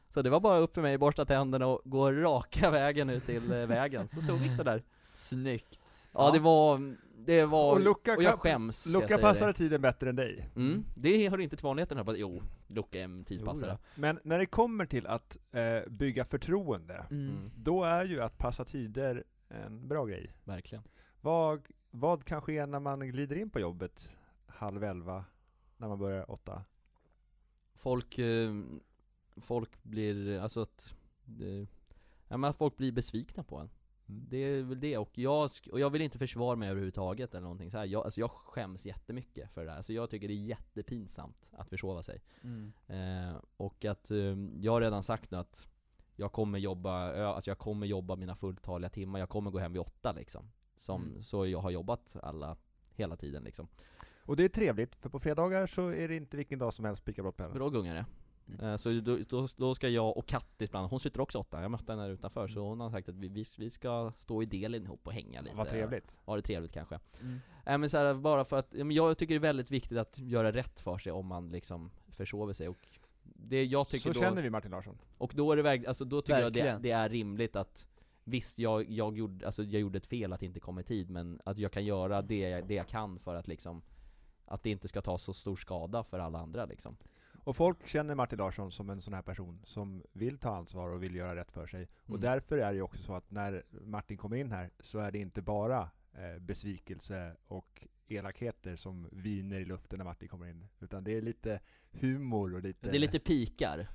B: Så det var bara upp med mig, borsta tänderna och gå raka vägen ut till eh, vägen, så stod Viktor där
C: Snyggt.
B: Ja det var, det var...
A: Och Luka
B: jag
A: kan-
B: skäms, ska jag
A: Luka
B: säga
A: passade tiden bättre än dig.
B: Det. Mm, det har du inte tvärnheten här på. Jo, Luka är en tidspassare.
A: Men när det kommer till att eh, bygga förtroende,
C: Mm.
B: Mm,
A: då är ju att passa tider en bra grej.
B: verkligen.
A: Vad, vad kan ske när man glider in på jobbet halv elva, när man börjar åtta?
B: Folk, eh, folk blir, alltså att, eh, ja men att folk blir besvikna på en. Det är väl det, och jag, sk- och jag vill inte försvara mig överhuvudtaget eller någonting så här. Jag, alltså jag skäms jättemycket för det här, alltså jag tycker det är jättepinsamt att försova sig.
C: Mm.
B: Eh, och att eh, jag har redan sagt nu att jag kommer jobba, ö- alltså jag kommer jobba mina fulltaliga timmar, jag kommer gå hem vid åtta liksom. Som,
C: Mm.
B: Så jag har jobbat alla, hela tiden liksom.
A: Och det är trevligt, för på fredagar så är det inte vilken dag som helst pika blått på henne.
B: Bra gungare.
A: Mm.
B: Eh, Så då, då, då ska jag och Kattis bland hon sitter också åtta, jag mötte henne här utanför så hon har sagt att vi, vi, vi ska stå i delen ihop och hänga lite
A: Mm. Vad trevligt.
B: Ha det trevligt kanske
C: Mm.
B: Nej men så här, bara för att, ja, men jag tycker det är väldigt viktigt att göra rätt för sig om man liksom försover sig och det jag tycker
A: Så
B: då,
A: känner vi Martin Larsson.
B: och då är det verkligen, alltså då tycker jag
C: Verkligen.
B: det, det är rimligt att Visst, jag, jag, gjorde, alltså, jag gjorde ett fel att inte komma i tid, men att jag kan göra det jag, det jag kan för att liksom Att det inte ska ta så stor skada för alla andra liksom
A: Och folk känner Martin Larsson som en sån här person som vill ta ansvar och vill göra rätt för sig. Och
B: Mm.
A: därför är det ju också så att när Martin kommer in här så är det inte bara eh, besvikelse och elakheter som viner i luften när Martin kommer in. Utan det är lite humor och lite...
B: Det är lite pikar.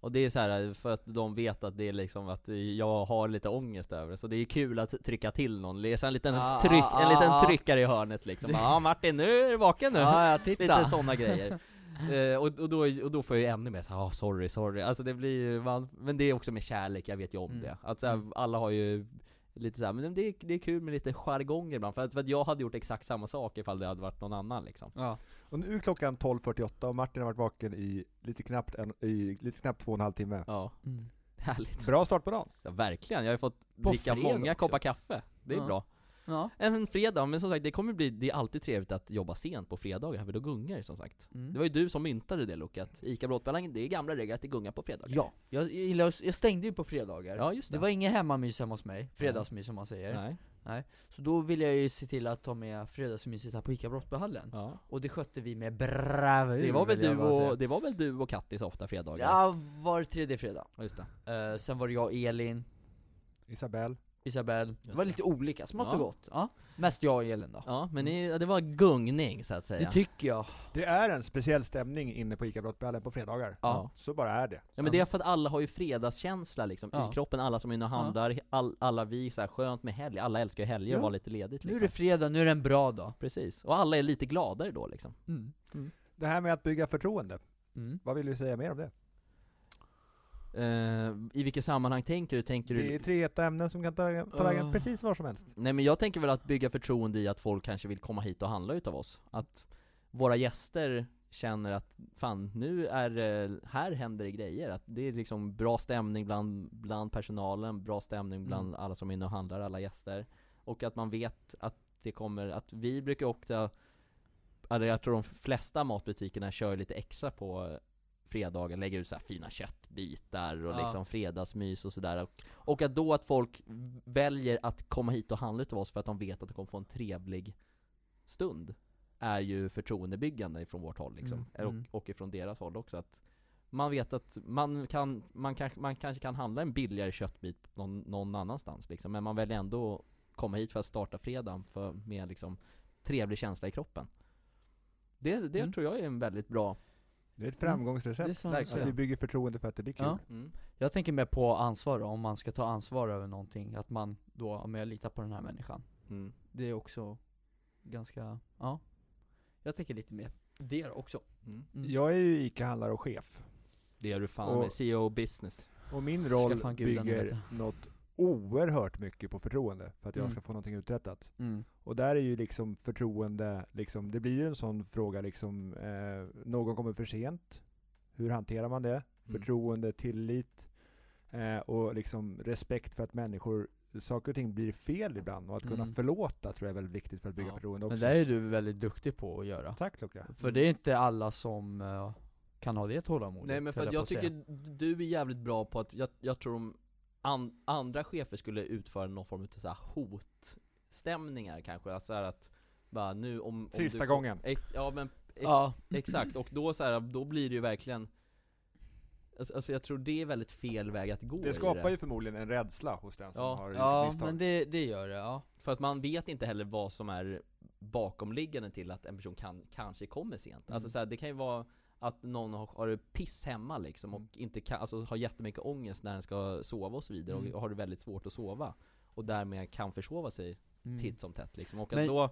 B: Och det är så här för att de vet att det är liksom att jag har lite ångest över det, så det är kul att trycka till någon, det är så här en liten,
C: Ah,
B: tryck,
C: ah,
B: en liten
C: ah.
B: tryckare i hörnet liksom, Bara, ja Martin nu är du vaken nu!
C: Ja, ja, titta!
B: lite sådana grejer. Eh, och, och, då, och då får jag ju ännu mer såhär, ah sorry, sorry, alltså det blir ju, man, men det är också med kärlek, jag vet ju om
C: Mm.
B: det. Att så här, alla har ju lite såhär, men det är, det är kul med lite jargong ibland, för att, för att jag hade gjort exakt samma sak ifall det hade varit någon annan liksom.
C: Ja.
A: Och nu är klockan 12.48 och Martin har varit vaken i lite knappt, en, i lite knappt två och en halv timme.
B: Ja, härligt.
A: Bra start på dagen!
B: Ja, verkligen, jag har ju fått
C: På
B: dricka
C: fredag
B: många
C: också.
B: koppar kaffe. Det är
C: Ja.
B: bra.
C: Ja.
B: En fredag, men som sagt det kommer bli, det är alltid trevligt att jobba sent på fredagar, för då gungar det som sagt.
C: Mm.
B: Det var ju du som myntade det Luke, att ICA Blåtbällan, det är gamla regler att det gungar på fredagar.
C: Ja, jag, gillar, att- jag stängde ju på fredagar.
B: Ja, just det.
C: det var ingen hemmamys hemma hos mig, fredagsmys som man säger.
B: Nej.
C: Så då ville jag ju se till att ta med fredagsmyset här på ICA Brottbyhallen.
B: Ja.
C: Och det skötte vi med bravur
B: Det var väl
C: vill jag
B: du
C: bara säga.
B: och, det var väl du och Kattis ofta fredagar?
C: Ja, var tredje fredag.
B: Ja, Just det.
C: Eh, sen var det jag, Elin,
A: Isabelle,
C: Isabelle. Det
B: Just
C: var
B: det.
C: lite olika, smått
B: Ja.
C: och gott. Ja. Mest jag och Elin då.
B: Ja, men ni, ja, det var gungning så att säga.
C: Det tycker jag.
A: det är en speciell stämning inne på ICA Brottbällen på fredagar.
B: Ja.
A: Så bara är det.
B: Ja men det är för att alla har ju fredagskänsla liksom,
C: Ja.
B: i kroppen, alla som är inne och handlar, all, alla vi så här, skönt med helg, alla älskar ju helger och
C: Ja.
B: vara lite ledigt
C: Nu är
B: liksom.
C: det fredag, nu är det en bra dag.
B: Precis, och alla är lite gladare då liksom.
C: Mm.
A: Det här med att bygga förtroende,
C: Mm.
A: vad vill du säga mer om det?
B: Eh, I vilket sammanhang tänker du? Tänker
A: Det är
B: du?
A: tre heta ämnen som kan ta, ta vägen
B: Ah.
A: precis var som helst.
B: Nej men jag tänker väl att bygga förtroende i att folk kanske vill komma hit och handla utav oss. Att våra gäster känner att fan, nu är det- här händer det grejer. Att det är liksom bra stämning bland, bland personalen, bra stämning bland
A: Mm.
B: alla som är inne och handlar, alla gäster. Och att man vet att det kommer, att vi brukar också, eller Alltså, jag tror de flesta matbutikerna kör lite extra på eh, fredagen, lägger ut så här fina köttbitar och
C: Ja.
B: liksom fredagsmys och sådär. Och, och att då att folk väljer att komma hit och handla utav oss för att de vet att de kommer få en trevlig stund. Är ju förtroendebyggande från vårt håll liksom.
C: Mm, mm.
B: Och, och ifrån deras håll också. Att man vet att man, kan, man, kan, man kanske kan handla en billigare köttbit någon, någon annanstans liksom. Men man väljer ändå att komma hit för att starta fredagen för, med liksom trevlig känsla i kroppen. Det, det
C: Mm.
B: tror jag är en väldigt bra...
A: Det är ett
C: Mm.
A: framgångsrecept.
C: Det är sant.
B: Alltså,
A: Att vi bygger förtroende för att det blir kul.
C: Ja.
B: Mm.
C: Jag tänker mer på ansvar då, om man ska ta ansvar över någonting, att man då, ja, men jag litar på den här människan.
B: Mm.
C: Det är också ganska, ja. Jag tänker lite mer det också.
B: Mm.
C: Mm.
A: Jag är ju ICA-handlare och chef.
B: Det gör du fan
A: Och-
B: med, CEO business.
A: Och min
C: Ska
A: roll
C: fan gudarna
A: bygger
C: veta.
A: något oerhört mycket på förtroende för att jag
C: Mm.
A: ska få någonting uträttat.
C: Mm.
A: Och där är ju liksom förtroende, liksom, det blir ju en sån fråga liksom, eh, någon kommer för sent, hur hanterar man det?
C: Mm.
A: Förtroende, tillit eh, och liksom respekt för att människor, saker och ting blir fel ibland och att kunna
C: Mm.
A: förlåta tror jag är väldigt viktigt för att bygga
B: Ja,
A: förtroende också.
C: Men det är ju du väldigt duktig på att göra.
A: Tack Luka!
C: För det är inte alla som eh, kan ha det tålamodet.
B: Nej men för
C: höll
B: att jag
C: på säga.
B: tycker du är jävligt bra på att, jag, jag tror om an, andra chefer skulle utföra någon form av så här hotstämningar kanske, alltså så här att bara nu om, om
A: Mm. Sista
B: du-
C: Mm.
A: gången.
B: Ex- Ja men ex-
C: Ja,
B: Exakt, och då så här, då blir det ju verkligen Alltså, alltså jag tror det är väldigt fel väg att gå i
A: Det skapar ju förmodligen en rädsla hos den som
B: Ja.
A: har gjort
C: Mm. ja
A: misstag.
C: men det, det gör det, ja
B: För att man vet inte heller vad som är bakomliggande till att en person kan, kanske kommer sent Alltså
C: Mm.
B: så här, det kan ju vara att någon har, har det piss hemma liksom och
C: Mm.
B: inte kan, alltså har jättemycket ångest när den ska sova och så vidare
C: Mm.
B: och har det väldigt svårt att sova Och därmed kan försova sig
C: Mm.
B: titt som tätt liksom och
C: Men- Ah.
B: att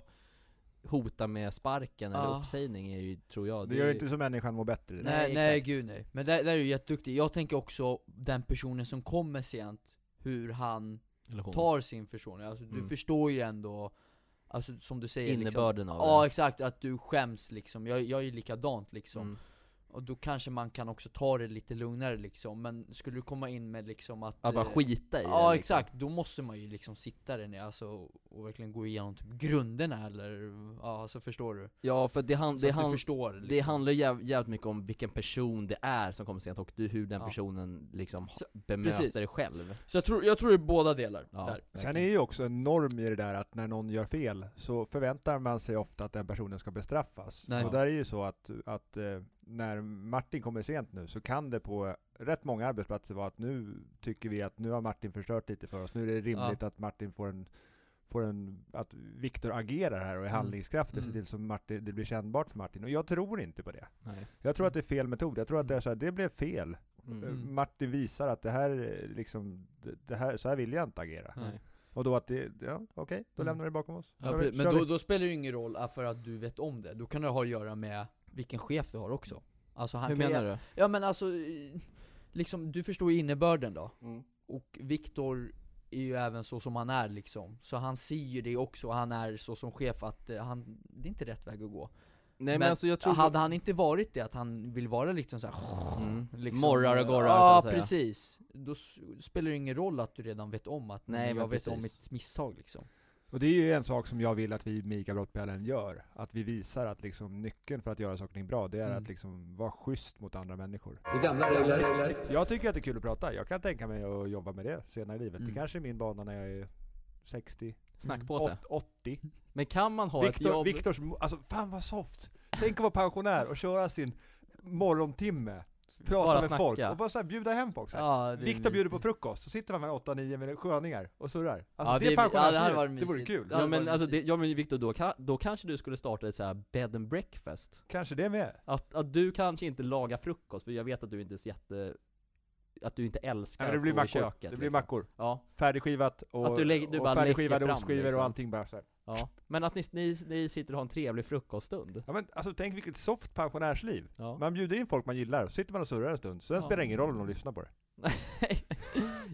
B: då hota med sparken eller
C: Ja.
B: uppsägning är ju, tror jag
A: Det
B: är
A: gör ju
B: ju-
A: inte så människan mår bättre. direkt.
C: Nej,
B: Nej,
C: nej
B: exakt.
C: gud nej. Men där, där är du jätteduktig. Jag tänker också den personen som kommer sent, hur han
B: eller hon.
C: tar sin försoning. Alltså du
A: Mm.
C: förstår ju ändå, alltså som du säger liksom,
B: innebörden av det
C: Ja exakt, att du skäms liksom. Jag, jag är ju likadant liksom.
B: Mm.
C: Och då kanske man kan också ta det lite lugnare liksom. Men skulle du komma in med liksom att...
B: Att bara
C: eh,
B: skita i
C: Ja
B: det, liksom.
C: exakt, då måste man ju liksom sitta där nere alltså, och verkligen gå igenom typ grunderna eller, ja alltså förstår du?
B: Ja för det, han,
C: Så
B: det,
C: att du
B: han,
C: förstår liksom.
B: det handlar jäv, jävligt mycket om vilken person det är som kommer sent och du, hur den
C: Ja.
B: personen liksom ha-
C: Så-
B: bemöter
C: precis.
B: dig själv
C: Så jag tror, jag tror det är båda delar
B: Ja.
C: där.
A: Sen är ju också en norm i det där att när någon gör fel så förväntar man sig ofta att den personen ska bestraffas.
C: Nej.
A: Och där är ju så att, att eh, när Martin kommer sent nu så kan det på rätt många arbetsplatser vara att nu tycker vi att nu har Martin förstört lite för oss. Nu är det rimligt att Martin får en Får en, att Viktor agerar här och är handlingskraftig och ser
C: Mm.
A: till så Martin, det blir kännbart för Martin. Och jag tror inte på det.
B: Nej.
A: Jag
C: Mm.
A: tror att det är fel metod. Jag tror att det är så här, det blev fel.
B: Mm.
A: Eh, Martin visar att det här, eh, liksom, det- det här, så här vill jag inte agera.
B: Nej.
A: Och då att det, ja okej, då
C: Mm.
A: lämnar vi det bakom oss.
C: Ja,
A: Kör vi,
C: precis. men
A: kör
C: då,
A: vi.
C: då spelar det ju ingen roll ah, för att du vet om det, då kan det ha att göra med vilken chef du har också alltså, han
B: Hur
C: kan
B: menar
C: ju-
B: du?
C: Ja men alltså, eh, liksom, du förstår ju innebörden då
B: Mm.
C: Och Viktor är ju även så som han är liksom, så han ser ju det också, han är så som chef att eh, han, det är inte rätt väg att gå
B: Nej men, alltså jag tror
C: hade han inte varit det, att han vill vara liksom såhär
B: mm.
C: liksom,
B: Morrar och gorrar så
C: Ja
B: att säga.
C: precis, då s- spelar det ingen roll att du redan vet om att
B: Nej,
C: Nej,
B: men
C: jag vet om
B: precis.
C: mitt misstag liksom
A: Och det är ju en sak som jag vill att vi i Mika Brottbjällen gör. Att vi visar att liksom, nyckeln för att göra saker och ting bra, det är
C: Mm.
A: att liksom, vara schysst mot andra människor.
E: gamla regler.
A: Jag tycker att det är kul att prata. Jag kan tänka mig att jobba med det senare i livet.
C: Mm.
A: Det kanske är min bana när jag är 60,
B: Snackpåse.
A: åt- 80.
B: Men kan man ha ett
A: Viktor,
B: jobb?
A: Viktors, mo- alltså fan vad soft! Tänk att vara pensionär och köra sin morgontimme. Prata
B: Bara
A: med
B: snacka.
A: folk och bara så här, bjuda hem folk så här.
C: Ja, det är
A: Viktor bjuder på
C: mysigt.
A: frukost, så sitter man med 8-9 med sköningar och surrar. Alltså
C: Ja,
A: det är
C: det- ja, det hade
A: pensionärslivet,
C: varit
A: det vore
C: mysigt.
A: kul.
B: Ja
C: Ja, det var
B: men
C: ju
B: alltså det,
C: mysigt.
B: ja men Viktor, då, ka- då kanske du skulle starta ett så här bed and breakfast
A: Kanske det med.
B: att, att du kanske inte lagar frukost, för jag vet att du inte är så jätte Att du inte älskar
A: Nej, men det
B: att
A: blir
B: stå i
A: mackor.
B: köket
A: det blir
B: liksom.
A: mackor.
B: Ja,
A: Färdigskivat och,
B: Att du lägger- du
A: och
B: bara
A: färdigskivade
B: lägger fram,
A: ostskivor
B: liksom.
A: och allting bara så här.
B: ja Men att ni, ni, ni sitter och har en trevlig frukoststund
A: Ja, men, alltså, tänk vilket soft pensionärsliv.
B: Ja
A: Man bjuder in folk man gillar, så sitter man och surrar en stund. Sen
B: Ja.
A: spelar det ingen roll om de lyssnar på det.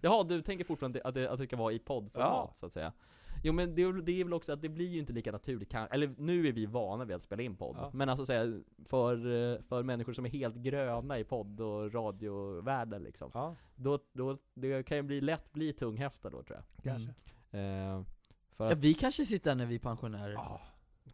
B: Jaha, du tänker fortfarande att det, att det ska vara i poddformat
A: Ja.
B: så att säga? Jo men det, är väl- det är väl också att det blir ju inte lika naturligt kan, eller nu är vi vana vid att spela in podd
A: Ja.
B: Men alltså så här, för, eh, för människor som är helt gröna i podd och radiovärlden liksom
A: Ja,
B: då, då, Det kan ju bli, lätt bli tunghäfta då tror jag
A: kanske.
B: eh, För
C: Ja,
B: att,
C: vi kanske sitter här när vi är pensionärer
A: Ja.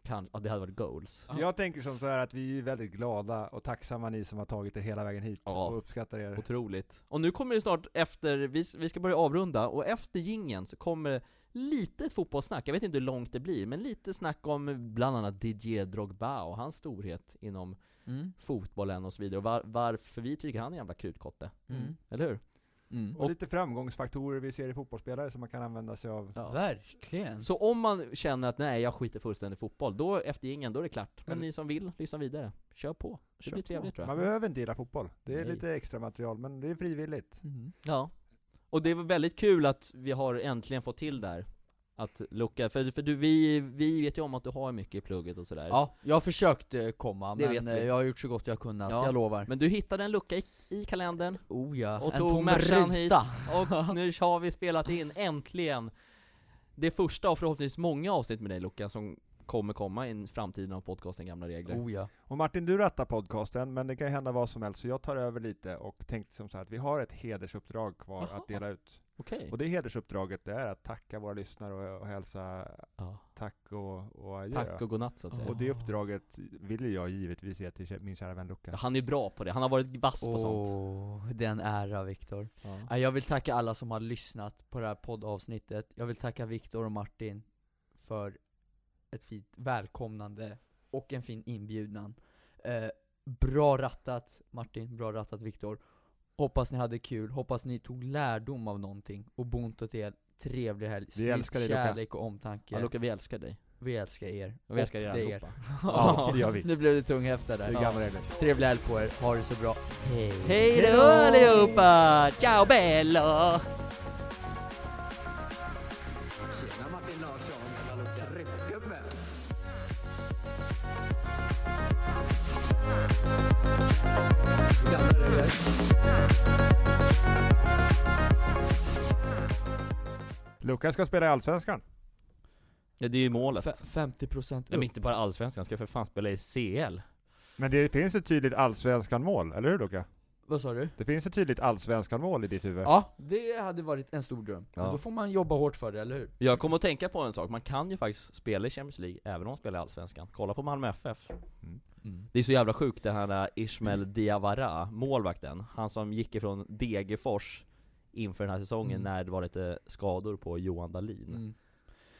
B: kan, ja, det hade varit goals
C: Ja.
A: Jag tänker som så här att vi är väldigt glada och tacksamma ni som har tagit er hela vägen hit
B: Ja.
A: och uppskattar er.
B: Otroligt. Och nu kommer det snart efter, vi, vi ska börja avrunda, och efter gingen så kommer lite ett fotbollssnack, jag vet inte hur långt det blir, men lite snack om bland annat Didier Drogba och hans storhet inom
C: mm.
B: fotbollen och så vidare, och var, varför vi tycker han är en jävla krutkotte.
C: Mm.
B: Eller hur?
C: Mm.
A: Och lite framgångsfaktorer vi ser i fotbollsspelare som man kan använda sig av.
B: Ja.
C: Verkligen
B: Så om man känner att nej, jag skiter fullständigt i fotboll, då efter gingen, då är det klart. Men
A: Men-
B: ni som vill, lyssna vidare. Kör på. Det
A: Kör
B: blir
A: på.
B: trevligt tror jag.
A: Man behöver inte gilla fotboll. Det är
B: Nej.
A: lite extra material, men det är frivilligt.
C: mm.
B: Ja. Och det var väldigt kul att vi har äntligen fått till där. Att lucka, för, för du, vi, vi vet ju om att du har mycket i plugget och sådär.
C: Ja, jag har försökt eh, komma
B: Det
C: men
B: vet vi.
C: eh, jag har gjort så gott jag kunnat,
B: Ja.
C: jag lovar
B: Men du hittade en lucka i, i kalendern
C: Oh ja,
B: och
C: en
B: tog
C: tom
B: Mercan hit.
C: ruta
B: Och nu har vi spelat in, äntligen! Det första och förhoppningsvis många avsnitt med dig Luca som kommer komma i framtiden av podcasten Gamla Regler.
C: Oh ja
A: Och Martin, du rattar podcasten, men det kan ju hända vad som helst, så jag tar över lite och tänkte som så här att vi har ett hedersuppdrag kvar
B: Jaha.
A: att dela ut.
B: Okej.
A: Och det hedersuppdraget det är att tacka våra lyssnare och, och hälsa
B: Ja.
A: tack och, och adjö.
B: Tack och godnatt så att säga.
A: och det uppdraget vill ju jag givetvis ge till kä- min kära vän Luca.
B: Han är bra på det, han har varit vass på sånt.
C: Åh, det är en ära Viktor
B: Ja.
C: Ja, Jag vill tacka alla som har lyssnat på det här poddavsnittet Jag vill tacka Viktor och Martin för ett fint välkomnande och en fin inbjudan. Eh, bra rattat Martin, bra rattat Viktor. Hoppas ni hade kul, hoppas ni tog lärdom av någonting. Och Ubuntu till er, trevlig helg. Sprid
A: älskar dig, Luca.
C: kärlek och omtanke.
B: Ja, Luca, vi älskar dig.
C: vi älskar er.
B: Och vi älskar er
C: det är
B: allihopa.
A: Ja, det gör vi.
C: Nu blev det tung häfta där.
A: Det är gamla regler.
C: Trevlig helg på er, ha det så bra. Hej!
B: Hej då allihopa! Ciao bello!
E: Tjena Martin Larsson, hallå träffgubben! Gamla regler.
A: Lukas ska spela i Allsvenskan.
B: Ja, det är ju målet.
C: Fe- 50% upp.
B: Nej, men inte bara Allsvenskan, han ska för fan spela i CL.
A: Men det finns ett tydligt Allsvenskan-mål, eller hur Luka?
C: Vad sa du?
A: Det finns ett tydligt Allsvenskan-mål i ditt huvud.
C: Ja, det hade varit en stor dröm.
B: Ja.
C: Men då får man jobba hårt för det, eller hur?
B: Jag kommer att tänka på en sak, man kan ju faktiskt spela i Champions League även om man spelar i Allsvenskan. Kolla på Malmö FF. Det är så jävla sjukt det här äh, Ismael Diawara, målvakten. Han som gick ifrån Degerfors inför den här säsongen
C: Mm.
B: när det var lite skador på Johan Dahlin.
C: Mm.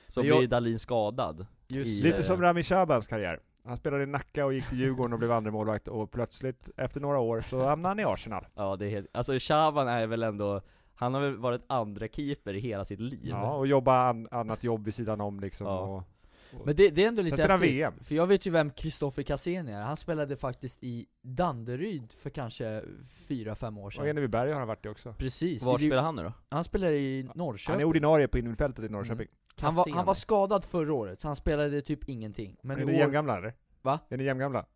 B: Så
C: Men
B: blir
C: jag-
B: Dahlin skadad.
C: Just
B: I-
A: Lite som Rami Shabans karriär. Han spelade i Nacka och gick till Djurgården och blev andremålvakt och plötsligt, efter några år, så hamnade han i Arsenal.
B: Ja, det är helt... Alltså Shaban är väl ändå, han har väl varit andra keeper i hela sitt liv.
A: Ja, och jobbade an- annat jobb vid sidan om liksom.
B: Ja.
A: Och,
C: Men det, det är ändå
A: Sätter
C: lite
A: han
C: häftigt,
A: VM?
C: för jag vet ju vem Kristoffer Cassini är, han spelade faktiskt i Danderyd för kanske 4-5 år
A: och
C: sedan
A: Enebyberg har han varit i också.
C: Precis,
B: Var
C: I-
B: spelar han nu då?
C: han spelar i Norrköping
A: Han är
C: Han,
A: ordinarie på
C: Mm.
A: innermittfältet i Norrköping.
C: var,
B: Cassini.
C: han var skadad förra året, så han spelade typ ingenting Men
A: Är ni
C: i år,
A: jämngamla eller?
C: Va?
A: Är ni jämngamla?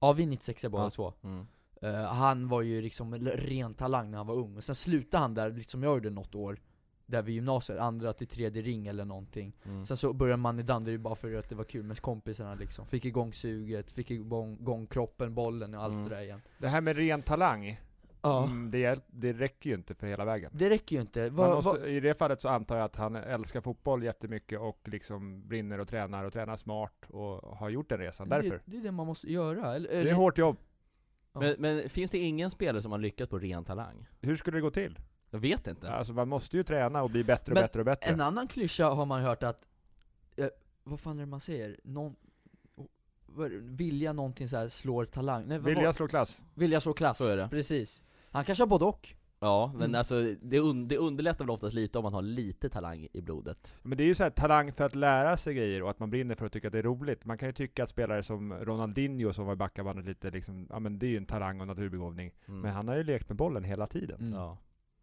C: ja vi är 96 båda
B: Ja.
C: två
B: Mm.
C: Eh, Han var ju liksom l- ren talang när han var ung, och sen slutade han där, liksom jag gjorde något år Där vid gymnasiet, andra till tredje ring eller någonting
B: Mm.
C: Sen så började man i Danderyd bara för att det var kul med kompisarna liksom, fick igång suget, fick igång, igång kroppen, bollen och allt
B: Mm.
C: det där igen
A: Det här med ren talang,
C: Ja,
A: mm, det, hjäl- det räcker ju inte för hela vägen.
C: det räcker ju inte,
A: Man
C: vad,
A: måste,
C: vad,
A: I det fallet så antar jag att han älskar fotboll jättemycket och liksom brinner och tränar och tränar smart och har gjort den resan
C: det,
A: därför.
C: det är det man måste göra, eller?
A: Det är hårt jobb.
B: Men, men finns det ingen spelare som har lyckats på ren talang?
A: Hur skulle det gå till?
B: Jag vet inte.
A: Alltså man måste ju träna och bli bättre och
C: Men
A: bättre och bättre.
C: En annan klyscha har man hört att, eh, vad fan är det man säger? Någon, vad är det? vilja någonting så här slår talang, nej vad
A: Vill jag
C: var-
A: slå klass?
C: vilja slår klass,
B: Alltså, Så är det.
C: precis Han kanske har både och,
B: Ja, men
C: Mm.
B: alltså det, un det underlättar väl oftast lite om man har lite talang i blodet.
A: Men det är ju så här talang för att lära sig grejer och att man brinner för att tycka att det är roligt. Man kan ju tycka att spelare som Ronaldinho som var i backabandet lite liksom, ja men det är ju en talang och naturbegåvning.
B: Mm.
A: Men han har ju lekt med bollen hela tiden.
C: Mm.
B: Ja.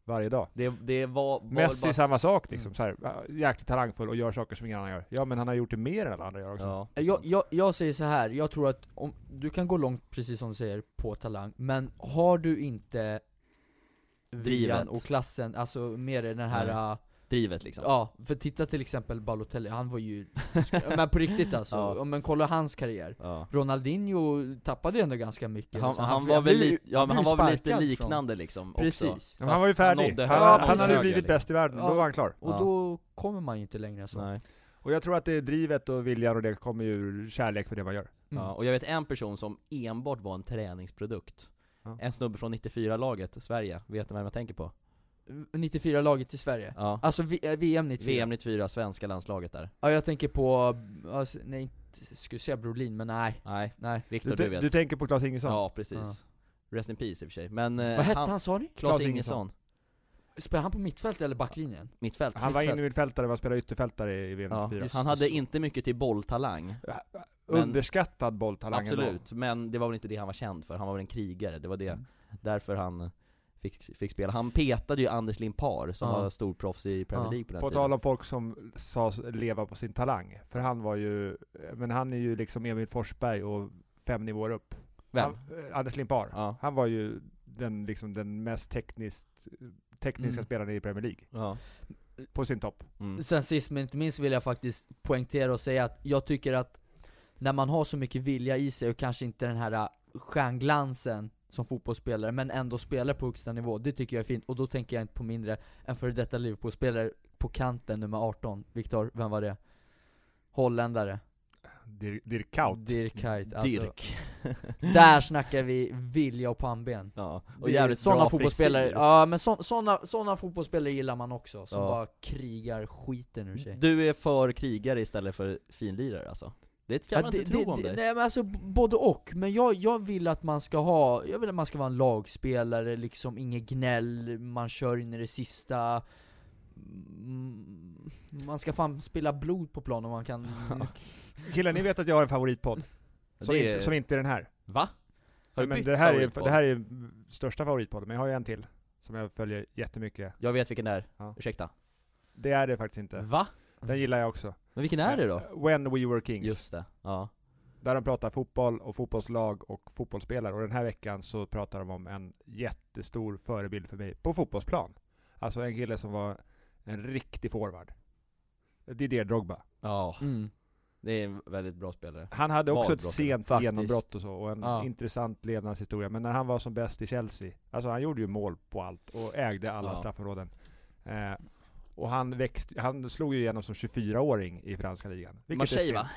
A: Varje dag.
B: Det, det var, var
A: Messi
B: bara...
A: samma sak liksom,
C: Mm.
A: så här, ja, jäkligt talangfull och gör saker som ingen annan gör. Ja men han har gjort det mer än alla andra gör också.
B: Ja,
C: jag, jag, jag säger så här. jag tror att om, du kan gå långt precis som du säger på talang, men har du inte viljan
B: Drivet.
C: och klassen, alltså mer den här
B: Nej.
C: eh,
B: Drivet liksom.
C: Ja, för titta till exempel Balotelli, han var ju, men på riktigt alltså,
B: Ja.
C: men kolla hans karriär
B: Ja.
C: Ronaldinho tappade ju ändå ganska mycket alltså,
B: Han,
C: Så
B: han, var väl
C: blev ju-
B: li... ja, men han
C: blev
B: var väl lite
C: sparkad
B: liknande liksom
C: från.
B: också.
C: Precis
A: Men han var ju
B: Fast han
A: färdig.
B: nådde
A: Han,
C: högre,
A: han, hade
C: liksom.
A: blivit bäst i världen,
C: Ja.
A: då var han klar.
C: Och
B: Ja.
C: då kommer man ju inte längre än så
B: Nej.
A: Och jag tror att det är drivet och viljan och det kommer ju ur kärlek för det man gör.
C: Mm.
B: Ja, och jag vet en person som enbart var en träningsprodukt.
A: Ja.
B: En snubbe från 94-laget, Sverige. Vet ni vem jag tänker på?
C: 94-laget i Sverige
B: Ja.
C: Alltså V- eh, VM 94
B: VM 94, svenska landslaget där.
C: Ja jag tänker på, alltså, nej, inte- skulle säga Brolin men nej,
B: Nej,
C: nej
A: Du,
B: Viktor du,
A: du,
B: vet.
A: tänker på Claes Ingesson?
B: ja, precis. Rest in peace i och för sig. Men eh,
C: Vad hette
B: han,
C: han sa ni?
B: Claes
A: Claes Ingesson.
B: Ingesson,
C: Spelade han på mittfält eller backlinjen?
B: mittfält.
A: Han var
C: Mittfält.
A: innermittfältare, men han spelade ytterfältare i VM
B: Ja,
A: 94.
C: just
B: han
C: det,
B: hade
C: så.
B: inte mycket till bolltalang. men-
A: Underskattad bolltalang ändå.
B: Absolut, men det var väl inte det han var känd för. Han var väl en krigare, det var det.
C: Mm.
B: Därför han fick, fick spela. Han petade ju Anders Limpar, som
C: Ja.
B: var stor proffs i Premier
C: Ja.
B: League på den
A: På
B: tiden.
A: tal om folk som sa leva på sin talang. För han var ju, men han är ju liksom Emil Forsberg och fem nivåer upp.
B: Vem?
A: Han, eh, Anders Limpar.
B: Ja.
A: Han var ju den, liksom, den mest tekniskt, tekniska
C: Mm.
A: spelaren i Premier League.
B: Ja.
A: På sin topp.
B: Mm.
C: Sen sist men inte minst vill jag faktiskt poängtera och säga att jag tycker att när man har så mycket vilja i sig och kanske inte den här äh, stjärnglansen som fotbollsspelare men ändå spelar på högsta nivå, det tycker jag är fint. Och då tänker jag inte på mindre än före detta Liverpool-spelare på kanten nummer 18. Viktor, vem var det? Holländare.
A: Dir- Dirkaut.
C: Dirk Kuyt, alltså.
B: Dirk.
C: Där snackar vi vilja och pannben.
B: ja, och
C: Det är
B: jävligt
C: såna
B: bra
C: fotbollsspelare,
B: frisyr.
C: Ja men så, såna, såna fotbollsspelare gillar man också, som
B: Ja.
C: bara krigar skiten ur sig
B: Du är för krigare istället för finlirare alltså? Det kan
C: Ja,
B: man
C: det-
B: inte
C: det-
B: tro om
C: det-
B: dig?
C: Nej men alltså b- både och, men jag, jag vill att man ska ha, jag vill att man ska vara en lagspelare liksom, inget gnäll, man kör in i det sista Mm, Man ska fan spela blod på plan om man kan
A: Killar, ni vet att jag har en favoritpodd. Som,
B: Det är-
A: inte, som inte är den här.
B: Va? Har du
A: men
B: bytt
A: det, här är,
B: favoritpodd?
A: det här är största favoritpodden, men jag har ju en till. Som jag följer jättemycket.
B: Jag vet vilken det är,
A: Ja.
B: ursäkta.
A: Det är det faktiskt inte.
B: Va?
A: Den gillar jag också. Eh,
B: Men vilken är Mm. det då?
A: When We Were Kings.
B: Just det, ja.
A: Där de pratar fotboll och fotbollslag och fotbollsspelare. Och den här veckan så pratar de om en jättestor förebild för mig på fotbollsplan. Alltså en kille som var en riktig forward. Didier Drogba.
B: Ja,
C: mm.
B: det är en väldigt bra spelare.
A: Han hade också ett
B: Valbrottare,
A: sent
C: faktiskt.
A: genombrott och så, och en
C: Ja.
A: intressant levnadshistoria. Men när han var som bäst i Chelsea, alltså han gjorde ju mål på allt och ägde alla
B: Ja.
A: straffområden. Eh, och han, växte, han slog ju igenom som 24-åring i franska ligan. vilket är
B: Marseille
A: synd.
B: va?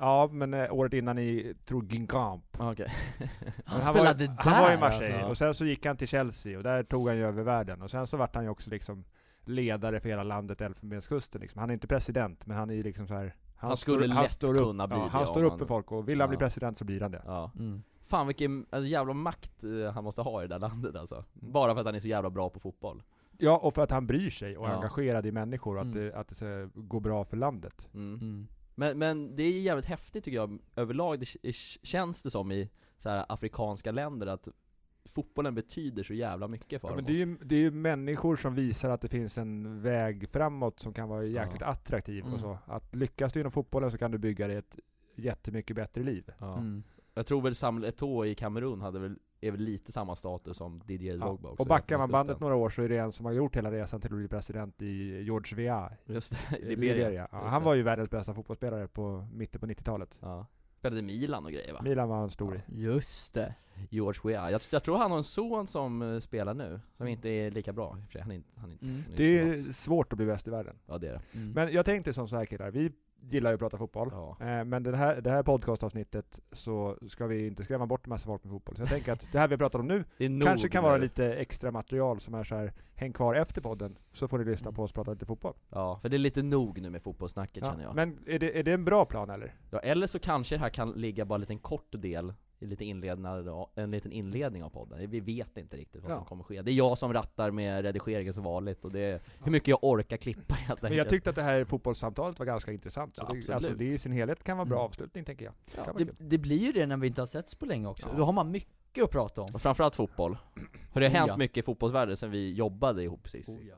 A: Ja, men eh, året innan i Troginkamp.
B: Ja, Okej.
C: Han,
A: Men
C: spelade
A: var, ju-
C: där!
A: Han var i Marseille,
B: alltså.
A: och sen så gick han till Chelsea, och där tog han ju över världen. Och sen så vart han ju också liksom ledare för hela landet, Elfenbenskusten liksom. Han är inte president, men han är ju liksom så här.
B: Han skulle lätt
A: upp,
B: kunna bli
A: ja,
B: det
A: Han
B: om
A: står upp
B: han-
A: för folk, och vill han bli
B: Ja.
A: president så blir han det.
B: Ja.
C: Mm.
B: Fan vilken alltså, jävla makt eh, han måste ha i det där landet alltså. Bara för att han är så jävla bra på fotboll.
A: Ja, och för att han bryr sig och är
B: Ja.
A: engagerad i människor, och att,
C: Mm.
A: det, att det ska gå bra för landet.
B: Mm.
C: Mm.
B: Men, men det är ju jävligt häftigt tycker jag överlag, det k- det k- känns det som i så här afrikanska länder att fotbollen betyder så jävla mycket för
A: Ja,
B: dem.
A: men det, är ju, det är ju människor som visar att det finns en väg framåt som kan vara jäkligt
B: Ja.
A: attraktiv
C: Mm.
A: och så. Att lyckas du inom fotbollen så kan du bygga dig ett jättemycket bättre liv.
B: ja.
C: Mm.
B: Jag tror väl Samuel Eto'o i Kamerun hade väl, är väl lite samma status som Didier
A: Ja,
B: Drogba också.
A: och backar man
B: Just
A: bandet
B: det.
A: några år så är det en som har gjort hela resan till att bli president i George Weah
B: Just det,
A: i
B: Liberia.
A: Ja,
B: Just
A: han
B: det.
A: var ju världens bästa fotbollsspelare på mitten på 90-talet.
B: Ja. Spelade i Milan och grejer va?
A: Milan var han stor i.
C: Just det
B: George Weah. Jag, jag tror han har en son som eh, spelar nu, som inte är lika bra i och för sig. Han är inte, han är inte,
C: Mm.
B: han är
A: Mm. Det är
B: inte så vass.
A: ju svårt att bli bäst i världen.
B: Ja det är det.
C: mm.
A: Men jag tänkte som så här killar, vi gillar ju att prata fotboll.
B: Ja.
A: Eh, Men det här, det här podcastavsnittet så ska vi inte skrämma bort en massa folk med fotboll. Så jag tänker att det här vi pratar om nu
B: Det är nog
A: kanske kan vara
B: nu.
A: lite extra material som är så här, häng kvar efter podden, så får ni lyssna
C: Mm.
A: på oss prata lite fotboll.
B: Ja, för det är lite nog nu med fotbollssnacket
A: Ja.
B: känner jag.
A: Men är det, är det en bra plan eller?
B: Ja, eller så kanske det här kan ligga bara en liten kort del, i lite inledande, en liten inledning av podden. Vi vet inte riktigt vad
A: Ja.
B: som kommer ske. Det är jag som rattar med redigeringen som vanligt, och det är hur mycket jag orkar klippa helt enkelt.
A: Men jag tyckte att det här fotbollssamtalet var ganska intressant. Så
B: Ja,
A: det,
B: absolut.
A: alltså det i sin helhet kan vara bra
C: Mm.
A: avslutning, tänker jag.
C: Ja,
A: Kan vara
C: det,
A: kul.
C: det blir ju det när vi inte har setts på länge också,
B: Ja.
C: då har man mycket att prata om
B: Och framförallt fotboll. För det har
C: Oh,
B: hänt
C: ja.
B: mycket i fotbollsvärlden sen vi jobbade ihop sist.
C: Oh, ja.